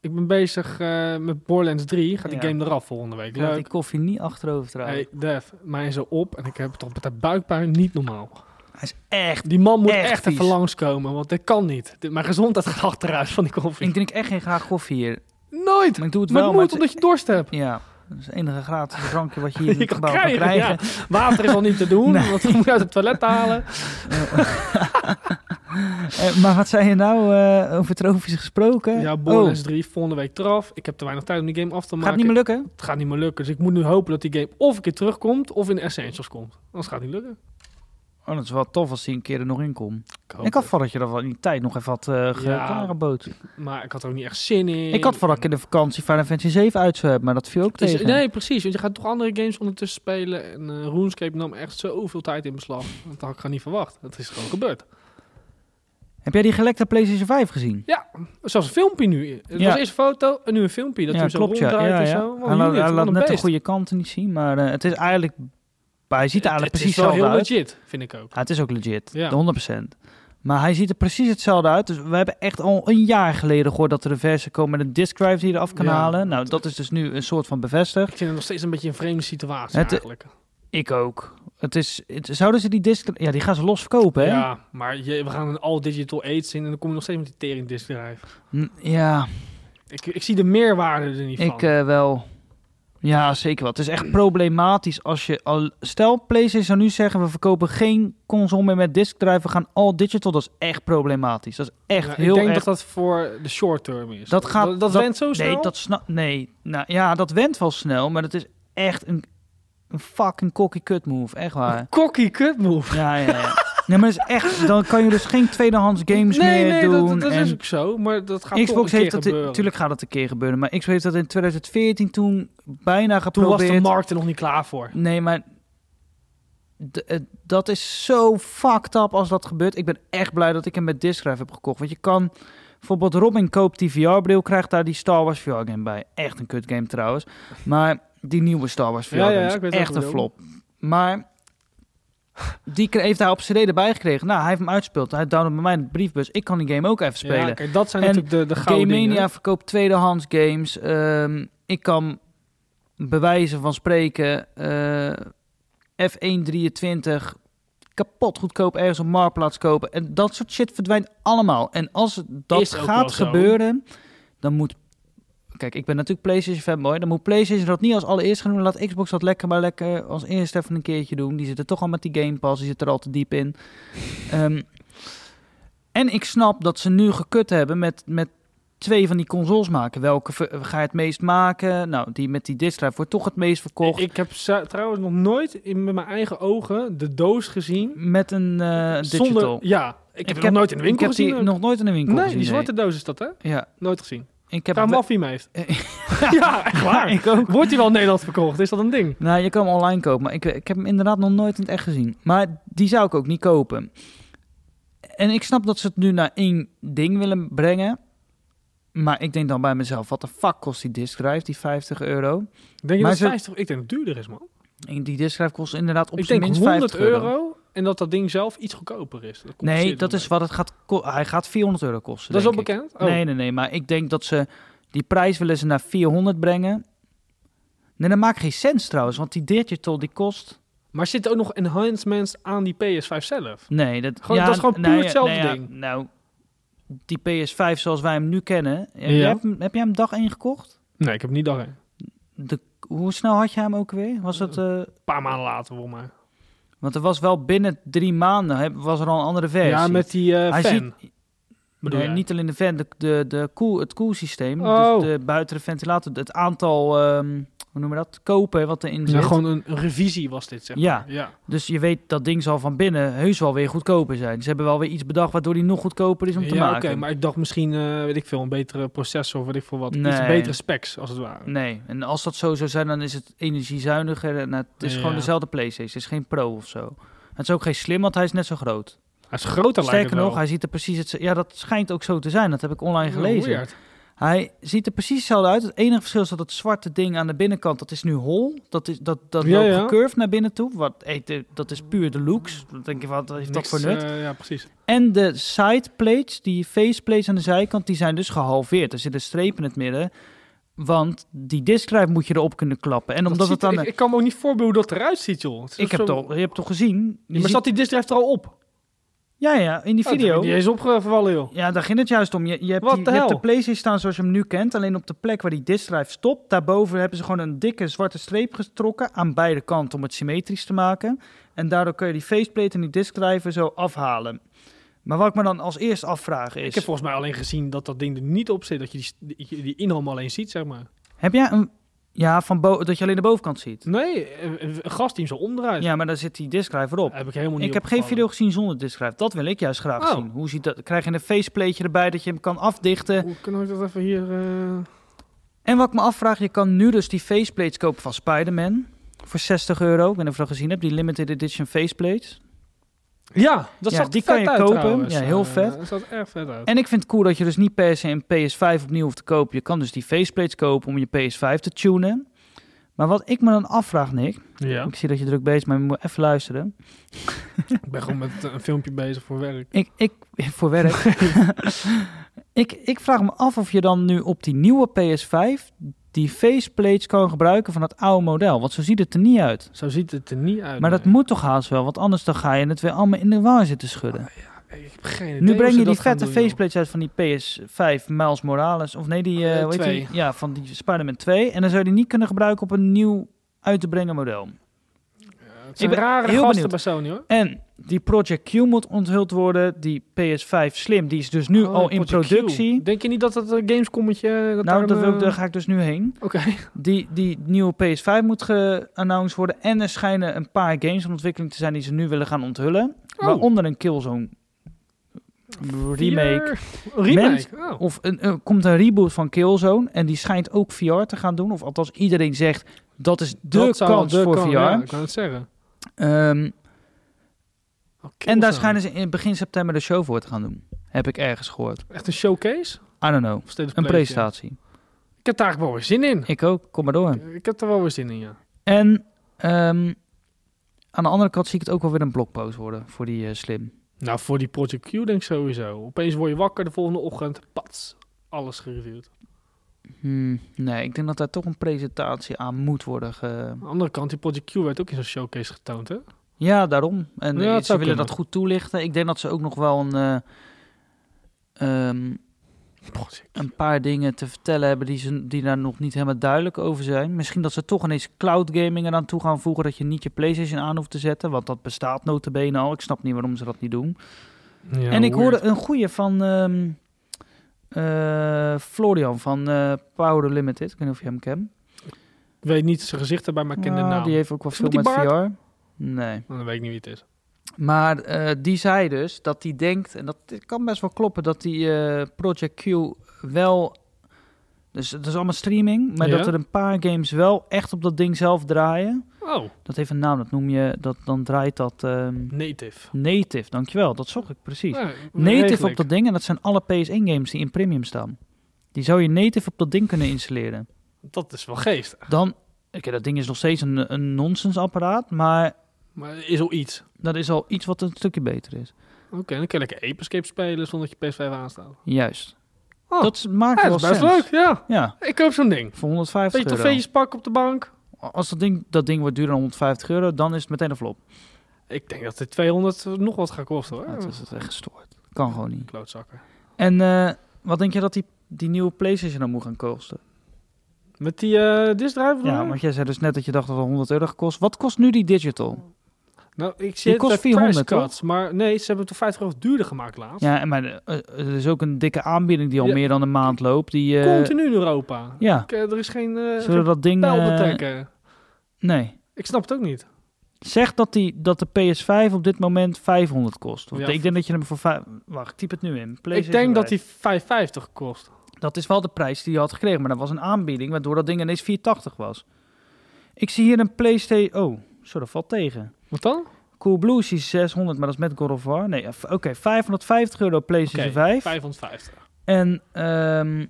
Speaker 2: Ik ben bezig eh, met Borderlands 3. Gaat die
Speaker 1: Ja.
Speaker 2: game eraf volgende week.
Speaker 1: Ik laat die
Speaker 2: Leuk.
Speaker 1: koffie niet achterover trouwen.
Speaker 2: Hey, Def, mij is er op en ik heb toch met de buikpijn niet normaal.
Speaker 1: Hij is echt...
Speaker 2: Die man moet
Speaker 1: Echt
Speaker 2: echt,
Speaker 1: vies.
Speaker 2: even langskomen, want dat kan niet. Dit- Mijn gezondheid gaat achteruit van die koffie.
Speaker 1: Ik drink echt geen graag koffie hier.
Speaker 2: Nooit!
Speaker 1: Maar ik doe het
Speaker 2: Maar
Speaker 1: wel, maar
Speaker 2: het moet,
Speaker 1: het-
Speaker 2: omdat je dorst hebt.
Speaker 1: Ja, dat is het enige gratis drankje wat je hier in
Speaker 2: Je
Speaker 1: het
Speaker 2: kan
Speaker 1: gebouw kan
Speaker 2: krijgen,
Speaker 1: krijgen.
Speaker 2: Water is al niet te doen,
Speaker 1: Nee.
Speaker 2: want dan moet je uit het toilet halen.
Speaker 1: Eh, maar wat zei je nou eh, over trofies gesproken?
Speaker 2: Ja, Borderlands 3 volgende week eraf. Ik heb te weinig tijd om die game af te
Speaker 1: Oh,
Speaker 2: maken.
Speaker 1: gaat het niet meer lukken?
Speaker 2: Het gaat niet meer lukken. Dus ik moet nu hopen dat die game of een keer terugkomt of in de Essentials komt. Anders gaat het niet lukken.
Speaker 1: Oh, dat is wel tof als hij een keer er nog in komt.
Speaker 2: Ik, hoop
Speaker 1: ik had
Speaker 2: het.
Speaker 1: van dat je dat wel in die tijd nog even had eh ge-
Speaker 2: Ja.
Speaker 1: klaargeboot.
Speaker 2: Maar ik had er ook niet echt zin in.
Speaker 1: Ik had van dat ik in de vakantie Final Fantasy 7 uit zou hebben, maar dat viel ook
Speaker 2: Het is-
Speaker 1: tegen.
Speaker 2: nee, precies. Want je gaat toch andere games ondertussen spelen. En eh, RuneScape nam echt zoveel tijd in beslag. Dat had ik gewoon niet verwacht. Dat is gewoon gebeurd.
Speaker 1: Heb jij die gelekte PlayStation 5 gezien?
Speaker 2: Zelfs een filmpje nu. Het
Speaker 1: Ja.
Speaker 2: was eerst een foto en nu een filmpje. Dat hij zo ronddraait en zo. Oh, Wat
Speaker 1: Hij
Speaker 2: een
Speaker 1: laat,
Speaker 2: unit,
Speaker 1: hij
Speaker 2: wat
Speaker 1: laat
Speaker 2: een
Speaker 1: net de
Speaker 2: beest.
Speaker 1: goede kanten niet zien, maar eh, het is eigenlijk... Hij ziet er
Speaker 2: Het-
Speaker 1: eigenlijk
Speaker 2: het
Speaker 1: precies
Speaker 2: is wel
Speaker 1: hetzelfde
Speaker 2: heel
Speaker 1: uit.
Speaker 2: legit, vind ik ook.
Speaker 1: Ja, het is ook legit,
Speaker 2: Ja.
Speaker 1: de 100%. Maar hij ziet er precies hetzelfde uit. Dus we hebben echt al een jaar geleden gehoord dat er een versie komen met een disk drive die je eraf kan
Speaker 2: Ja.
Speaker 1: halen. Nou, dat is dus nu een soort van bevestigd.
Speaker 2: Ik vind het nog steeds een beetje een vreemde situatie
Speaker 1: Het-
Speaker 2: eigenlijk.
Speaker 1: Ik ook. Het is, het- zouden ze die disk... Ja, die gaan ze los verkopen, hè?
Speaker 2: Ja, maar je, we gaan een all-digital aids in en dan kom je nog steeds met die tering disk drive.
Speaker 1: N- ja
Speaker 2: Ik, ik zie de meerwaarde er niet van.
Speaker 1: ik eh, wel. Ja, zeker wel. Het is echt problematisch als je... Al, stel, PlayStation zou nu zeggen, we verkopen geen console meer met disk drive. We gaan all digital. Dat is echt problematisch. Dat is echt
Speaker 2: Ja,
Speaker 1: heel
Speaker 2: Ik denk
Speaker 1: erg
Speaker 2: dat dat voor de short term is.
Speaker 1: Dat gaat-
Speaker 2: dat,
Speaker 1: dat-
Speaker 2: went zo snel.
Speaker 1: Nee, dat snap... Nee, nou ja, dat went wel snel, maar dat is echt een, een fucking cocky kut move, echt waar.
Speaker 2: Kokkie kut move.
Speaker 1: ja, ja, ja. Nee, maar dat is echt... Dan kan je dus geen tweedehands games
Speaker 2: nee,
Speaker 1: meer
Speaker 2: nee,
Speaker 1: doen.
Speaker 2: dat, dat
Speaker 1: en
Speaker 2: is ook zo, maar dat gaat toch een
Speaker 1: Xbox
Speaker 2: keer
Speaker 1: heeft dat...
Speaker 2: gebeuren.
Speaker 1: Natuurlijk gaat dat een keer gebeuren, maar Xbox heeft dat in 2014 toen bijna
Speaker 2: Toen
Speaker 1: geprobeerd.
Speaker 2: was de markt er nog niet klaar voor.
Speaker 1: Nee, maar... d- eh, dat is zo fucked up als dat gebeurt. Ik ben echt blij dat ik hem met Discgrive heb gekocht. Want je kan... Bijvoorbeeld Robin koopt die VR-bril, krijgt daar die Star Wars VR-game bij. Echt een kut game trouwens. Maar die nieuwe Star Wars
Speaker 2: Ja,
Speaker 1: VR-game
Speaker 2: ja,
Speaker 1: is
Speaker 2: ik weet
Speaker 1: echt een
Speaker 2: welke
Speaker 1: flop. Maar die kre- heeft hij op cd erbij gekregen. Nou, hij heeft hem uitspeeld. Hij downloadt bij mij in de briefbus. Ik kan die game ook even spelen.
Speaker 2: Ja, kijk, dat zijn
Speaker 1: En
Speaker 2: natuurlijk de, de
Speaker 1: Game
Speaker 2: gouden
Speaker 1: Mania
Speaker 2: dingen.
Speaker 1: verkoopt tweedehands games. Ehm, ik kan bewijzen van spreken eh, F123 kapot goedkoop ergens op marktplaats kopen. En dat soort shit verdwijnt allemaal. En als het- dat
Speaker 2: Is ook wel
Speaker 1: gaat
Speaker 2: zo.
Speaker 1: gebeuren, dan moet... Kijk, ik ben natuurlijk PlayStation fanboy. Dan moet PlayStation dat niet als allereerst gaan doen. Laat Xbox dat lekker maar lekker als eerste even een keertje doen. Die zitten toch al met die Game Pass. Die zitten er al te diep in. Ehm, en ik snap dat ze nu gekut hebben met, met twee van die consoles maken. Welke ver- ga je het meest maken? Nou, die met die disk drive wordt toch het meest verkocht.
Speaker 2: Ik heb za- trouwens nog nooit in, met mijn eigen ogen de doos gezien.
Speaker 1: met een eh, digital.
Speaker 2: Zonder, ja, ik heb het nog nooit in de winkel
Speaker 1: ik heb
Speaker 2: gezien.
Speaker 1: die
Speaker 2: ook.
Speaker 1: nog nooit in de winkel
Speaker 2: nee,
Speaker 1: gezien.
Speaker 2: die zwarte doos is dat, hè?
Speaker 1: nee. Ja,
Speaker 2: Nooit gezien.
Speaker 1: ik
Speaker 2: Ik
Speaker 1: heb
Speaker 2: heb
Speaker 1: het-
Speaker 2: af wie hem heeft. ja, echt
Speaker 1: Ja,
Speaker 2: waar.
Speaker 1: ik ook.
Speaker 2: Wordt hij wel in Nederland verkocht? Is dat een ding?
Speaker 1: Nou, je kan hem online kopen, maar ik, ik heb hem inderdaad nog nooit in het echt gezien. Maar die zou ik ook niet kopen. En ik snap dat ze het nu naar één ding willen brengen. Maar ik denk dan bij mezelf, wat de fuck kost die disk drive, die 50 euro?
Speaker 2: Denk je
Speaker 1: Maar
Speaker 2: dat
Speaker 1: ze-
Speaker 2: 50, ik denk dat het duurder is, man.
Speaker 1: En Die disk drive kost inderdaad op
Speaker 2: ik
Speaker 1: zijn
Speaker 2: denk
Speaker 1: minst
Speaker 2: 100
Speaker 1: 50
Speaker 2: euro. en dat dat ding zelf iets goedkoper is. Dat
Speaker 1: Nee,
Speaker 2: compenseert
Speaker 1: dat
Speaker 2: dan
Speaker 1: is
Speaker 2: mee.
Speaker 1: wat het gaat ko- Hij gaat 400 euro kosten.
Speaker 2: Dat is al
Speaker 1: denk ik.
Speaker 2: bekend? Oh.
Speaker 1: Nee, nee, nee. Maar ik denk dat ze die prijs willen ze naar 400 brengen. Nee, dat maakt geen sens trouwens, want die digital die kost.
Speaker 2: Maar zitten ook nog enhancements aan die PS5 zelf?
Speaker 1: Nee, dat,
Speaker 2: Gewoon- dat is gewoon puur hetzelfde
Speaker 1: ja,
Speaker 2: ding.
Speaker 1: nou, die PS5 zoals wij hem nu kennen. Heb,
Speaker 2: Ja.
Speaker 1: jij, hem- heb jij hem dag 1 gekocht?
Speaker 2: Nee, ik heb niet daarheen.
Speaker 1: De, hoe snel had je hem ook weer? Was het, eh,
Speaker 2: Een paar maanden later, voor mij.
Speaker 1: want er was wel binnen drie maanden heb- was er al een andere versie.
Speaker 2: Ja, met die eh
Speaker 1: Hij
Speaker 2: fan.
Speaker 1: ziet-
Speaker 2: bedoel
Speaker 1: Nee,
Speaker 2: jij?
Speaker 1: niet alleen de fan, de, de, de koel, het koelsysteem,
Speaker 2: Oh.
Speaker 1: dus de buiten de ventilator, het aantal, ehm, hoe noemen we dat, kopen wat erin zit.
Speaker 2: Ja, gewoon een, een revisie was dit, zeg
Speaker 1: Ja.
Speaker 2: maar. Ja.
Speaker 1: Dus je weet dat ding zal van binnen heus wel weer goedkoper zijn. Ze hebben wel weer iets bedacht waardoor die nog goedkoper is om te
Speaker 2: Ja,
Speaker 1: maken.
Speaker 2: oké, maar ik dacht misschien, eh, weet ik veel, een betere processor of weet ik veel wat.
Speaker 1: Nee. Mm.
Speaker 2: Iets betere specs, als het ware.
Speaker 1: Nee, en als dat zo zou zijn, dan is het energiezuiniger en het is
Speaker 2: Ja.
Speaker 1: gewoon dezelfde PlayStation. Het is geen Pro of zo. Het is ook geen slim, want hij is net zo groot.
Speaker 2: Hij is groter, lijkt
Speaker 1: Sterker
Speaker 2: het wel.
Speaker 1: nog, hij ziet er precies het. Ja, dat schijnt ook zo te zijn. Dat heb ik online
Speaker 2: Oh,
Speaker 1: gelezen.
Speaker 2: weird.
Speaker 1: Hij ziet er precies hetzelfde uit. Het enige verschil is dat het zwarte ding aan de binnenkant, dat is nu hol. Dat, is, dat, dat
Speaker 2: Ja,
Speaker 1: loopt
Speaker 2: ja.
Speaker 1: gecurved naar binnen toe. Wat, hey, de- dat is puur de looks. Dan denk je, wat heeft
Speaker 2: Niks,
Speaker 1: dat voor nut?
Speaker 2: eh, ja, precies.
Speaker 1: En de side plates, die face plates aan de zijkant, die zijn dus gehalveerd. Er zit een streep in het midden. Want die diskdrive moet je erop kunnen klappen. En
Speaker 2: Dat
Speaker 1: omdat
Speaker 2: ziet
Speaker 1: het dan...
Speaker 2: er- ik, ik kan me ook niet voorbeelden hoe dat eruit ziet, joh. Het is
Speaker 1: ik heb
Speaker 2: zo-
Speaker 1: toch, je hebt toch gezien?
Speaker 2: Ja,
Speaker 1: Je
Speaker 2: maar
Speaker 1: ziet-
Speaker 2: zat die disdrive er al op? Oh,
Speaker 1: Ja, ja, in die video.
Speaker 2: Die is opgevallen, joh.
Speaker 1: Ja, daar ging het juist om. Je, je, hebt,
Speaker 2: Wat
Speaker 1: die,
Speaker 2: de
Speaker 1: je hebt de
Speaker 2: hel?
Speaker 1: PlayStation staan zoals je hem nu kent. Alleen op de plek waar die disk drive stopt, daarboven hebben ze gewoon een dikke zwarte streep getrokken aan beide kanten om het symmetrisch te maken. En daardoor kun je die faceplate en die disk drive zo afhalen. Maar wat ik me dan als eerst afvraag is:
Speaker 2: Ik heb volgens mij alleen gezien dat dat ding er niet op zit. Dat je die, die, die inham alleen ziet, zeg maar.
Speaker 1: heb jij een. Ja, van bo- dat je alleen de bovenkant ziet.
Speaker 2: Nee, Eh, een, een gast die hem zo onderuit.
Speaker 1: Ja, maar daar zit die disk drive erop.
Speaker 2: Heb ik helemaal niet
Speaker 1: Ik heb geen
Speaker 2: opgevallen.
Speaker 1: video gezien zonder disk drive. Dat wil ik juist graag
Speaker 2: Oh.
Speaker 1: zien. Hoe ziet dat? Krijg je een faceplateje erbij dat je hem kan afdichten?
Speaker 2: Hoe kan ik dat even hier... eh,
Speaker 1: En wat ik me afvraag, je kan nu dus die faceplates kopen van Spider-Man. Voor 60 euro. Ik weet niet of je dat gezien hebt, die limited edition faceplates.
Speaker 2: Ja, dat
Speaker 1: Ja,
Speaker 2: zag er
Speaker 1: die
Speaker 2: vet
Speaker 1: kan je
Speaker 2: uit
Speaker 1: kopen.
Speaker 2: trouwens.
Speaker 1: Ja, heel
Speaker 2: Eh,
Speaker 1: vet.
Speaker 2: Dat zag er erg vet uit.
Speaker 1: En ik vind het cool dat je dus niet per se een PS5 opnieuw hoeft te kopen. Je kan dus die faceplates kopen om je PS5 te tunen. Maar wat ik me dan afvraag, Nick.
Speaker 2: ja.
Speaker 1: Ik zie dat je druk bezig bent, maar je moet even luisteren.
Speaker 2: Ik ben gewoon met eh, een filmpje bezig voor werk.
Speaker 1: Ik, ik voor werk. ik, ik vraag me af of je dan nu op die nieuwe PS5 die faceplates kan gebruiken van het oude model. Want zo ziet het er niet uit.
Speaker 2: Zo ziet het er niet uit.
Speaker 1: Maar dat
Speaker 2: Oh, nee.
Speaker 1: moet toch haast wel, want anders dan ga je het weer allemaal in de war zitten schudden.
Speaker 2: Ik heb geen idee
Speaker 1: Nu
Speaker 2: hoe
Speaker 1: breng
Speaker 2: Oh, ze
Speaker 1: je die
Speaker 2: dat gaan
Speaker 1: vette
Speaker 2: doen, joh.
Speaker 1: faceplates uit van die PS5 Miles Morales. Of nee, die, eh
Speaker 2: Eh,
Speaker 1: hoe heet
Speaker 2: twee.
Speaker 1: die? Ja, van die Spider-Man 2. En dan zou je die niet kunnen gebruiken op een nieuw uit te brengen model.
Speaker 2: Ja, het
Speaker 1: Ik
Speaker 2: zijn
Speaker 1: ben
Speaker 2: rare
Speaker 1: heel
Speaker 2: gasten
Speaker 1: benieuwd.
Speaker 2: bij Sony, hoor.
Speaker 1: En die Project Q moet onthuld worden. Die PS5 Slim, die is dus nu
Speaker 2: Oh,
Speaker 1: al in
Speaker 2: Project Q.
Speaker 1: productie.
Speaker 2: Denk je niet dat dat een Gamescommetje... eh, Dat
Speaker 1: Nou,
Speaker 2: daar
Speaker 1: dat
Speaker 2: een,
Speaker 1: wil ik, daar
Speaker 2: eh,
Speaker 1: ga ik dus nu heen.
Speaker 2: Oké.
Speaker 1: Die, die nieuwe PS5 moet geannounced worden. En er schijnen een paar games in ontwikkeling te zijn die ze nu willen gaan onthullen.
Speaker 2: Oh.
Speaker 1: Waaronder een Killzone remake.
Speaker 2: Vier- Remake? Oh.
Speaker 1: Of een, er komt een reboot van Killzone en die schijnt ook VR te gaan doen. Of althans, iedereen zegt dat is de
Speaker 2: Dat zou
Speaker 1: kans
Speaker 2: de
Speaker 1: voor
Speaker 2: kan-
Speaker 1: VR.
Speaker 2: Ja, ik kan het zeggen.
Speaker 1: Ehm, en daar
Speaker 2: Killzone.
Speaker 1: schijnen ze in begin september de show voor te gaan doen. Heb ik ergens gehoord.
Speaker 2: Echt een showcase?
Speaker 1: I don't know.
Speaker 2: Of steeds
Speaker 1: Een
Speaker 2: PlayStation?
Speaker 1: presentatie.
Speaker 2: Ik heb daar eigenlijk wel weer zin in.
Speaker 1: Ik ook, kom maar door.
Speaker 2: Ik heb er wel weer zin in, ja.
Speaker 1: En ehm, aan de andere kant zie ik het ook wel weer een blogpost worden voor die eh, slim.
Speaker 2: Nou, voor die Project Q denk ik sowieso. Opeens word je wakker de volgende ochtend. Pats. Alles gereviewd.
Speaker 1: Hmm, nee, ik denk dat daar toch een presentatie aan moet worden. Ge...
Speaker 2: Aan de andere kant, die Project Q werd ook in zo'n showcase getoond, hè?
Speaker 1: Ja, daarom. En
Speaker 2: Ja,
Speaker 1: eh,
Speaker 2: het
Speaker 1: ze
Speaker 2: zou
Speaker 1: willen dat
Speaker 2: kunnen.
Speaker 1: goed toelichten. Ik denk dat ze ook nog wel een, eh, ehm,
Speaker 2: Project.
Speaker 1: een paar dingen te vertellen hebben die, ze, die daar nog niet helemaal duidelijk over zijn. Misschien dat ze toch ineens cloud gaming eraan toe gaan voegen. Dat je niet je PlayStation aan hoeft te zetten. Want dat bestaat notabene al. Ik snap niet waarom ze dat niet doen.
Speaker 2: Ja,
Speaker 1: en ik
Speaker 2: weird.
Speaker 1: hoorde een goeie van ehm, eh, Florian van eh, Power Limited. Ik weet niet of je hem kent.
Speaker 2: Ik weet niet zijn gezicht erbij, maar ik ken de
Speaker 1: Nou,
Speaker 2: naam.
Speaker 1: Die heeft ook wel
Speaker 2: Is
Speaker 1: veel
Speaker 2: het
Speaker 1: met
Speaker 2: met die
Speaker 1: VR. Nee.
Speaker 2: Oh, Dan weet ik niet wie het is.
Speaker 1: Maar eh, die zei dus dat hij denkt, en dat kan best wel kloppen, dat die eh, Project Q wel. Dus het is allemaal streaming, maar
Speaker 2: Ja.
Speaker 1: dat er een paar games wel echt op dat ding zelf draaien.
Speaker 2: Oh,
Speaker 1: Dat heeft een naam, dat noem je, dat, dan draait dat ehm,
Speaker 2: Native.
Speaker 1: native, dankjewel, dat zocht ik precies.
Speaker 2: Ja,
Speaker 1: native op
Speaker 2: regelijk.
Speaker 1: dat ding, en dat zijn alle PS1 games die in premium staan. Die zou je native op dat ding kunnen installeren.
Speaker 2: Dat is wel geest.
Speaker 1: Dan, oké, dat ding is nog steeds een, een nonsensapparaat, maar
Speaker 2: Maar is al iets. Oké,
Speaker 1: dat is al iets wat een stukje beter is.
Speaker 2: dan kan je lekker Ape Escape spelen zonder dat je PS5 aanstaat.
Speaker 1: Juist.
Speaker 2: Oh.
Speaker 1: Dat maakt
Speaker 2: Ja,
Speaker 1: wel
Speaker 2: dat is best
Speaker 1: sens.
Speaker 2: leuk, ja.
Speaker 1: Ja,
Speaker 2: Ik koop zo'n ding.
Speaker 1: voor 150
Speaker 2: Beetje
Speaker 1: euro.
Speaker 2: trofeetjes pakken op de bank.
Speaker 1: Als dat ding, dat ding wordt duurder dan 150 euro, dan is het meteen een flop.
Speaker 2: Ik denk dat dit 200 nog wat gaat kosten, hoor.
Speaker 1: Ja, dat is het echt gestoord. Kan gewoon niet.
Speaker 2: Klootzakken.
Speaker 1: En eh, wat denk je dat die, die nieuwe PlayStation dan moet gaan kosten?
Speaker 2: Met die eh disk drive bedoel
Speaker 1: Ja,
Speaker 2: je?
Speaker 1: want jij zei dus net dat je dacht dat het 100 euro gekost. Wat kost nu die digital?
Speaker 2: Nou, ik zie het
Speaker 1: kost
Speaker 2: bij
Speaker 1: 400,
Speaker 2: price cuts, maar nee, ze hebben het toch 50 euro duurder gemaakt laatst.
Speaker 1: Ja, en maar eh, eh, er is ook een dikke aanbieding die al
Speaker 2: Ja.
Speaker 1: meer dan een maand loopt. Die, eh,
Speaker 2: Continu in Europa.
Speaker 1: Ja,
Speaker 2: Ik, eh, er is geen, eh
Speaker 1: zullen we
Speaker 2: geen
Speaker 1: dat ding...
Speaker 2: pijl
Speaker 1: eh,
Speaker 2: betekken.
Speaker 1: nee.
Speaker 2: Ik snap het ook niet.
Speaker 1: Zeg dat, die, dat de PS5 op dit moment 500 kost. Want
Speaker 2: Ja,
Speaker 1: ik denk dat je hem voor... vijf- Wacht, ik typ het nu in.
Speaker 2: Ik
Speaker 1: PlayStation
Speaker 2: denk dat
Speaker 1: prijs.
Speaker 2: die 5,50 kost.
Speaker 1: Dat is wel de prijs die je had gekregen, maar dat was een aanbieding, waardoor dat ding ineens 480 was. Ik zie hier een PlayStation. Oh, zo, dat valt tegen.
Speaker 2: Wat dan?
Speaker 1: Coolblue is hier 600, maar dat is met God of War. Nee, eh, f- oké, 550 euro PlayStation
Speaker 2: Oké,
Speaker 1: 5.
Speaker 2: 550.
Speaker 1: En ehm,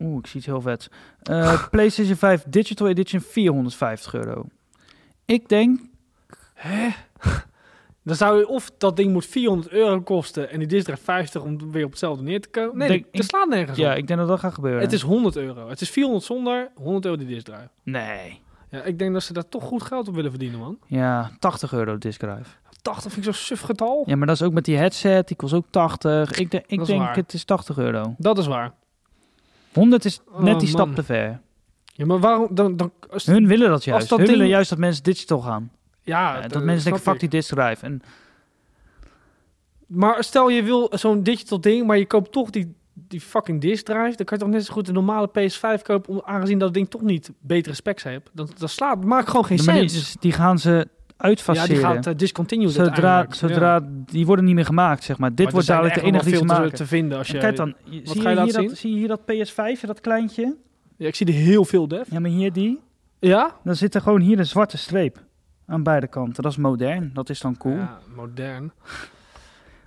Speaker 1: Oeh, ik zie iets heel vets. Eh, PlayStation 5 Digital Edition 450 euro. Ik denk,
Speaker 2: Dan zou je of dat ding moet 400 euro kosten en die disc drive 50 om weer op hetzelfde neer te komen. Nee,
Speaker 1: Denk-
Speaker 2: dat- dat slaat nergens
Speaker 1: ja,
Speaker 2: op.
Speaker 1: ik eh, denk dat dat gaat gebeuren.
Speaker 2: Het is 100 euro. Het is 400 zonder, 100 euro die disc drive.
Speaker 1: Nee.
Speaker 2: Ja, ik denk dat ze daar toch goed geld op willen verdienen, man.
Speaker 1: Ja, 80 euro disc drive.
Speaker 2: 80 vind ik zo'n suf getal.
Speaker 1: Ja, maar dat is ook met die headset. Die kost ook 80. Ik, de-
Speaker 2: Oh. Dat
Speaker 1: ik
Speaker 2: is
Speaker 1: denk
Speaker 2: waar.
Speaker 1: het is 80 euro.
Speaker 2: Dat is waar.
Speaker 1: 100 is net
Speaker 2: Oh,
Speaker 1: die
Speaker 2: man.
Speaker 1: stap te ver.
Speaker 2: Ja, maar waarom... Dan, dan, als-
Speaker 1: Hun willen dat juist.
Speaker 2: dat
Speaker 1: Hun
Speaker 2: ding-
Speaker 1: willen juist dat mensen digital gaan.
Speaker 2: ja,
Speaker 1: Eh,
Speaker 2: d-
Speaker 1: dat mensen denken,
Speaker 2: snap
Speaker 1: fuck die disc drive. En
Speaker 2: ik. Maar stel je wil zo'n digital ding, maar je koopt toch die, die fucking disc drive. Dan kan je toch net zo goed een normale PS5 kopen, om, aangezien dat ding toch niet betere specs heeft. Dat, dat slaat, maakt gewoon geen
Speaker 1: de manier-
Speaker 2: sens.
Speaker 1: die gaan ze
Speaker 2: Ja,
Speaker 1: uitfaceren.
Speaker 2: die gaat eh, discontinued
Speaker 1: zodra,
Speaker 2: uiteindelijk. Ja.
Speaker 1: zodra die worden niet meer gemaakt, zeg maar. Dit
Speaker 2: Maar er
Speaker 1: wordt
Speaker 2: zijn
Speaker 1: dadelijk
Speaker 2: echt
Speaker 1: de enige die
Speaker 2: nog
Speaker 1: ze
Speaker 2: wel veel
Speaker 1: maken.
Speaker 2: te, te vinden. Als je,
Speaker 1: En kijk dan, je- zie,
Speaker 2: ga je
Speaker 1: je
Speaker 2: laten
Speaker 1: hier
Speaker 2: zien?
Speaker 1: dat, zie je hier dat PS5, dat kleintje?
Speaker 2: Ja, ik zie er heel veel, Def.
Speaker 1: Ja, maar hier die.
Speaker 2: Ja?
Speaker 1: Dan zit er gewoon hier een zwarte streep aan beide kanten. Dat is modern, dat is dan cool.
Speaker 2: Ja, modern.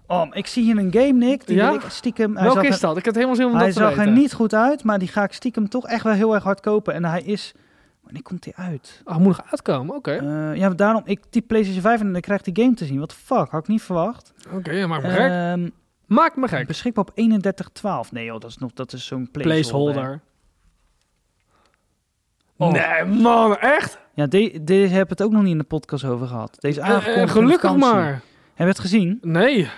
Speaker 1: Oh, ik zie hier een game, Nick. Die
Speaker 2: Ja?
Speaker 1: wil ik stiekem... Hij
Speaker 2: Welke
Speaker 1: zag
Speaker 2: is
Speaker 1: er-
Speaker 2: dat? Ik had helemaal zin om
Speaker 1: Hij
Speaker 2: dat te
Speaker 1: zag er
Speaker 2: weten.
Speaker 1: niet goed uit, maar die ga ik stiekem toch echt wel heel erg hard kopen. En hij is... Wanneer komt die uit?
Speaker 2: Oh, hij moet nog uitkomen, oké.
Speaker 1: Eh, ja, daarom... Ik typ PlayStation 5 en dan krijg ik die game te zien. Wat de fuck, had ik niet verwacht.
Speaker 2: Oké, ja, maak me Oh, gek.
Speaker 1: Ehm,
Speaker 2: Maak me gek.
Speaker 1: beschikbaar op 31.12. Nee joh, dat is, nog, dat is zo'n placeholder.
Speaker 2: Placeholder.
Speaker 1: Oh.
Speaker 2: Nee, man, echt?
Speaker 1: Ja, de- deze hebben het ook nog niet in de podcast over gehad. Deze is aangekondigd.
Speaker 2: Eh,
Speaker 1: in
Speaker 2: eh,
Speaker 1: de
Speaker 2: gelukkig
Speaker 1: vakantie.
Speaker 2: maar.
Speaker 1: Heb je het gezien?
Speaker 2: Nee.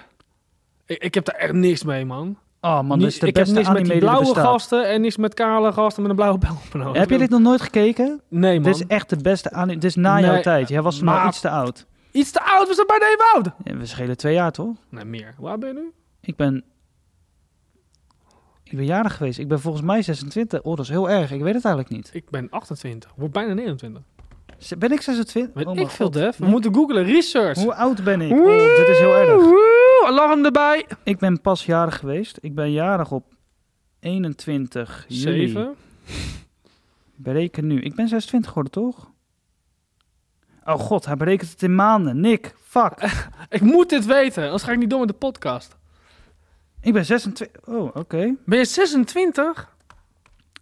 Speaker 2: Ik, ik heb daar echt niks mee, man.
Speaker 1: Oh man, dat
Speaker 2: Niks-
Speaker 1: is de
Speaker 2: ik heb
Speaker 1: beste
Speaker 2: niks
Speaker 1: anime
Speaker 2: met
Speaker 1: die
Speaker 2: die
Speaker 1: er
Speaker 2: blauwe
Speaker 1: bestaat.
Speaker 2: gasten en niks met kale gasten met een blauwe bel op hun hoofd.
Speaker 1: Heb je dit nog nooit gekeken?
Speaker 2: Nee, man.
Speaker 1: Dit is echt de beste anime. Dit is na
Speaker 2: Nee,
Speaker 1: jouw tijd. Jij was toen al
Speaker 2: maar-
Speaker 1: iets te oud.
Speaker 2: Iets te oud, we zijn bijna even oud.
Speaker 1: Ja, We schelen twee jaar, toch?
Speaker 2: Nee, meer. Waar ben je nu?
Speaker 1: Ik ben... Ik ben jarig geweest. Ik ben volgens mij 26. Oh, dat is heel erg. Ik weet het eigenlijk niet.
Speaker 2: Ik ben 28. Word bijna 29.
Speaker 1: Z- Ben ik 26?
Speaker 2: Weet
Speaker 1: Oh,
Speaker 2: ik
Speaker 1: mijn
Speaker 2: veel,
Speaker 1: god.
Speaker 2: Def. We
Speaker 1: Nee.
Speaker 2: moeten googlen. Research.
Speaker 1: Hoe oud ben ik? Oh, dit is heel erg.
Speaker 2: Woe, alarm erbij.
Speaker 1: Ik ben pas jarig geweest. Ik ben jarig op 21 juli.
Speaker 2: 7.
Speaker 1: Bereken nu. Ik ben 26 geworden, toch? Oh god, hij berekent het in maanden. Nick, fuck.
Speaker 2: Ik moet dit weten, anders ga ik niet door met de podcast.
Speaker 1: Ik ben 26. Oh, oké.
Speaker 2: Ben je 26?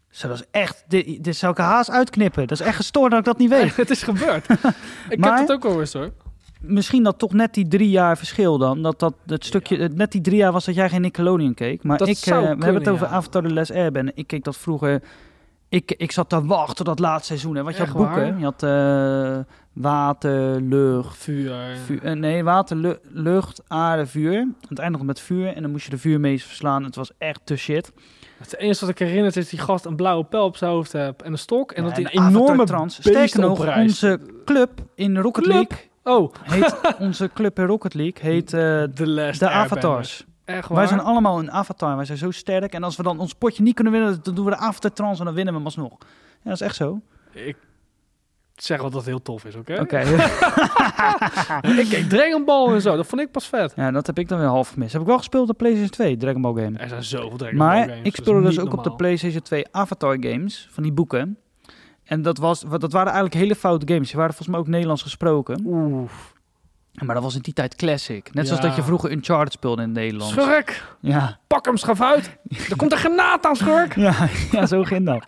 Speaker 1: Zo, dat is echt... Dit, dit zou ik er haast uitknippen. Dat is echt gestoord dat ik dat niet weet.
Speaker 2: het is gebeurd. ik
Speaker 1: Maar-
Speaker 2: heb het ook wel eens hoor.
Speaker 1: Misschien dat toch net die drie jaar verschil dan. Dat dat het stukje... het Net die drie jaar was dat jij geen Nickelodeon keek. Maar
Speaker 2: Dat
Speaker 1: ik... eh,
Speaker 2: zou
Speaker 1: we
Speaker 2: kunnen,
Speaker 1: hebben het over
Speaker 2: ja.
Speaker 1: Avatar The Last Airbender. Ik keek dat vroeger... Ik, ik zat te wachten dat laatste seizoen. Hè. Want je
Speaker 2: Echt
Speaker 1: had boeken.
Speaker 2: waar?
Speaker 1: Je had eh, water, lucht,
Speaker 2: Vuur.
Speaker 1: Vu- eh, nee, water, lu- lucht, aarde, vuur. Aan het einde nog met vuur. En dan moest je de vuurmees verslaan. Het was echt de shit.
Speaker 2: Het enige wat ik herinnert is dat die gast een blauwe pijl op zijn hoofd heeft en een stok. En
Speaker 1: Ja,
Speaker 2: dat hij een
Speaker 1: Avatar
Speaker 2: enorme
Speaker 1: Trans.
Speaker 2: beest
Speaker 1: Sterker nog,
Speaker 2: oprijst.
Speaker 1: onze club in Rocket
Speaker 2: Club?
Speaker 1: League...
Speaker 2: Oh,
Speaker 1: Heet, onze club in Rocket League heet eh,
Speaker 2: de les.
Speaker 1: de Avatars.
Speaker 2: Echt waar?
Speaker 1: Wij zijn allemaal een avatar. Wij zijn zo sterk. En als we dan ons potje niet kunnen winnen, dan doen we de Avatar Trans en dan winnen we hem alsnog. Ja, dat is echt zo.
Speaker 2: Ik zeg wel dat het heel tof is, oké?
Speaker 1: Oké.
Speaker 2: ik keek Dragon Ball en zo, dat vond ik pas vet.
Speaker 1: ja, dat heb ik dan weer half gemist. Heb ik wel gespeeld op de PlayStation 2, Dragon Ball game.
Speaker 2: Er zijn zoveel Eh, Dragon Ball
Speaker 1: Maar
Speaker 2: games.
Speaker 1: ik
Speaker 2: dat is
Speaker 1: speelde dus
Speaker 2: niet
Speaker 1: ook op de
Speaker 2: normaal.
Speaker 1: PlayStation 2 Avatar games, van die boeken. En dat, was, wa- dat waren eigenlijk hele foute games. Die waren volgens mij ook Nederlands gesproken.
Speaker 2: Oeh,
Speaker 1: Maar dat was in die tijd classic. Net zoals
Speaker 2: Ja.
Speaker 1: dat je vroeger Uncharted speelde in het Nederlands.
Speaker 2: schurk!
Speaker 1: Ja.
Speaker 2: Pak hem, schaf uit. Er komt een granaat aan, schurk.
Speaker 1: Ja, ja, zo ging dat.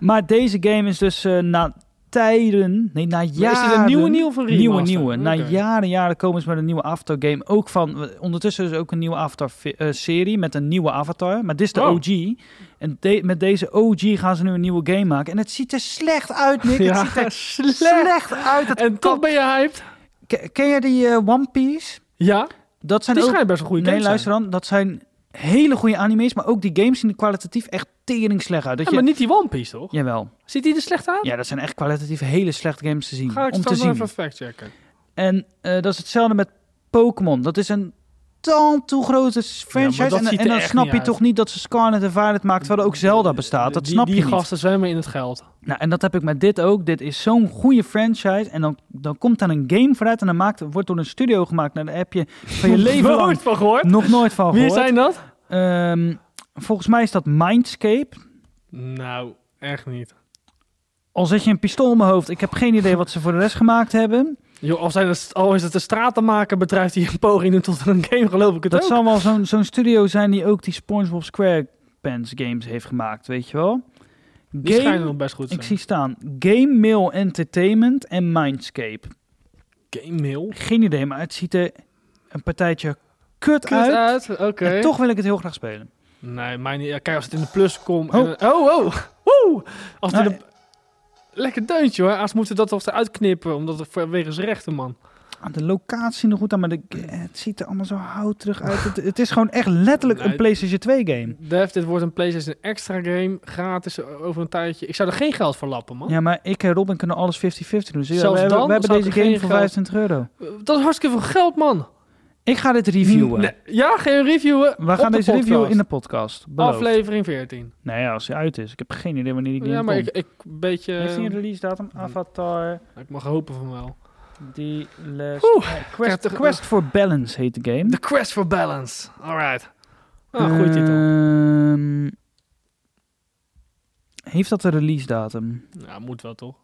Speaker 1: Maar deze game is dus eh, na tijden, nee, na
Speaker 2: Ja,
Speaker 1: jaren...
Speaker 2: is dit een nieuwe Nou, nieuw of een remaster?
Speaker 1: Nieuwe, nieuwe. Na
Speaker 2: Oké.
Speaker 1: jaren, jaren komen ze met een nieuwe Avatar-game. Ook van, ondertussen is er ook een nieuwe Avatar-serie met een nieuwe Avatar. Maar dit is de
Speaker 2: Wow.
Speaker 1: OG. En de- met deze OG gaan ze nu een nieuwe game maken. En het ziet er slecht uit, Nick.
Speaker 2: Ja,
Speaker 1: Het ziet er
Speaker 2: slecht.
Speaker 1: slecht uit. Het
Speaker 2: En toch
Speaker 1: kan-
Speaker 2: ben je hyped.
Speaker 1: Ken- Ken jij die eh, One Piece?
Speaker 2: Ja,
Speaker 1: Dat zijn
Speaker 2: die
Speaker 1: ook...
Speaker 2: schijnt best een goede
Speaker 1: Nee,
Speaker 2: game
Speaker 1: luister dan. Dat zijn hele goede anime's. Maar ook die games zien er kwalitatief echt tering slecht uit. Dat
Speaker 2: Ja,
Speaker 1: je...
Speaker 2: maar niet die One Piece, toch?
Speaker 1: Jawel.
Speaker 2: Ziet die er slecht uit?
Speaker 1: Ja, dat zijn echt kwalitatief hele slechte games te zien.
Speaker 2: Ga
Speaker 1: om
Speaker 2: ik
Speaker 1: te
Speaker 2: straks nog
Speaker 1: zien.
Speaker 2: even factchecken.
Speaker 1: En eh, dat is hetzelfde met Pokémon. Dat is een tal toe grote s- franchise.
Speaker 2: dat
Speaker 1: en, dan-
Speaker 2: ziet er
Speaker 1: en dan
Speaker 2: echt
Speaker 1: snap
Speaker 2: niet
Speaker 1: je
Speaker 2: uit.
Speaker 1: toch niet dat ze Scarlet en Violet maakt, terwijl er ook Zelda bestaat. Dat
Speaker 2: die,
Speaker 1: snap
Speaker 2: die
Speaker 1: je
Speaker 2: gasten zwemmen in het geld.
Speaker 1: niet. Nou, en dat heb ik met dit ook. Dit is zo'n goede franchise. En dan, dan komt daar een game vooruit en dan maakt, wordt door een studio gemaakt. Nou, daar heb je van je leven lang
Speaker 2: Nooit van gehoord.
Speaker 1: nog nooit van
Speaker 2: Wie
Speaker 1: gehoord.
Speaker 2: zijn dat?
Speaker 1: Ehm, volgens mij is dat Mindscape.
Speaker 2: Nou, echt niet.
Speaker 1: Al zet je een pistool op mijn hoofd. Ik heb geen idee wat ze voor de rest gemaakt hebben.
Speaker 2: Joh, al, zijn het, al is het een stratenmakerbedrijf die een poging doet tot een game, geloof ik het
Speaker 1: Dat
Speaker 2: ook.
Speaker 1: zal wel zo'n zo'n studio zijn die ook die SpongeBob SquarePants Expanse games heeft gemaakt, weet je wel.
Speaker 2: Die
Speaker 1: Game,
Speaker 2: schijnen nog best goed te
Speaker 1: ik
Speaker 2: zijn.
Speaker 1: zie staan Game Mail Entertainment en Mindscape.
Speaker 2: Game mail.
Speaker 1: Geen idee, maar het ziet er een partijtje kut, uit.
Speaker 2: Oké.
Speaker 1: En toch wil ik het heel graag spelen.
Speaker 2: Nee, mij niet. Ja, Kijk, als het in de plus komt.
Speaker 1: Oh.
Speaker 2: Oh, oh, oh. Woe! Als het in
Speaker 1: Nou,
Speaker 2: de... Lekker deuntje hoor. Als moeten dat toch eruit knippen, omdat het wegens rechten, man.
Speaker 1: Aan Ah, de locatie zien er goed aan, maar de, het ziet er allemaal zo houterig uit. Het, het is gewoon echt letterlijk een
Speaker 2: Nee.
Speaker 1: PlayStation 2 game.
Speaker 2: Def, dit wordt een PlayStation extra game. Gratis eh, over een tijdje. Ik zou er geen geld voor lappen, man.
Speaker 1: Ja, maar ik en Robin kunnen alles 50-50 doen. Dus ja,
Speaker 2: Zelfs
Speaker 1: we hebben,
Speaker 2: dan
Speaker 1: we hebben
Speaker 2: zou ik
Speaker 1: deze
Speaker 2: er
Speaker 1: game
Speaker 2: geen
Speaker 1: voor
Speaker 2: geld-
Speaker 1: 25 euro.
Speaker 2: Eh, Dat is hartstikke veel geld, man.
Speaker 1: Ik ga dit reviewen.
Speaker 2: Nee, Ja, ga je reviewen.
Speaker 1: We
Speaker 2: op
Speaker 1: gaan
Speaker 2: de
Speaker 1: deze
Speaker 2: podcast.
Speaker 1: review in de podcast. Beloofd.
Speaker 2: Aflevering 14.
Speaker 1: Nee, als hij uit is. Ik heb geen idee wanneer die game
Speaker 2: Ja, maar ik,
Speaker 1: komt.
Speaker 2: ik een beetje...
Speaker 1: Heeft hij een release datum?
Speaker 2: hmm.
Speaker 1: Avatar,
Speaker 2: Ik mag hopen van wel.
Speaker 1: The Last...
Speaker 2: Oeh,
Speaker 1: eh,
Speaker 2: ik heb
Speaker 1: Quest,
Speaker 2: toch-
Speaker 1: Quest for Balance heet de game.
Speaker 2: The Quest for Balance. Alright. Ah,
Speaker 1: Eh,
Speaker 2: goeie titel.
Speaker 1: Ehm, heeft dat een release datum?
Speaker 2: Ja, Nou, moet wel toch?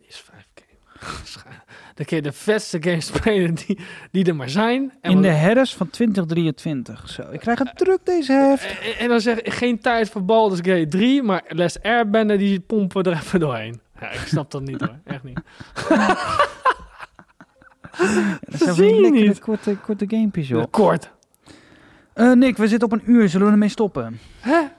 Speaker 2: PS5 game. Scha- Dan kun je de vetste games spelen die, die er maar zijn. En,
Speaker 1: In de
Speaker 2: wat- Eh,
Speaker 1: herfst van 2023. Zo, ik krijg het druk deze herfst.
Speaker 2: en, en dan zeg ik geen tijd voor Baldur's Gate 3, maar Les Airbender die pompen er even doorheen. Ja, ik snap dat niet hoor. Echt niet.
Speaker 1: Dat zijn van
Speaker 2: zie
Speaker 1: die
Speaker 2: je
Speaker 1: lekkere
Speaker 2: eh, niet.
Speaker 1: korte, korte gamepjes, joh.
Speaker 2: Kort.
Speaker 1: Eh, Nick, we zitten op een uur. Zullen we ermee stoppen?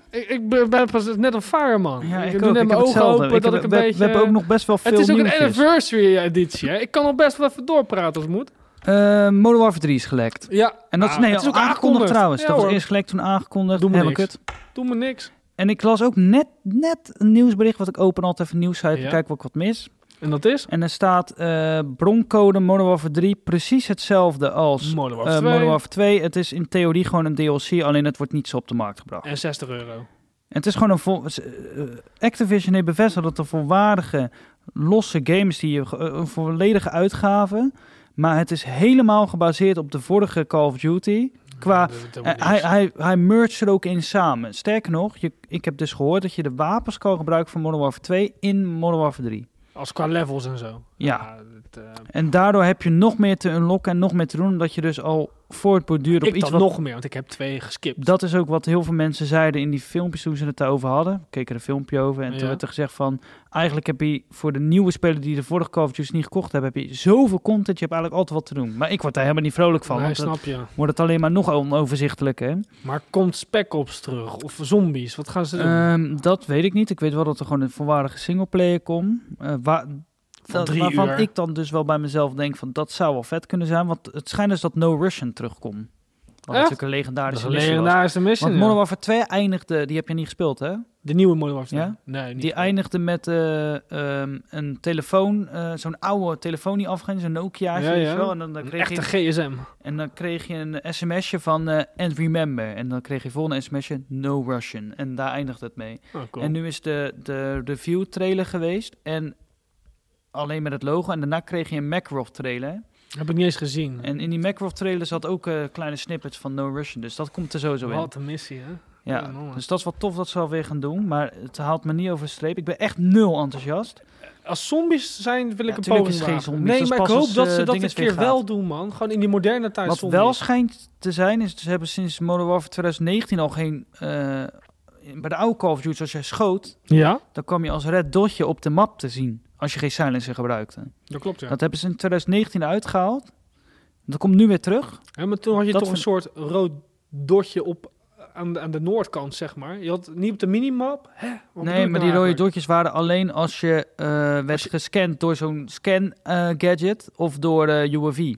Speaker 2: Ik, ik ben ben pas net een fireman.
Speaker 1: Ja, ik,
Speaker 2: doe
Speaker 1: ook.
Speaker 2: net
Speaker 1: Ik
Speaker 2: mijn
Speaker 1: heb
Speaker 2: ogen
Speaker 1: hetzelfde.
Speaker 2: open
Speaker 1: Ik
Speaker 2: dat
Speaker 1: heb-
Speaker 2: ik een
Speaker 1: we,
Speaker 2: beetje... eh,
Speaker 1: we hebben ook nog best wel veel
Speaker 2: het is ook een
Speaker 1: nieuwtjes.
Speaker 2: anniversary editie. Hè? Ik kan nog best wel even doorpraten als het moet.
Speaker 1: Eh, Modern Warfare 3 is gelekt.
Speaker 2: Ja.
Speaker 1: En dat is,
Speaker 2: Ah,
Speaker 1: nee,
Speaker 2: het is ook
Speaker 1: aangekondigd,
Speaker 2: aangekondigd.
Speaker 1: trouwens.
Speaker 2: Ja,
Speaker 1: dat was
Speaker 2: hoor.
Speaker 1: eerst gelekt, toen aangekondigd.
Speaker 2: Doe me
Speaker 1: Helemaal
Speaker 2: niks.
Speaker 1: kut.
Speaker 2: Doe me niks.
Speaker 1: En ik las ook net, net een nieuwsbericht, wat ik open altijd een nieuwssite,
Speaker 2: Ja.
Speaker 1: kijk wat ik wat mis.
Speaker 2: En dat is?
Speaker 1: En er staat eh, broncode Modern Warfare 3 precies hetzelfde als eh,
Speaker 2: Modern Warfare 2.
Speaker 1: Modern Warfare 2. Het is in theorie gewoon een DLC, alleen het wordt niet zo op de markt gebracht.
Speaker 2: En 60 euro.
Speaker 1: En het is gewoon een vol. s- eh, Activision heeft bevestigd dat er volwaardige losse games die je ge- eh, een volledige uitgave, maar het is helemaal gebaseerd op de vorige Call of Duty. Qua
Speaker 2: Dat-
Speaker 1: eh,
Speaker 2: dat wordt
Speaker 1: hij,
Speaker 2: niks.
Speaker 1: hij, hij merged er ook in samen. Sterker nog, je, ik heb dus gehoord dat je de wapens kan gebruiken van Modern Warfare 2 in Modern Warfare 3.
Speaker 2: Als qua levels en zo.
Speaker 1: Ja.
Speaker 2: dat, eh,
Speaker 1: En daardoor heb je nog meer te unlocken en nog meer te doen, omdat je dus al voortborduurt op
Speaker 2: ik
Speaker 1: iets
Speaker 2: dan
Speaker 1: wat...
Speaker 2: nog meer, want ik heb twee geskipt.
Speaker 1: Dat is ook wat heel veel mensen zeiden in die filmpjes toen ze het daarover hadden. We keken er een filmpje over en toen
Speaker 2: Ja.
Speaker 1: werd er gezegd van... Eigenlijk heb je voor de nieuwe speler die de vorige Call of Duty niet gekocht hebben... heb je zoveel content, je hebt eigenlijk altijd wat te doen. Maar ik word daar helemaal niet vrolijk van,
Speaker 2: Nee,
Speaker 1: want dan
Speaker 2: snap je.
Speaker 1: wordt het alleen maar nog onoverzichtelijker.
Speaker 2: Maar komt Spec Ops terug? Of zombies? Wat gaan ze doen?
Speaker 1: Ehm, dat weet ik niet. Ik weet wel dat er gewoon een volwaardige singleplayer komt. eh, waar, dat-
Speaker 2: drie
Speaker 1: waarvan
Speaker 2: uur.
Speaker 1: ik dan dus wel bij mezelf denk van dat zou wel vet kunnen zijn. Want het schijnt dus dat No Russian terugkomt. Wat
Speaker 2: Echt?
Speaker 1: natuurlijk een
Speaker 2: dat is
Speaker 1: legendarische
Speaker 2: een
Speaker 1: missie was.
Speaker 2: legendarische mission.
Speaker 1: Want
Speaker 2: ja.
Speaker 1: Modern Warfare 2 eindigde, die heb je niet gespeeld hè?
Speaker 2: De nieuwe Modern Warfare.
Speaker 1: Ja?
Speaker 2: Nee, niet
Speaker 1: Die
Speaker 2: goed.
Speaker 1: eindigde met eh, ehm, een telefoon, eh, zo'n oude telefoon die afging, zo'n Nokia.
Speaker 2: Ja, ja.
Speaker 1: Wel. En, dan, dan
Speaker 2: Een
Speaker 1: kreeg
Speaker 2: echte
Speaker 1: je,
Speaker 2: GSM.
Speaker 1: en dan kreeg je een sms'je van eh, and remember. En dan kreeg je volgende sms'je no Russian. En daar eindigde het mee.
Speaker 2: Oh, cool.
Speaker 1: En nu is de, de review trailer geweest en alleen met het logo. En daarna kreeg je een Makarov trailer.
Speaker 2: Heb ik niet eens gezien.
Speaker 1: En in die Makarov trailer zat ook eh, kleine snippets van no Russian. Dus dat komt er sowieso in.
Speaker 2: Wat een missie, hè?
Speaker 1: Ja,
Speaker 2: Ja, jongen.
Speaker 1: dus dat is wel tof dat ze alweer gaan doen. Maar het haalt me niet over de streep. Ik ben echt nul enthousiast.
Speaker 2: Als zombies zijn, wil
Speaker 1: Ja,
Speaker 2: ik een
Speaker 1: tuurlijk
Speaker 2: poging
Speaker 1: is geen
Speaker 2: wagen.
Speaker 1: zombies, dat
Speaker 2: Nee,
Speaker 1: is
Speaker 2: maar ik
Speaker 1: pas
Speaker 2: hoop
Speaker 1: als,
Speaker 2: dat
Speaker 1: eh,
Speaker 2: ze dat
Speaker 1: dinges
Speaker 2: een
Speaker 1: weer
Speaker 2: keer
Speaker 1: gaat.
Speaker 2: wel doen, man. Gewoon in die moderne tijd
Speaker 1: Wat
Speaker 2: zombies.
Speaker 1: wel schijnt te zijn, is ze hebben sinds Modern Warfare 2019 al geen... eh, in- bij de oude Call of Duty, als jij schoot,
Speaker 2: Ja,
Speaker 1: dan kwam je als red dotje op de map te zien. Als je geen silencer gebruikte.
Speaker 2: dat klopt, ja.
Speaker 1: Dat hebben ze in 2019 uitgehaald. Dat komt nu weer terug.
Speaker 2: Ja, maar toen had je
Speaker 1: Dat
Speaker 2: toch een soort rood dotje op eh, aan de, aan de noordkant, zeg maar. Je had niet op de minimap. Hè? Wat bedoel
Speaker 1: nee,
Speaker 2: ik nou
Speaker 1: maar die rode
Speaker 2: eigenlijk?
Speaker 1: dotjes waren alleen als je eh, werd gescand door zo'n scan-gadget of door eh UAV.
Speaker 2: Hè, de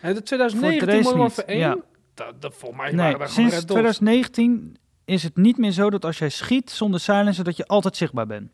Speaker 1: Voor de
Speaker 2: 2019
Speaker 1: rest
Speaker 2: Modern Warfare
Speaker 1: niet,
Speaker 2: 1,
Speaker 1: ja.
Speaker 2: dat, dat volgens mij
Speaker 1: Nee,
Speaker 2: waren daar gewoon
Speaker 1: sinds
Speaker 2: red dots.
Speaker 1: 2019 is het niet meer zo dat als jij schiet zonder silencer, dat je altijd zichtbaar bent.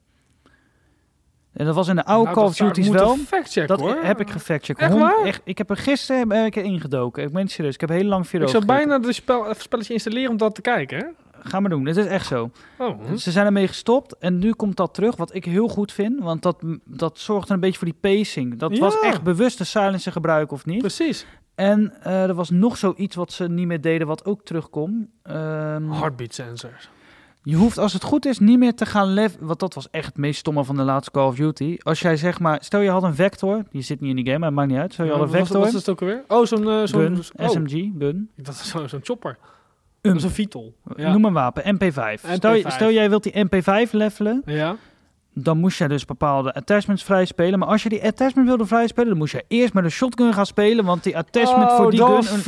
Speaker 1: En dat was in de oude
Speaker 2: Nou,
Speaker 1: Call
Speaker 2: dat
Speaker 1: of
Speaker 2: zou-
Speaker 1: Duty's
Speaker 2: moet
Speaker 1: wel.
Speaker 2: een factcheck,
Speaker 1: Dat
Speaker 2: hoor.
Speaker 1: heb ik gefactcheckt.
Speaker 2: Echt
Speaker 1: Hond-
Speaker 2: waar?
Speaker 1: Echt, ik heb er gisteren ben ik er ingedoken. Ik ben het serieus. Ik heb heel lang video
Speaker 2: Ik zou
Speaker 1: overgekeken.
Speaker 2: bijna de spel, even spelletje installeren om dat te kijken, hè?
Speaker 1: Ga maar doen. Dit is echt zo.
Speaker 2: Oh, hm.
Speaker 1: Ze zijn ermee gestopt en nu komt dat terug, wat ik heel goed vind. Want dat, dat zorgt er een beetje voor die pacing. Dat
Speaker 2: Ja.
Speaker 1: was echt bewust de silencer gebruiken of niet.
Speaker 2: precies.
Speaker 1: En eh, er was nog zoiets wat ze niet meer deden, wat ook terugkomt. Ehm,
Speaker 2: Heartbeat sensors.
Speaker 1: Je hoeft als het goed is niet meer te gaan levelen. Want dat was echt het meest stomme van de laatste Call of Duty. Als jij zeg maar, stel je had een vector. Die zit niet in die game, maar het maakt niet uit. Stel je
Speaker 2: Ja,
Speaker 1: had
Speaker 2: wat
Speaker 1: een
Speaker 2: was-
Speaker 1: vector.
Speaker 2: Wat is het ook alweer? Oh, zo'n... eh, zo'n
Speaker 1: gun,
Speaker 2: oh,
Speaker 1: SMG, gun.
Speaker 2: ik dacht dat is zo- zo'n chopper. Dat is een Vitel. Ja.
Speaker 1: Um. Noem een wapen, MP5. Stel, je-
Speaker 2: MP5.
Speaker 1: stel jij wilt die MP5 levelen,
Speaker 2: ja.
Speaker 1: dan moest jij dus bepaalde attachments vrijspelen. Maar als je die attachment wilde vrijspelen, dan moest jij eerst met een shotgun gaan spelen, want die attachment
Speaker 2: oh,
Speaker 1: voor die
Speaker 2: dat
Speaker 1: gun, een-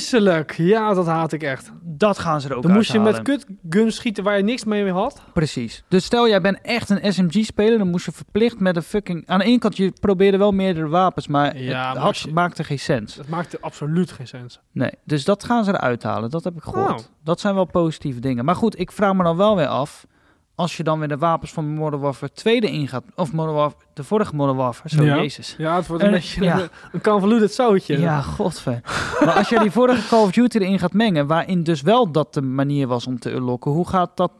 Speaker 2: vreselijk. Ja, dat haat ik echt.
Speaker 1: dat gaan ze er ook
Speaker 2: Dan moest je met
Speaker 1: uithalen.
Speaker 2: kutguns schieten waar je niks mee had.
Speaker 1: Precies. Dus stel jij bent echt een SMG-speler, dan moest je verplicht met een fucking... Aan de ene kant, je probeerde wel meerdere wapens, maar
Speaker 2: Ja,
Speaker 1: het
Speaker 2: maar
Speaker 1: had,
Speaker 2: als je-
Speaker 1: maakte geen sens.
Speaker 2: Dat maakte absoluut geen sens.
Speaker 1: Nee, dus dat gaan ze eruit halen. Dat heb ik gehoord.
Speaker 2: Oh.
Speaker 1: Dat zijn wel positieve dingen. Maar goed, ik vraag me dan wel weer af... als je dan weer de wapens van Modern Warfare 2 erin gaat... of Modern Warfare, de vorige Modern Warfare, zo
Speaker 2: Ja.
Speaker 1: jezus.
Speaker 2: Ja, het wordt een
Speaker 1: Eh,
Speaker 2: beetje
Speaker 1: ja.
Speaker 2: een, een convoluted zoutje.
Speaker 1: Ja, godver. maar als je die vorige Call of Duty erin gaat mengen... waarin dus wel dat de manier was om te unlocken... hoe gaat dat...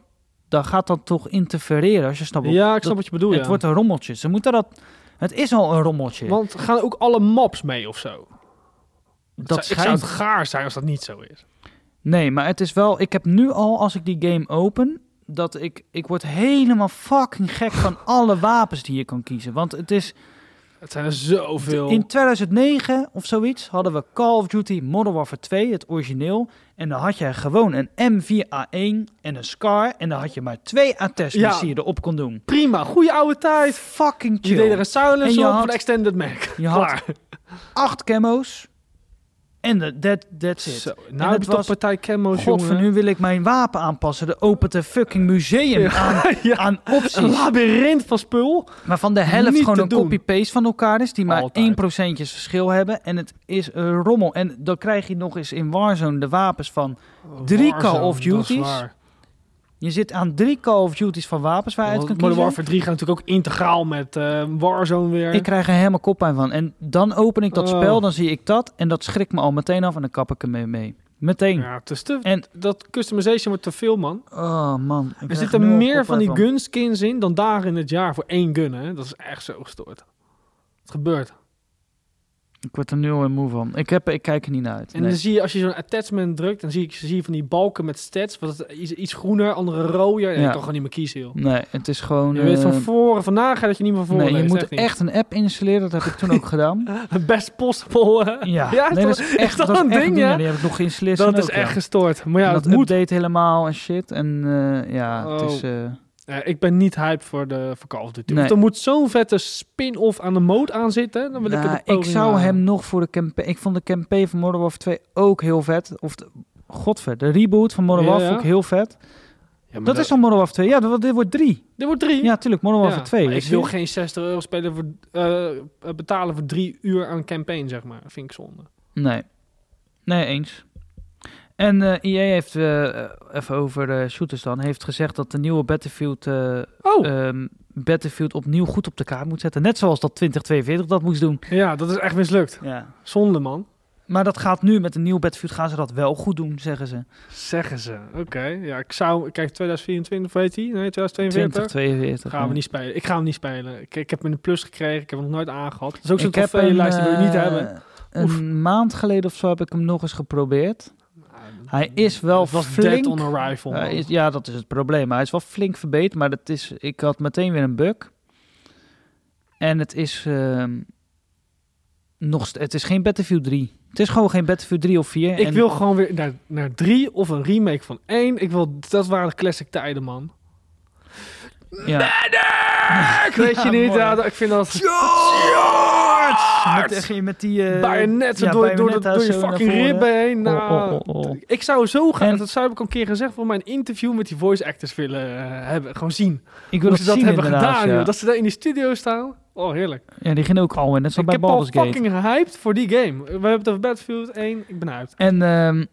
Speaker 1: dan gaat dat toch interfereren, als je snapt... wat-
Speaker 2: Ja, ik
Speaker 1: dat-
Speaker 2: snap wat je bedoelt.
Speaker 1: het
Speaker 2: ja.
Speaker 1: wordt een rommeltje. Ze moeten dat... Het is al een rommeltje.
Speaker 2: Want gaan ook alle maps mee of zo?
Speaker 1: dat
Speaker 2: zou, ik zou
Speaker 1: schijnt...
Speaker 2: het gaar zijn als dat niet zo is.
Speaker 1: Nee, maar het is wel... Ik heb nu al, als ik die game open... Dat ik... Ik word helemaal fucking gek van alle wapens die je kan kiezen. Want het is...
Speaker 2: Het zijn er zoveel.
Speaker 1: In 2009 of zoiets hadden we Call of Duty Modern Warfare 2, het origineel. En dan had je gewoon een M4A1 en een SCAR. En dan had je maar twee attachments
Speaker 2: Ja.
Speaker 1: die je erop kon doen.
Speaker 2: Prima, goede oude tijd.
Speaker 1: Fucking
Speaker 2: Je deed er
Speaker 1: chill.
Speaker 2: een silence
Speaker 1: En
Speaker 2: op
Speaker 1: je had-
Speaker 2: voor de extended mag.
Speaker 1: Je had-
Speaker 2: Klaar.
Speaker 1: Acht camo's. En de- that, that's it.
Speaker 2: Zo,
Speaker 1: het
Speaker 2: nou heb je toch
Speaker 1: was-
Speaker 2: partij
Speaker 1: God,
Speaker 2: camo's,
Speaker 1: van
Speaker 2: jongen.
Speaker 1: nu wil ik mijn wapen aanpassen. Er opent een fucking museum
Speaker 2: Ja.
Speaker 1: aan,
Speaker 2: Ja,
Speaker 1: aan
Speaker 2: een
Speaker 1: opties.
Speaker 2: labyrint van spul.
Speaker 1: Waarvan de helft
Speaker 2: Niet
Speaker 1: gewoon
Speaker 2: te
Speaker 1: een
Speaker 2: doen.
Speaker 1: copy-paste van elkaar is. Die maar
Speaker 2: Altijd.
Speaker 1: 1% verschil hebben. En het is een rommel. En dan krijg je nog eens in Warzone de wapens van... Drie
Speaker 2: Warzone,
Speaker 1: Call of
Speaker 2: dat is
Speaker 1: Duties.
Speaker 2: waar.
Speaker 1: Je zit aan drie Call of Duties van wapens waar je uit kan
Speaker 2: Want
Speaker 1: kiezen.
Speaker 2: Modern Warfare 3 gaat natuurlijk ook integraal met eh, Warzone weer.
Speaker 1: Ik krijg er helemaal koppijn van. En dan open ik dat
Speaker 2: Oh.
Speaker 1: spel, dan zie ik dat. En dat schrikt me al meteen af en dan kap ik ermee mee. Meteen.
Speaker 2: ja, het is te,
Speaker 1: En-
Speaker 2: dat customization wordt te veel, man.
Speaker 1: Oh man. ik
Speaker 2: Er
Speaker 1: krijg nu
Speaker 2: zitten
Speaker 1: al
Speaker 2: meer van die
Speaker 1: koppijn
Speaker 2: gunskins in dan dagen in het jaar voor één gun, hè. Dat is echt zo gestoord. Het gebeurt.
Speaker 1: Ik word er nu al moe van. Ik, heb, ik kijk er niet naar uit.
Speaker 2: En
Speaker 1: Nee.
Speaker 2: dan zie je, als je zo'n attachment drukt, dan zie, ik, zie je van die balken met stats. Wat is- iets, iets groener, andere rooier. En
Speaker 1: Ja.
Speaker 2: je kan gewoon niet meer kiezen, joh.
Speaker 1: Nee, het is gewoon...
Speaker 2: Je weet van
Speaker 1: eh,
Speaker 2: voren, vandaag dat je niet meer voor
Speaker 1: nee, je
Speaker 2: leest,
Speaker 1: moet
Speaker 2: echt
Speaker 1: echt,
Speaker 2: niet.
Speaker 1: een app installeren. Dat heb ik toen ook gedaan.
Speaker 2: Best possible. eh.
Speaker 1: Ja,
Speaker 2: Ja, is
Speaker 1: nee, dat
Speaker 2: dat-
Speaker 1: is echt,
Speaker 2: dat
Speaker 1: dat is
Speaker 2: een
Speaker 1: echt
Speaker 2: ding,
Speaker 1: dingen.
Speaker 2: ja?
Speaker 1: Die heb ik nog geïnstalleerd.
Speaker 2: dat
Speaker 1: toen
Speaker 2: is
Speaker 1: ook,
Speaker 2: echt
Speaker 1: ja.
Speaker 2: gestoord. Maar ja,
Speaker 1: En
Speaker 2: dat,
Speaker 1: dat
Speaker 2: moet.
Speaker 1: update helemaal en shit. En eh, ja, het
Speaker 2: Oh.
Speaker 1: is... eh,
Speaker 2: Eh, ik ben niet hype voor, de, voor Call of Duty.
Speaker 1: Nee.
Speaker 2: Want er moet zo'n vette spin-off aan de mode aan zitten. Dan wil ik
Speaker 1: Nou,
Speaker 2: het een
Speaker 1: ik
Speaker 2: poging eh,
Speaker 1: zou
Speaker 2: wagen.
Speaker 1: hem nog voor de campaign... Ik vond de campaign van Modern Warfare 2 ook heel vet. Of de, godver, de reboot van Modern
Speaker 2: Ja,
Speaker 1: Warfare
Speaker 2: ja.
Speaker 1: vond ik heel vet.
Speaker 2: Ja, maar
Speaker 1: Dat is dan Modern Warfare 2. Ja, dat, dit wordt 3.
Speaker 2: Dit wordt drie.
Speaker 1: Ja, tuurlijk, Modern Warfare 2.
Speaker 2: maar Ik
Speaker 1: Weet je?
Speaker 2: wil geen 60 euro spelen voor, eh, eh, betalen voor drie uur aan campaign, zeg maar. vind ik zonde.
Speaker 1: Nee. Nee, eens. En eh EA heeft, eh, even over eh, shooters dan, heeft gezegd dat de nieuwe Battlefield... eh,
Speaker 2: Oh,
Speaker 1: ehm, Battlefield opnieuw goed op de kaart moet zetten. Net zoals dat 2042 dat moest doen.
Speaker 2: ja, dat is echt mislukt.
Speaker 1: Ja.
Speaker 2: Zonde, man.
Speaker 1: Maar dat gaat nu met een nieuwe Battlefield gaan ze dat wel goed doen, zeggen ze.
Speaker 2: Zeggen ze. Oké, ja, ik zou... Kijk, 2024, weet hij? Nee, 2042?
Speaker 1: 2042.
Speaker 2: Gaan
Speaker 1: ja.
Speaker 2: we niet spelen. Ik ga hem niet spelen. Ik, ik heb hem in de plus gekregen. Ik heb hem nog nooit aangehad. Dat is ook zo'n
Speaker 1: Ik heb een,
Speaker 2: trofee-lijst die wil je niet
Speaker 1: eh,
Speaker 2: hebben.
Speaker 1: Een
Speaker 2: Oef.
Speaker 1: maand geleden of zo heb ik hem nog eens geprobeerd. hij is wel
Speaker 2: Het was
Speaker 1: flink.
Speaker 2: dead on arrival. man.
Speaker 1: Hij is- ja, dat is het probleem. Hij is wel flink verbeterd, maar dat is, ik had meteen weer een bug. En het is, ehm, nog, st- het is geen Battlefield 3. Het is gewoon geen Battlefield 3 of 4.
Speaker 2: Ik
Speaker 1: en
Speaker 2: wil gewoon weer naar, naar drie of een remake van één. Ik wil... Dat waren de classic tijden, man.
Speaker 1: ja,
Speaker 2: Ik weet je
Speaker 1: Ja,
Speaker 2: niet.
Speaker 1: mooi.
Speaker 2: Ja, dat- ik vind dat... Ah,
Speaker 1: met, eh, met die... eh,
Speaker 2: Bayonet zo
Speaker 1: ja,
Speaker 2: door, door, de-
Speaker 1: bajonetta
Speaker 2: door je
Speaker 1: zo naar
Speaker 2: fucking
Speaker 1: voren.
Speaker 2: ribben heen. Nou,
Speaker 1: Oh, oh, oh, oh.
Speaker 2: Ik zou zo gaan,
Speaker 1: En-
Speaker 2: dat zou ik ook een keer gezegd, voor mijn interview met die voice actors willen eh, hebben. Gewoon zien.
Speaker 1: Ik wil
Speaker 2: Hoe
Speaker 1: dat,
Speaker 2: ze dat
Speaker 1: zien
Speaker 2: hebben
Speaker 1: inderdaad,
Speaker 2: gedaan,
Speaker 1: ja.
Speaker 2: joh. Dat ze daar in die studio staan. Oh, heerlijk.
Speaker 1: Ja, die ging ook al in. Net zoals bij
Speaker 2: ik heb al
Speaker 1: Baldur's Gate.
Speaker 2: fucking hyped voor die game. We hebben het over Battlefield 1. Ik ben hyped.
Speaker 1: En ehm,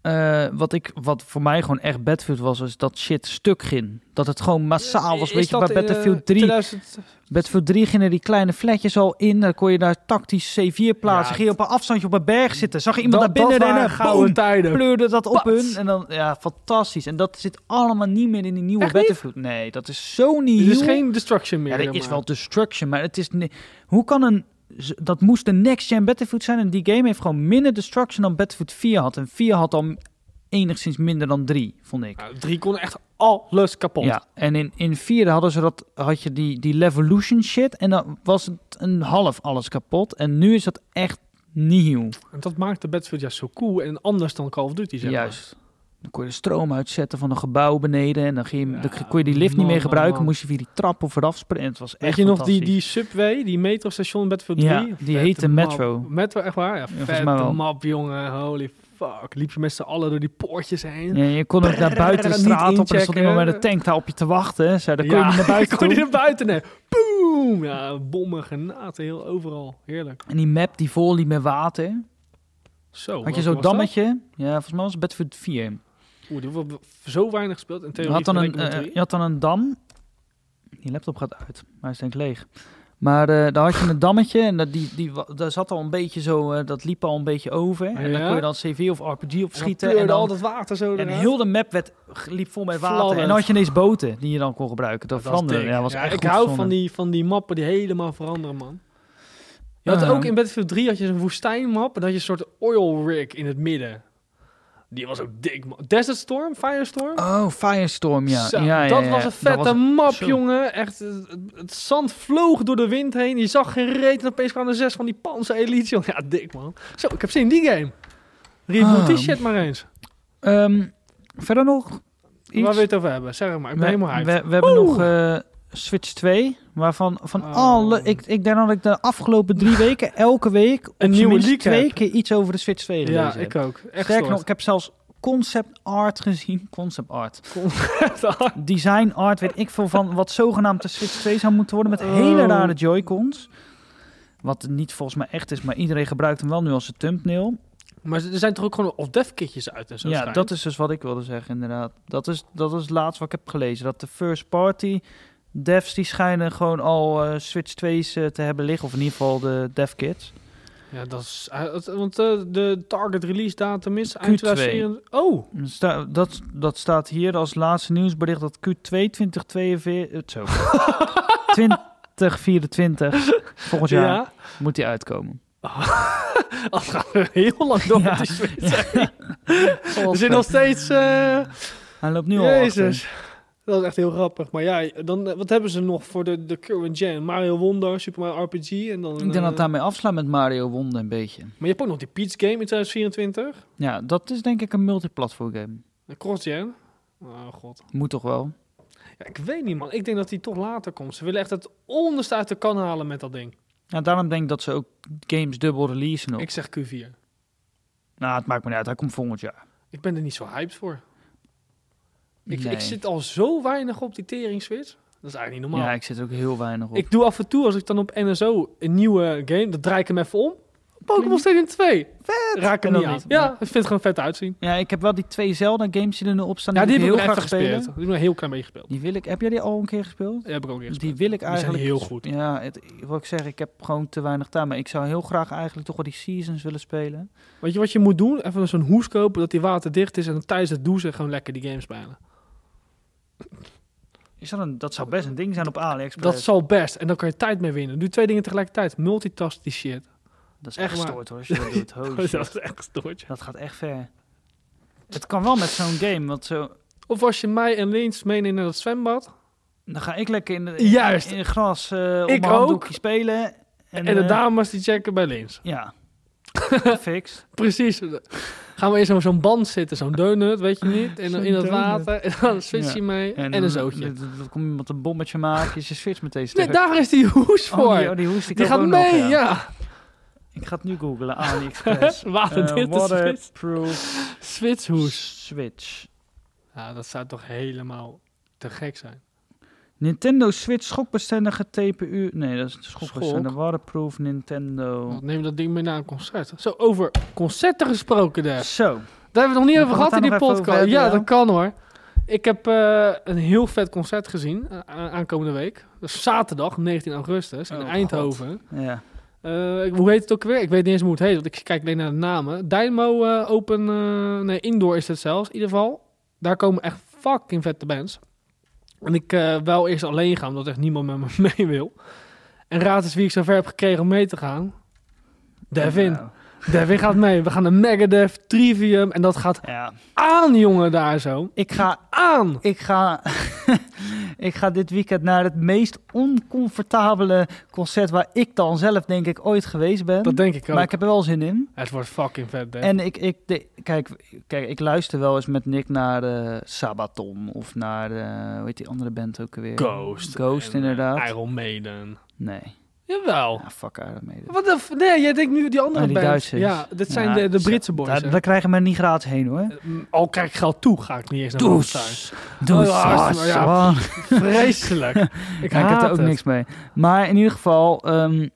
Speaker 1: eh, wat, ik, wat voor mij gewoon echt Battlefield was, is dat shit stuk ging. Dat het gewoon massaal was.
Speaker 2: Is
Speaker 1: Weet je,
Speaker 2: dat
Speaker 1: bij
Speaker 2: in, eh,
Speaker 1: Battlefield 3,
Speaker 2: 2000...
Speaker 1: Battlefield 3 gingen die kleine flatjes al in. Dan kon je daar tactisch C4 plaatsen.
Speaker 2: Ja,
Speaker 1: ging je op een afstandje op een berg zitten. Zag je iemand
Speaker 2: dat,
Speaker 1: naar
Speaker 2: dat
Speaker 1: binnen
Speaker 2: waren
Speaker 1: rennen,
Speaker 2: gouden
Speaker 1: boom,
Speaker 2: tijden.
Speaker 1: pleurde dat op
Speaker 2: Pat.
Speaker 1: hun. En dan, ja, fantastisch. En dat zit allemaal niet meer in die nieuwe
Speaker 2: Echt niet? Dus
Speaker 1: Battlefield. Nee, dat is zo niet.
Speaker 2: Er is geen destruction meer.
Speaker 1: Ja, er
Speaker 2: zeg
Speaker 1: is
Speaker 2: maar.
Speaker 1: wel destruction, maar het is... ni- Hoe kan een... z- Dat moest de next-gen Battlefield zijn en die game heeft gewoon minder destruction dan Battlefield 4 had. En 4 had al m- enigszins minder dan 3, vond ik.
Speaker 2: Ja, 3 Nou, kon echt alles kapot.
Speaker 1: Ja, en in, in 4 hadden ze dat, had je die, die Levolution shit en dan was het een half alles kapot. En nu is dat echt nieuw.
Speaker 2: En dat maakte Battlefield juist zo cool en anders dan Call of Duty, zeg maar.
Speaker 1: Juist. Dan kon je de stroom uitzetten van een gebouw beneden. En dan, ging je,
Speaker 2: Ja,
Speaker 1: dan kon je die lift niet
Speaker 2: man,
Speaker 1: meer
Speaker 2: man,
Speaker 1: gebruiken.
Speaker 2: man.
Speaker 1: Moest je via die trap of eraf springen. En Het was
Speaker 2: Weet
Speaker 1: echt
Speaker 2: je nog die,
Speaker 1: fantastisch.
Speaker 2: die subway, die metrostation Bedford 3?
Speaker 1: Ja, die
Speaker 2: Vette
Speaker 1: heette
Speaker 2: map.
Speaker 1: Metro.
Speaker 2: Metro, echt waar? Ja,
Speaker 1: volgens
Speaker 2: vette
Speaker 1: mij wel.
Speaker 2: map, jongen. Holy fuck. Liep je met z'n allen door die poortjes heen.
Speaker 1: Ja, je kon ook naar buiten de
Speaker 2: Niet
Speaker 1: straat op en er stond
Speaker 2: inchecken.
Speaker 1: iemand met een tank daar op je te wachten. hè. Zo, daar kon je
Speaker 2: Ja,
Speaker 1: niet naar buiten
Speaker 2: kon je
Speaker 1: toe.
Speaker 2: naar buiten, nee. Boom! Ja, bommen, granaten, heel overal. Heerlijk.
Speaker 1: En die map die vol liep met water.
Speaker 2: Zo.
Speaker 1: Had je
Speaker 2: welke
Speaker 1: zo'n
Speaker 2: was dat?
Speaker 1: dammetje. Ja, volgens mij was het Bedford 4.
Speaker 2: Oeh, die hebben we zo weinig gespeeld in
Speaker 1: Je
Speaker 2: theorie.
Speaker 1: had, dan een,
Speaker 2: vergeleken met
Speaker 1: eh,
Speaker 2: drie.
Speaker 1: je had dan een dam. Die laptop gaat uit, maar hij is denk ik leeg. Maar eh daar had je een dammetje en dat, die, die, wa- daar zat al een beetje zo, eh, dat liep al een beetje over. En dan
Speaker 2: Ja.
Speaker 1: kon je dan CV of RPG op
Speaker 2: En dan
Speaker 1: schieten.
Speaker 2: pleurde
Speaker 1: En,
Speaker 2: al
Speaker 1: dan,
Speaker 2: dat water zo
Speaker 1: en
Speaker 2: eruit.
Speaker 1: heel de map werd, liep vol met water.
Speaker 2: Fladderend.
Speaker 1: En dan had je ineens boten die je dan kon gebruiken. Dat,
Speaker 2: Dat was
Speaker 1: veranderde.
Speaker 2: dik.
Speaker 1: Ja, was
Speaker 2: Ja,
Speaker 1: echt
Speaker 2: ik
Speaker 1: goed
Speaker 2: hou van
Speaker 1: verzonnen.
Speaker 2: die, van die mappen die helemaal veranderen, man. Je had
Speaker 1: Ja.
Speaker 2: ook in Battlefield 3 had je een woestijnmap en dan had je een soort oil rig in het midden. Die was ook dik, man. Desert Storm, Firestorm.
Speaker 1: Oh, Firestorm, ja.
Speaker 2: Zo,
Speaker 1: ja, ja,
Speaker 2: dat
Speaker 1: ja.
Speaker 2: was een vette
Speaker 1: was-
Speaker 2: map,
Speaker 1: zo.
Speaker 2: jongen. Echt, eh, het, het zand vloog door de wind heen. Je zag geen reet en opeens kwamen er zes van die panzer elites. jongen. Ja, dik, man. Zo, ik heb zin in die game. Reboot
Speaker 1: Ah.
Speaker 2: die shit maar eens.
Speaker 1: Ehm, verder nog iets?
Speaker 2: Waar wil je het over hebben? Zeg het maar, ik ben
Speaker 1: we,
Speaker 2: helemaal hyped.
Speaker 1: we, we hebben nog eh, Switch 2, waarvan van
Speaker 2: Oh.
Speaker 1: alle... Ik, ik denk dat ik de afgelopen drie weken, elke week, op zijn
Speaker 2: nieuwe
Speaker 1: minst
Speaker 2: leak
Speaker 1: twee
Speaker 2: heb.
Speaker 1: keer iets over de Switch 2 gelezen
Speaker 2: Ja,
Speaker 1: heb.
Speaker 2: ik ook. Echt
Speaker 1: Sterker nog, ik heb zelfs concept art gezien. Concept art.
Speaker 2: nog,
Speaker 1: Design art, weet ik veel van, wat zogenaamd de Switch 2 zou moeten worden, met
Speaker 2: Oh.
Speaker 1: hele rare Joy-Cons. Wat niet volgens mij echt is, maar iedereen gebruikt hem wel nu als een thumbnail.
Speaker 2: Maar er zijn toch ook gewoon off-dev kitjes uit en zo?
Speaker 1: ja,
Speaker 2: schijnt?
Speaker 1: dat is dus wat ik wilde zeggen, inderdaad. Dat is, dat is het laatste wat ik heb gelezen. Dat de first party devs, die schijnen gewoon al eh, Switch 2's eh, te hebben liggen. Of in ieder geval de dev kits.
Speaker 2: Ja, dat is... eh, het- want eh, de target release datum is
Speaker 1: Q2.
Speaker 2: eind 2024. Oh!
Speaker 1: En sta- dat, dat staat hier als laatste nieuwsbericht dat Q2 2042... eh, Zo. 2024, volgend jaar,
Speaker 2: Ja.
Speaker 1: moet die uitkomen.
Speaker 2: Dat gaat er heel lang door
Speaker 1: Ja.
Speaker 2: met die Switch. Er zit nog steeds... eh,
Speaker 1: Hij loopt nu al achter.
Speaker 2: Jezus. Dat is echt heel grappig. Maar ja, dan, eh, wat hebben ze nog voor de, de current gen? Mario Wonder, Super Mario RPG en dan...
Speaker 1: Ik denk dat
Speaker 2: eh,
Speaker 1: het daarmee afslaat met Mario Wonder een beetje.
Speaker 2: Maar je hebt ook nog die Peach Game in 2024.
Speaker 1: Ja, dat is denk ik een multiplatform game.
Speaker 2: De cross-gen. Oh god.
Speaker 1: Moet toch wel?
Speaker 2: Ja, ik weet niet man. Ik denk dat die toch later komt. Ze willen echt het onderste uit de kan halen met dat ding.
Speaker 1: Ja, daarom denk ik dat ze ook games dubbel releasen nog.
Speaker 2: Ik zeg Q4.
Speaker 1: Nou, het maakt me niet uit. Hij komt volgend jaar.
Speaker 2: Ik ben er niet zo hyped voor. Ik,
Speaker 1: Nee.
Speaker 2: ik zit al zo weinig op die tering switch. Dat is eigenlijk niet normaal.
Speaker 1: Ja, ik zit er ook heel weinig op.
Speaker 2: ik doe af en toe, als ik dan op NSO een nieuwe game, dan draai ik hem even om. Pokémon Stadium 2. Vet! Raak ik
Speaker 1: En
Speaker 2: hem niet
Speaker 1: dan
Speaker 2: aan.
Speaker 1: niet.
Speaker 2: Ja, ik vind het gewoon vet uitzien.
Speaker 1: Ja, ik heb wel die twee Zelda games die er nu op staan.
Speaker 2: Ja, die heb ik
Speaker 1: wil
Speaker 2: ook
Speaker 1: ik heel
Speaker 2: even
Speaker 1: graag
Speaker 2: gespeeld. Die
Speaker 1: spelen.
Speaker 2: heb ik nog een heel klein beetje gespeeld.
Speaker 1: Die wil ik. Heb jij die al een keer gespeeld?
Speaker 2: Die heb ik ook weer
Speaker 1: Die
Speaker 2: gespeeld.
Speaker 1: wil ik
Speaker 2: Die zijn
Speaker 1: eigenlijk.
Speaker 2: heel goed.
Speaker 1: Ja, het, wat ik zeg, ik heb gewoon te weinig tijd. Maar ik zou heel graag eigenlijk toch wel die seasons willen spelen.
Speaker 2: Weet je wat je moet doen? Even zo'n hoes kopen dat die waterdicht is en dan tijdens het douchen gewoon lekker die game spelen.
Speaker 1: Is dat, een, dat zou best een ding zijn op AliExpress.
Speaker 2: Dat zal best. En dan kan je tijd mee winnen. Doe twee dingen tegelijkertijd. Multitask die shit.
Speaker 1: Dat is
Speaker 2: echt
Speaker 1: echt
Speaker 2: waar.
Speaker 1: gestoord hoor, als je dat doet.
Speaker 2: Dat
Speaker 1: Holy Oh, shit.
Speaker 2: is echt stoortje.
Speaker 1: Dat gaat echt ver. Het kan wel met zo'n game, want zo...
Speaker 2: Of als je mij en Leens meeneemt naar dat zwembad.
Speaker 1: Dan ga ik lekker in, de,
Speaker 2: Juist.
Speaker 1: in het gras eh, op
Speaker 2: Ik
Speaker 1: mijn handdoekje
Speaker 2: ook.
Speaker 1: spelen.
Speaker 2: En, de
Speaker 1: eh,
Speaker 2: dames die checken bij Leens.
Speaker 1: Ja. Fix.
Speaker 2: Precies. Gaan we eerst op zo'n band zitten, zo'n donut, weet je niet? En dan
Speaker 1: Zo'n
Speaker 2: in dat
Speaker 1: donut.
Speaker 2: water. En dan switch je mee. En, een zootje.
Speaker 1: Dan komt iemand een bommetje maken, je switch meteen
Speaker 2: Nee,
Speaker 1: stuk.
Speaker 2: daar is die hoes voor.
Speaker 1: oh, die,
Speaker 2: die
Speaker 1: oh, die hoest ik ook
Speaker 2: gaat
Speaker 1: ook
Speaker 2: mee,
Speaker 1: nog, ja.
Speaker 2: ja.
Speaker 1: Ik ga het nu googlen, AliExpress.
Speaker 2: Waterdichte
Speaker 1: Eh, waterproof
Speaker 2: Switchhoes.
Speaker 1: Switch.
Speaker 2: Ja, dat zou toch helemaal te gek zijn.
Speaker 1: Nintendo Switch schokbestendige TPU. Nee, dat is schokbestendig.
Speaker 2: Schok.
Speaker 1: Waterproof Nintendo.
Speaker 2: Want neem dat ding mee naar een concert. Zo, over concerten gesproken daar.
Speaker 1: Zo.
Speaker 2: Daar hebben we het nog niet
Speaker 1: We gaan
Speaker 2: over gehad
Speaker 1: het
Speaker 2: in die
Speaker 1: daar nog even
Speaker 2: podcast.
Speaker 1: over
Speaker 2: Ja,
Speaker 1: hebben,
Speaker 2: dat kan hoor. Ik heb eh, een heel vet concert gezien eh, a- aankomende week. Dat is zaterdag, 19 augustus, in
Speaker 1: Oh,
Speaker 2: Eindhoven.
Speaker 1: Ja.
Speaker 2: Eh, ik- hoe heet het ook weer? Ik weet niet eens hoe het heet, want ik kijk alleen naar de namen. Dynamo eh, Open, eh, nee, Indoor is het zelfs, in ieder geval. Daar komen echt fucking vette bands. En ik eh wel eerst alleen gaan, omdat echt niemand met me mee wil. En raad eens wie ik zover heb gekregen om mee te gaan. Devin.
Speaker 1: Nou,
Speaker 2: Devin gaat mee. We gaan naar Megadeth, Trivium en dat gaat
Speaker 1: Ja.
Speaker 2: aan, jongen, daar zo.
Speaker 1: Ik ga...
Speaker 2: Aan!
Speaker 1: Ik ga... Ik ga dit weekend naar het meest oncomfortabele concert waar ik dan zelf denk ik ooit geweest ben.
Speaker 2: Dat denk ik ook.
Speaker 1: maar ik heb er wel zin in.
Speaker 2: Het wordt fucking vet, Dave.
Speaker 1: En ik, ik de- kijk, kijk, ik luister wel eens met Nick naar eh, Sabaton of naar, eh hoe heet die andere band ook weer?
Speaker 2: Ghost.
Speaker 1: Ghost,
Speaker 2: en, eh,
Speaker 1: inderdaad.
Speaker 2: Iron Maiden.
Speaker 1: Nee,
Speaker 2: Jawel.
Speaker 1: ah, fuck Iron Maiden.
Speaker 2: Wat de f- Nee, jij denkt nu die andere
Speaker 1: Ah, die
Speaker 2: band.
Speaker 1: Duitsers.
Speaker 2: Ja, dit zijn
Speaker 1: Ja,
Speaker 2: de, de
Speaker 1: zo-
Speaker 2: Britse boys.
Speaker 1: Daar,
Speaker 2: hè.
Speaker 1: daar krijgen we niet gratis heen hoor.
Speaker 2: Mm, Al krijg ik geld toe, ga ik niet eens naar
Speaker 1: Does.
Speaker 2: Ramstein.
Speaker 1: Doe
Speaker 2: Oh, ja, hartstikke-
Speaker 1: saus,
Speaker 2: ja.
Speaker 1: man.
Speaker 2: Vreselijk. ik
Speaker 1: Ja, ik heb
Speaker 2: haat
Speaker 1: er ook
Speaker 2: het.
Speaker 1: niks mee. Maar in ieder geval... ehm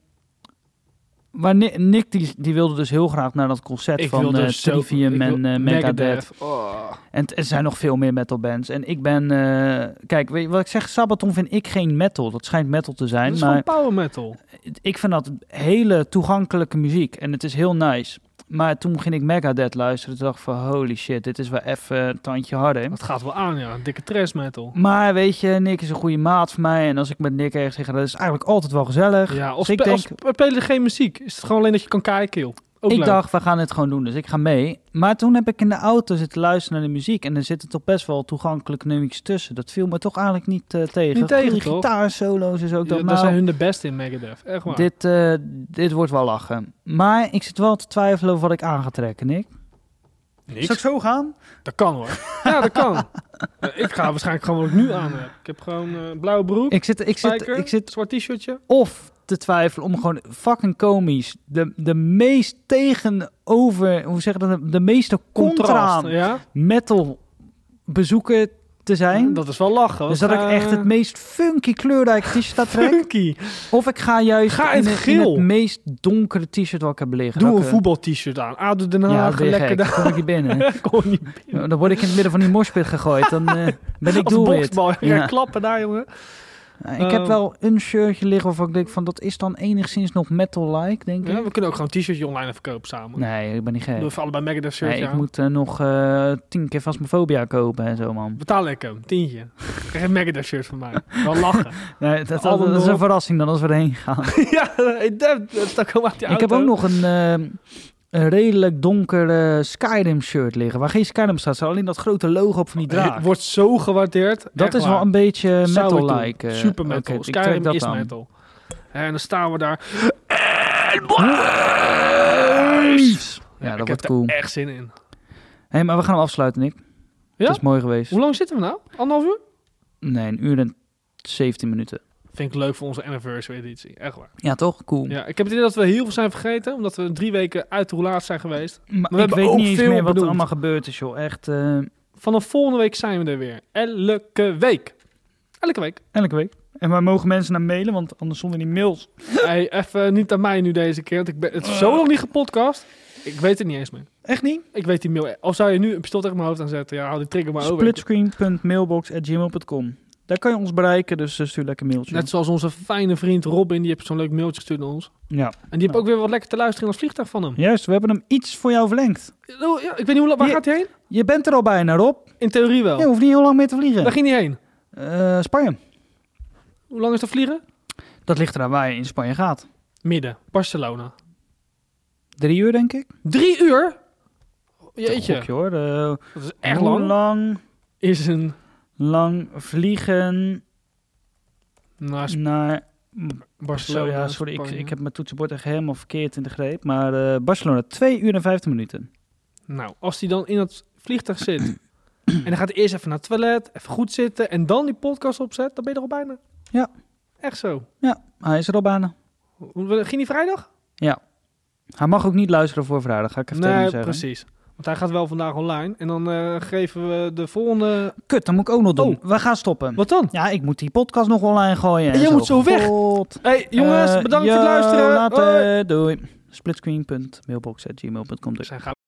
Speaker 1: maar Ni- Nick die, die wilde dus heel graag naar dat concert
Speaker 2: Ik
Speaker 1: van
Speaker 2: wilde dus
Speaker 1: eh,
Speaker 2: zo-
Speaker 1: Trivium
Speaker 2: ik wil-
Speaker 1: en eh, Megadeth.
Speaker 2: Megadeth. Oh.
Speaker 1: En t- er zijn nog veel meer metal bands. En ik ben... eh, kijk, weet je wat ik zeg? Sabaton vind ik geen metal. Dat schijnt metal te
Speaker 2: Dat
Speaker 1: zijn.
Speaker 2: is
Speaker 1: Maar
Speaker 2: gewoon power metal.
Speaker 1: ik vind dat hele toegankelijke muziek. En het is heel nice. Maar toen ging ik Megadeth luisteren. Toen dacht ik van holy shit, dit is wel even een tandje harder.
Speaker 2: Dat gaat wel aan, ja. Dikke trash metal.
Speaker 1: Maar weet je, Nick is een goede maat voor mij. En als ik met Nick ergens zeg, dat is eigenlijk altijd wel gezellig.
Speaker 2: Ja, of
Speaker 1: Dus ik
Speaker 2: spe-
Speaker 1: denk-
Speaker 2: als spe- spelen er geen muziek. Is het gewoon alleen dat je kan kijken, joh. Ook
Speaker 1: ik
Speaker 2: leuk.
Speaker 1: dacht, we gaan dit gewoon doen, dus ik ga mee. Maar toen heb ik in de auto zitten luisteren naar de muziek. En er zitten toch best wel toegankelijke nummers tussen. Dat viel me toch eigenlijk niet eh, tegen.
Speaker 2: Niet tegen,
Speaker 1: Goede
Speaker 2: toch?
Speaker 1: gitaarsolo's en zo. Ik
Speaker 2: Ja,
Speaker 1: dacht,
Speaker 2: Daar
Speaker 1: nou,
Speaker 2: zijn hun de beste in Megadeth. Echt waar.
Speaker 1: dit, eh, dit wordt wel lachen. Maar ik zit wel te twijfelen over wat ik aan ga trekken, Nick.
Speaker 2: Niks.
Speaker 1: Zal ik zo gaan?
Speaker 2: Dat kan hoor. Ja, dat kan. Eh, ik ga waarschijnlijk gewoon wat ik nu aan heb. Ik heb gewoon eh blauwe broek,
Speaker 1: Ik zit, ik zit,
Speaker 2: spijker,
Speaker 1: ik zit
Speaker 2: zwart t-shirtje.
Speaker 1: of te twijfelen om gewoon fucking komisch... de, de meest tegenover... hoe zeg je dat? De meeste contra
Speaker 2: Contrast. Ja?
Speaker 1: metal bezoeken te zijn.
Speaker 2: Dat is wel lachen. eh,
Speaker 1: Dus dat ik echt het meest funky kleurrijke t-shirt ga trekken.
Speaker 2: Funky.
Speaker 1: Of ik ga juist
Speaker 2: Ga in
Speaker 1: in,
Speaker 2: het
Speaker 1: het, in
Speaker 2: geel.
Speaker 1: het meest donkere t-shirt wat ik heb liggen.
Speaker 2: Doe een
Speaker 1: Welke-
Speaker 2: voetbal-t-shirt aan. ADO Den
Speaker 1: Ja,
Speaker 2: Haag,
Speaker 1: dat ben je
Speaker 2: lekker
Speaker 1: gek.
Speaker 2: daar.
Speaker 1: Dan kom ik hier binnen.
Speaker 2: Kon niet.
Speaker 1: Ja, Dan word ik in het midden van die morspit gegooid. Dan eh, ben ik
Speaker 2: Als
Speaker 1: doelwit.
Speaker 2: boksbal. Ja,
Speaker 1: Ja.
Speaker 2: klappen daar, jongen.
Speaker 1: Nou, ik heb
Speaker 2: Ehm.
Speaker 1: wel een shirtje liggen waarvan ik denk van dat is dan enigszins nog metal-like, denk ik.
Speaker 2: Ja, we kunnen ook gewoon een t-shirtje online verkopen samen.
Speaker 1: Nee, ik ben niet
Speaker 2: Doe
Speaker 1: gek.
Speaker 2: even allebei Megadeth shirtje
Speaker 1: Nee, ik
Speaker 2: aan.
Speaker 1: moet eh, nog eh, tien keer Phasmophobia kopen en zo, man.
Speaker 2: Betaal ik hem, tientje. Krijg een Megadeth shirt van mij. Wel lachen.
Speaker 1: Nee, dat, dat-
Speaker 2: Album
Speaker 1: dat is een
Speaker 2: erop.
Speaker 1: verrassing dan als we erheen gaan.
Speaker 2: ja, hey, Def, dat stak gewoon uit die
Speaker 1: Ik
Speaker 2: auto.
Speaker 1: heb ook nog een, eh, een redelijk donker eh, Skyrim shirt liggen. Waar geen Skyrim staat, staat alleen dat grote logo op van die draak.
Speaker 2: Het wordt zo gewaardeerd.
Speaker 1: dat
Speaker 2: Oh, Echt
Speaker 1: is wel
Speaker 2: waar.
Speaker 1: een beetje
Speaker 2: Zou ik doen.
Speaker 1: metal-like. eh,
Speaker 2: Super metal.
Speaker 1: oké, ik trek
Speaker 2: Skyrim
Speaker 1: dat
Speaker 2: is
Speaker 1: aan.
Speaker 2: metal. En dan staan we daar.
Speaker 1: Ja,
Speaker 2: ik
Speaker 1: dat
Speaker 2: heb
Speaker 1: wordt
Speaker 2: er
Speaker 1: cool.
Speaker 2: echt zin in.
Speaker 1: hey, maar we gaan hem afsluiten, Nick.
Speaker 2: Ja?
Speaker 1: Het is mooi geweest.
Speaker 2: Hoe lang zitten we nou? Anderhalf uur?
Speaker 1: Nee, een uur en 17 minuten.
Speaker 2: Vind ik leuk voor onze anniversary editie. Echt waar.
Speaker 1: Ja, toch? Cool.
Speaker 2: Ja, ik heb het idee dat we heel veel zijn vergeten. Omdat we drie weken uit de roulaat zijn geweest.
Speaker 1: Maar,
Speaker 2: we
Speaker 1: ik
Speaker 2: hebben
Speaker 1: weet
Speaker 2: ook
Speaker 1: niet eens
Speaker 2: veel
Speaker 1: meer wat er
Speaker 2: bedoeld.
Speaker 1: allemaal gebeurd is, joh. Echt, eh,
Speaker 2: Vanaf volgende week zijn we er weer. Elke week. Elke week.
Speaker 1: elke week. En waar mogen mensen naar mailen? Want anders zonder die mails.
Speaker 2: Hey, even niet aan mij nu deze keer, want ik ben het is zo nog niet gepodcast. Ik weet het niet eens meer.
Speaker 1: Echt niet?
Speaker 2: Ik weet die mail. Of zou je nu een pistool tegen mijn hoofd aanzetten? Ja, hou die trigger maar over.
Speaker 1: Splitscreen.mailbox.gmail.com Daar kan je ons bereiken, dus eh, stuur lekker een mailtje.
Speaker 2: Net zoals onze fijne vriend Robin, die heeft zo'n leuk mailtje gestuurd naar ons.
Speaker 1: Ja.
Speaker 2: En die heb ook weer wat lekker te luisteren in ons vliegtuig van hem.
Speaker 1: Juist, we hebben hem iets voor jou verlengd.
Speaker 2: Oh, ja, ik weet niet hoe la- waar
Speaker 1: Die-
Speaker 2: gaat hij heen?
Speaker 1: Je bent er al bijna, Rob.
Speaker 2: In theorie wel.
Speaker 1: Je hoeft niet heel lang meer te vliegen.
Speaker 2: Waar ging hij heen?
Speaker 1: Eh, Spanje.
Speaker 2: Hoe lang is dat vliegen?
Speaker 1: Dat ligt eraan waar je in Spanje gaat.
Speaker 2: Midden, Barcelona.
Speaker 1: Drie uur, denk ik.
Speaker 2: Drie uur?
Speaker 1: Een
Speaker 2: Jeetje,
Speaker 1: gokje, hoor. Eh,
Speaker 2: dat is echt
Speaker 1: hoe
Speaker 2: lang.
Speaker 1: lang,
Speaker 2: Is een
Speaker 1: lang vliegen
Speaker 2: nou, is
Speaker 1: naar... Zo,
Speaker 2: Barcelona.
Speaker 1: ja, sorry, ik,
Speaker 2: Spanje.
Speaker 1: ik heb mijn toetsenbord echt helemaal verkeerd in de greep. Maar eh, Barcelona, twee uur en vijftien minuten.
Speaker 2: Nou, als hij dan in dat vliegtuig zit en dan gaat hij eerst even naar het toilet, even goed zitten en dan die podcast opzet, dan ben je er al bijna.
Speaker 1: Ja.
Speaker 2: Echt zo.
Speaker 1: Hij is er al bijna.
Speaker 2: Hoe- Ging hij vrijdag?
Speaker 1: Hij mag ook niet luisteren voor vrijdag, ga ik even tegen
Speaker 2: nee,
Speaker 1: hem zeggen.
Speaker 2: precies. Want hij gaat wel vandaag online en dan eh, geven we de volgende...
Speaker 1: Kut, dan moet ik ook nog doen.
Speaker 2: Oh.
Speaker 1: We gaan stoppen.
Speaker 2: Wat dan?
Speaker 1: Ja, ik moet die podcast nog online gooien.
Speaker 2: En jij moet zo weg.
Speaker 1: God.
Speaker 2: hey, jongens,
Speaker 1: Eh,
Speaker 2: bedankt
Speaker 1: yo,
Speaker 2: voor het luisteren.
Speaker 1: Later,
Speaker 2: Hoi.
Speaker 1: doei. Splitscreen.mailbox.gmail.com
Speaker 2: Zijn gaan